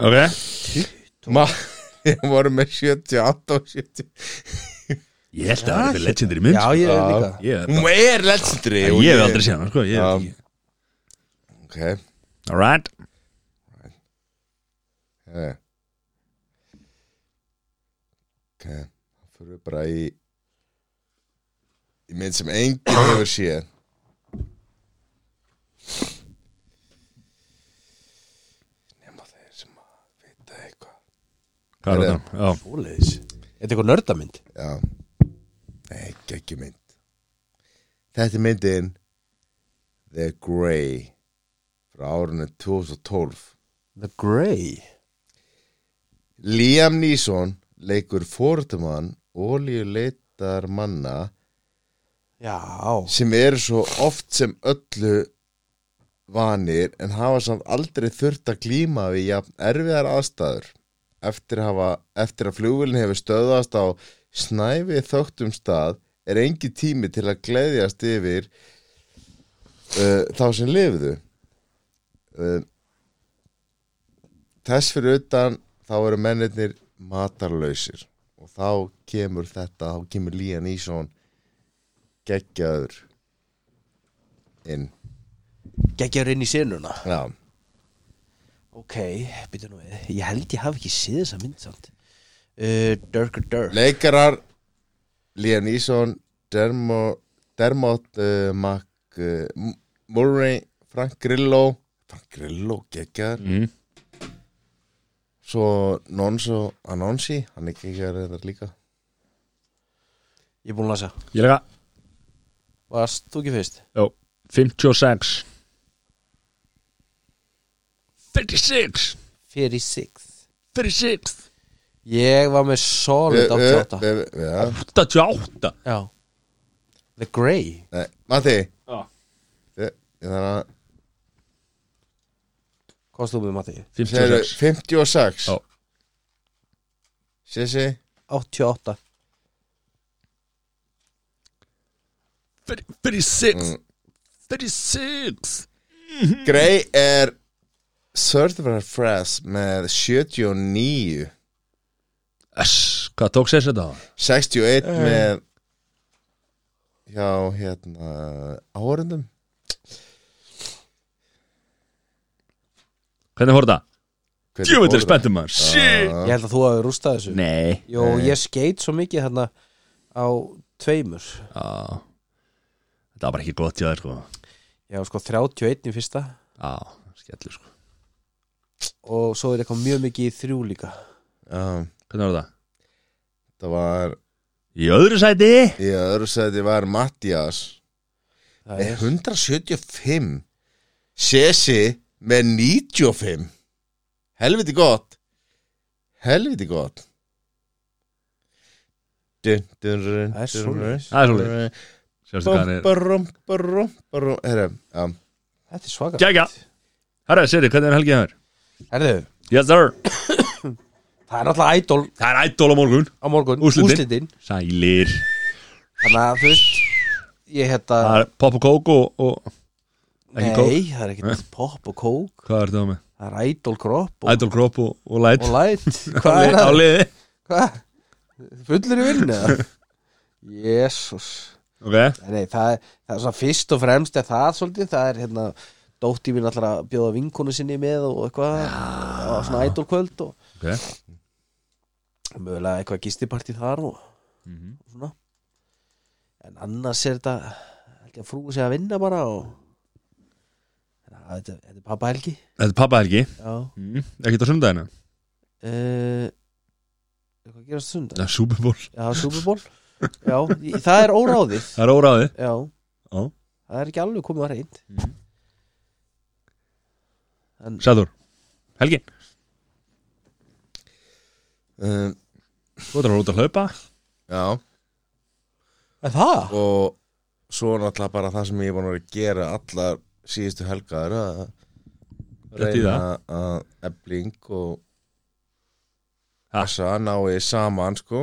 Speaker 1: Ok
Speaker 3: Ma, ég voru með 78 og 70
Speaker 1: Ég held að það er fyrir legendary mynd sko.
Speaker 2: Já, ég er
Speaker 3: Ah, Já.
Speaker 2: líka
Speaker 1: Ég,
Speaker 3: hún er legendary
Speaker 1: ég,
Speaker 3: og
Speaker 1: ég hef aldrei séð hann sko ég,
Speaker 3: Já.
Speaker 1: um.
Speaker 3: ok,
Speaker 1: Alright
Speaker 3: Eh. Ok, þá fyrir við bara í í mynd sem enginn hefur séð nema þeir sem að vita eitthvað
Speaker 1: Hvað er
Speaker 3: Heyrðu.
Speaker 1: þetta? Já
Speaker 2: Svoleiðis Þetta er eitthvað nördamynd
Speaker 3: Já, nei, ekki mynd Þetta er myndin The Grey frá árinu 2012
Speaker 2: The Grey
Speaker 3: Liam Neeson leikur fórtumann olíuleitar manna
Speaker 2: Já
Speaker 3: sem eru svo oft sem öllu vanir en hafa samt aldrei þurft að glíma við jafn erfiðar aðstæður eftir, að hafa, eftir að flugvölin hefur stöðast á snæfi þögtum stað er engi tími til að gleðjast yfir uh, þá sem lifðu uh, þess fyrir utan þá eru mennirnir matarlausir og þá kemur þetta, þá kemur Lían Ísson geggjaður inn
Speaker 2: Gekkjar inn í senuna
Speaker 3: já,
Speaker 2: Ok, byrja nú við Ég held ég hafi ekki séð þessa mynd samt uh, Dirk or Dirk
Speaker 3: leikarar Liam Neeson Dermo, Dermot uh, Mac, uh, M- Murray Frank Grillo Frank Grillo geggjaður
Speaker 1: mm.
Speaker 3: svo Nonso Anonsi hann er geggjaður þetta líka
Speaker 2: Ég er búin að lasa
Speaker 1: Ég lega
Speaker 2: Varst þú ekki fyrst?
Speaker 1: Já 56 56
Speaker 2: 46
Speaker 1: 56
Speaker 2: Ég var með
Speaker 1: Eh,
Speaker 2: solid
Speaker 3: Ö, ö,
Speaker 2: 88
Speaker 3: ö, ö, Eh, já.
Speaker 1: 88
Speaker 2: Já The Grey
Speaker 3: Nei, eh, Matti
Speaker 1: Já.
Speaker 3: Þe- þannig að
Speaker 2: Hvað varst þú með Matti?
Speaker 3: segirðu
Speaker 1: 56
Speaker 3: 56
Speaker 1: Já.
Speaker 3: Sissi
Speaker 2: 88
Speaker 3: Mm.
Speaker 1: 36 36
Speaker 3: Grey er Sörðvar Fress með 79
Speaker 1: Þess, hvað tók sér þetta á?
Speaker 3: 61
Speaker 2: Eh.
Speaker 3: með hjá hérna áhörendum
Speaker 1: Hvernig fór þetta?
Speaker 3: Hvernig
Speaker 1: Djúvill
Speaker 3: fór Ah.
Speaker 1: er spenntum maður Shit
Speaker 2: Ég held að þú hafi rústað þessu
Speaker 1: Nei
Speaker 2: Jó, ég skeit svo mikið hérna á tveimur
Speaker 1: Já Þetta var bara ekki gott hjá þér sko
Speaker 2: Já, sko 31 í fyrsta
Speaker 1: Já, skellu sko
Speaker 2: Og svo er eitthvað mjög mikið í þrjú líka
Speaker 3: þetta? Já,
Speaker 1: Hvernig var þetta?
Speaker 3: það var
Speaker 1: Í öðru sæti
Speaker 3: í öðru sæti var Mattias
Speaker 2: Það
Speaker 3: með
Speaker 2: er
Speaker 3: 175 Sessi með 95 helviti gott helviti gott Dun, dun, dun,
Speaker 2: Það er
Speaker 3: dun,
Speaker 2: svoleiðis.
Speaker 1: Það er svolítið Sjástu hvað hann er
Speaker 3: Bum, bum, bum, bum. Herra, já.
Speaker 1: Eh.
Speaker 2: Þetta er svaka
Speaker 1: Jæja. Herra, Siri, hvernig er helgið þér?
Speaker 2: Herðu,
Speaker 1: Yes sir
Speaker 2: það er náttúrulega idol
Speaker 1: Það er ædol á morgun
Speaker 2: á morgun
Speaker 1: Úrslitin.
Speaker 2: Úrslitin
Speaker 1: Sælir
Speaker 2: Þannig að þú veist ég hérna
Speaker 1: Það er pop og kók og, og ekki kók Eh.
Speaker 2: Nei, það er ekkert pop og kók
Speaker 1: Hvað er það með?
Speaker 2: Það er idol kropp og,
Speaker 1: Idol Crop og, og Light
Speaker 2: og light Hvað er
Speaker 1: Á
Speaker 2: það?
Speaker 1: liði
Speaker 2: Hvað? Fullur í vinnu? eða? Jesús
Speaker 1: Ok,
Speaker 2: Nei, það, er- það er svona fyrst og fremst er það svolítið, það er hérna dótti mín allra að bjóða vinkonu sinni með og eitthvað, og svona idolkvöld og
Speaker 1: ok
Speaker 2: mögulega eitthvað gistiparti þar og
Speaker 1: Mhm.
Speaker 2: og svona en annars er þetta held ég að frúi sig að vinna bara og en að, þetta, þetta er pappa Helgi
Speaker 1: Þetta er pappa Helgi
Speaker 2: já
Speaker 1: mm. Ekkert á sundagina
Speaker 2: uh, hvað gerast sunda?
Speaker 1: Það er Super Bowl
Speaker 2: já, Super Bowl já, í- það er óráðið
Speaker 1: Það er óráði
Speaker 2: já,
Speaker 1: Já.
Speaker 2: það er ekki alveg komið að reynd
Speaker 1: Mhm.
Speaker 2: en
Speaker 1: Sæður Helgi
Speaker 3: um,
Speaker 1: Þú ætlar að fara út að hlaupa
Speaker 3: Já
Speaker 2: er það?
Speaker 3: og svo náttúrulega bara það sem ég er búin að vera að gera allar síðustu helgar að
Speaker 1: Rétt í
Speaker 3: reyna að ebling og
Speaker 1: Ha.
Speaker 3: þess að ná ég saman sko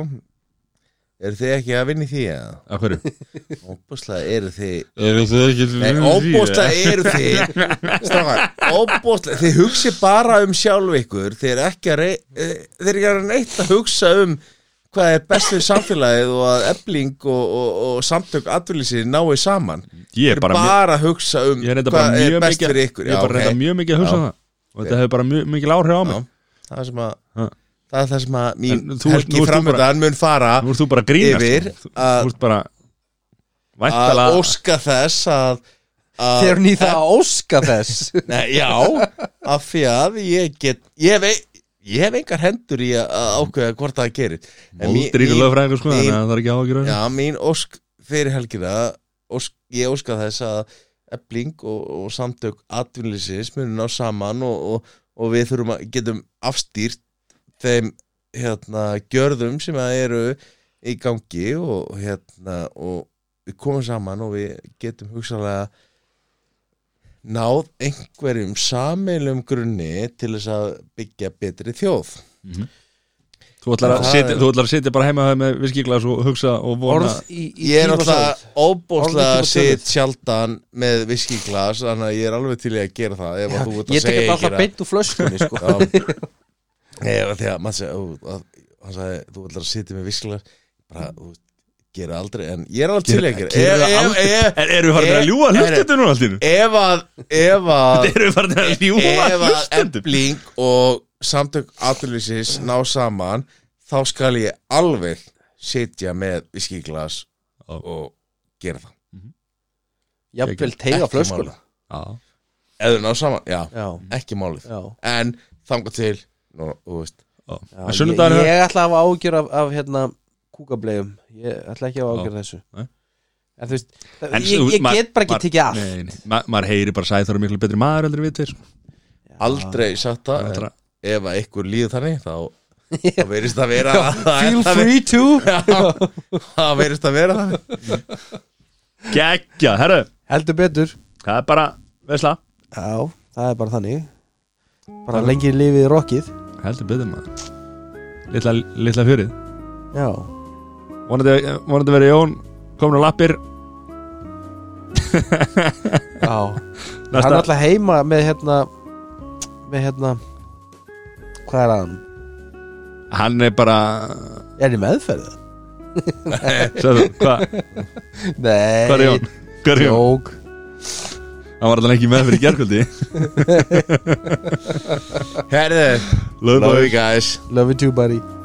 Speaker 3: eru þið ekki að vinni því eða?
Speaker 1: Af hverju?
Speaker 3: Óbúslega eru þið
Speaker 1: Ég veit það ekki
Speaker 3: Nei, óbúslega eru þið Strákar, óbúslega Þið hugsi bara um sjálf ykkur Þið er ekki að, rey, eh, þið er ekki að neitt að hugsa um hvað er best við samfélagið og að ebling og, og, og samtök atvinnlýsi nái saman
Speaker 1: Ég
Speaker 3: Þið
Speaker 1: er
Speaker 3: er bara,
Speaker 1: bara mjög-
Speaker 3: að hugsa um
Speaker 1: Ég er reynda bara
Speaker 3: hvað er
Speaker 1: mjög
Speaker 3: best
Speaker 1: mikið
Speaker 3: fyrir ykkur
Speaker 1: Ég er bara reynda mjög mikið að hugsa
Speaker 3: Já.
Speaker 1: það Og þetta hefur bara mjög mikil áhrif á mig
Speaker 3: Já, það er sem að
Speaker 1: Ha.
Speaker 3: Það er það sem að mín
Speaker 1: En þú- nú
Speaker 3: helgi
Speaker 1: ert þú
Speaker 3: framöndan mun fara
Speaker 1: Nú ert þú bara að grínast sko.
Speaker 3: Yfir
Speaker 1: Þú
Speaker 3: að-
Speaker 1: þú ert bara
Speaker 3: að
Speaker 1: Væntalega
Speaker 3: óska þess að að-
Speaker 2: þegar nýð það að óska þess
Speaker 3: Nei, já, af því að ég get ég hef, ein- ég hef engar hendur í að- að ákveða hvort það gerir En mín-
Speaker 1: Móldrýri
Speaker 3: mín-
Speaker 1: lögfræðingur sko
Speaker 3: mín-
Speaker 1: Þannig að það er ekki áhugjur
Speaker 3: Já, mín ósk fyrir helgina ósk, ég óska þess að ebling og, og samtök atvinnlýsins munum ná saman og, og, og við þurfum að getum afstýrt þeim hérna, gjörðum sem að eru í gangi og, hérna, og við komum saman og við getum hugsalega náð einhverjum sameilum grunni til þess að byggja betri þjóð
Speaker 1: Þú ætlar að
Speaker 3: Já,
Speaker 1: sitja-
Speaker 3: já.
Speaker 1: þú ætlar að sitja bara heima með viskíklas og hugsa og vona
Speaker 2: orð í, í
Speaker 3: Ég er
Speaker 2: tíma
Speaker 3: alltaf
Speaker 2: sögð.
Speaker 3: óbóðslega
Speaker 2: Orðið kemur
Speaker 3: sitt
Speaker 2: tölvur.
Speaker 3: sjaldan með viskiglas þannig að ég er alveg til í að gera það ef að þú ert að
Speaker 2: ég tek
Speaker 3: segja
Speaker 2: þetta
Speaker 3: ekki
Speaker 2: alltaf beint úr flöskunni sko.
Speaker 3: það Nei, því að maður segja ó, að- hann sagði, þú ætlar að sitja með viskiglas bara, þú veist, gera aldrei en ég er alveg til í að gera
Speaker 1: Gerir það
Speaker 3: Ef- ef-
Speaker 1: aldrei-
Speaker 3: ef-
Speaker 1: En erum við farin að
Speaker 3: Ég-
Speaker 1: ljúga
Speaker 3: Nei, nei.
Speaker 1: hlustendur núna allt í nú?
Speaker 3: Ef að ef að
Speaker 1: Erum við farin að ljúga
Speaker 3: ef að
Speaker 1: hlustendur?
Speaker 3: ebling og samtök aðlýsins ná saman þá skal ég alveg sitja með viskiglas og gera það
Speaker 2: jafnvel teiga
Speaker 3: Ekki
Speaker 2: flöskuna
Speaker 1: Já,
Speaker 3: Ef þau ná saman, já,
Speaker 2: já,
Speaker 3: ekki málið
Speaker 2: já
Speaker 3: en þanga til nú, þú veist,
Speaker 1: já.
Speaker 2: Já,
Speaker 1: En sunnudagurinn
Speaker 2: ég, ég ætla að hafa ágjör af, af hérna kúkablegum Ég ætla ekki að hafa ágjör af þessu
Speaker 1: Nei.
Speaker 2: En þú veist,
Speaker 1: En
Speaker 2: ég,
Speaker 1: þú-
Speaker 2: ég
Speaker 1: ma-
Speaker 2: get bara ekki
Speaker 1: ma-
Speaker 2: tekið allt
Speaker 1: Nei, nei, ma- maður heyri bara sæð það eru miklu betri maður heldur en við tveir sko.
Speaker 3: aldrei sagt það
Speaker 1: Þetta
Speaker 3: en
Speaker 1: er að-
Speaker 3: ef að ykkur líður þannig þá, þá verist að vera
Speaker 2: Feel
Speaker 3: það
Speaker 2: free to
Speaker 3: verist að vera það
Speaker 1: Gekkja, herru,
Speaker 2: Heldur betur
Speaker 1: það er bara Vesla,
Speaker 2: Já, það er bara þannig Bara lengi lifið rockið
Speaker 1: heldur betur maður Litla, litla fjörið
Speaker 2: Já,
Speaker 1: Vonandi, vonandi verið Jón komin á lappir
Speaker 2: já Hann er
Speaker 1: Næsta,
Speaker 2: alltaf heima með hérna Með hérna Hvað er hann?
Speaker 1: hann er bara
Speaker 2: Er ég meðferðið?
Speaker 1: Sæðu, hvað
Speaker 2: Nei
Speaker 1: hva er Jón? Hvað er Jón?
Speaker 2: Jók
Speaker 1: Hann var alltaf ekki með fyrir gerkvöldi
Speaker 3: herðu, love you guys
Speaker 2: Love you too buddy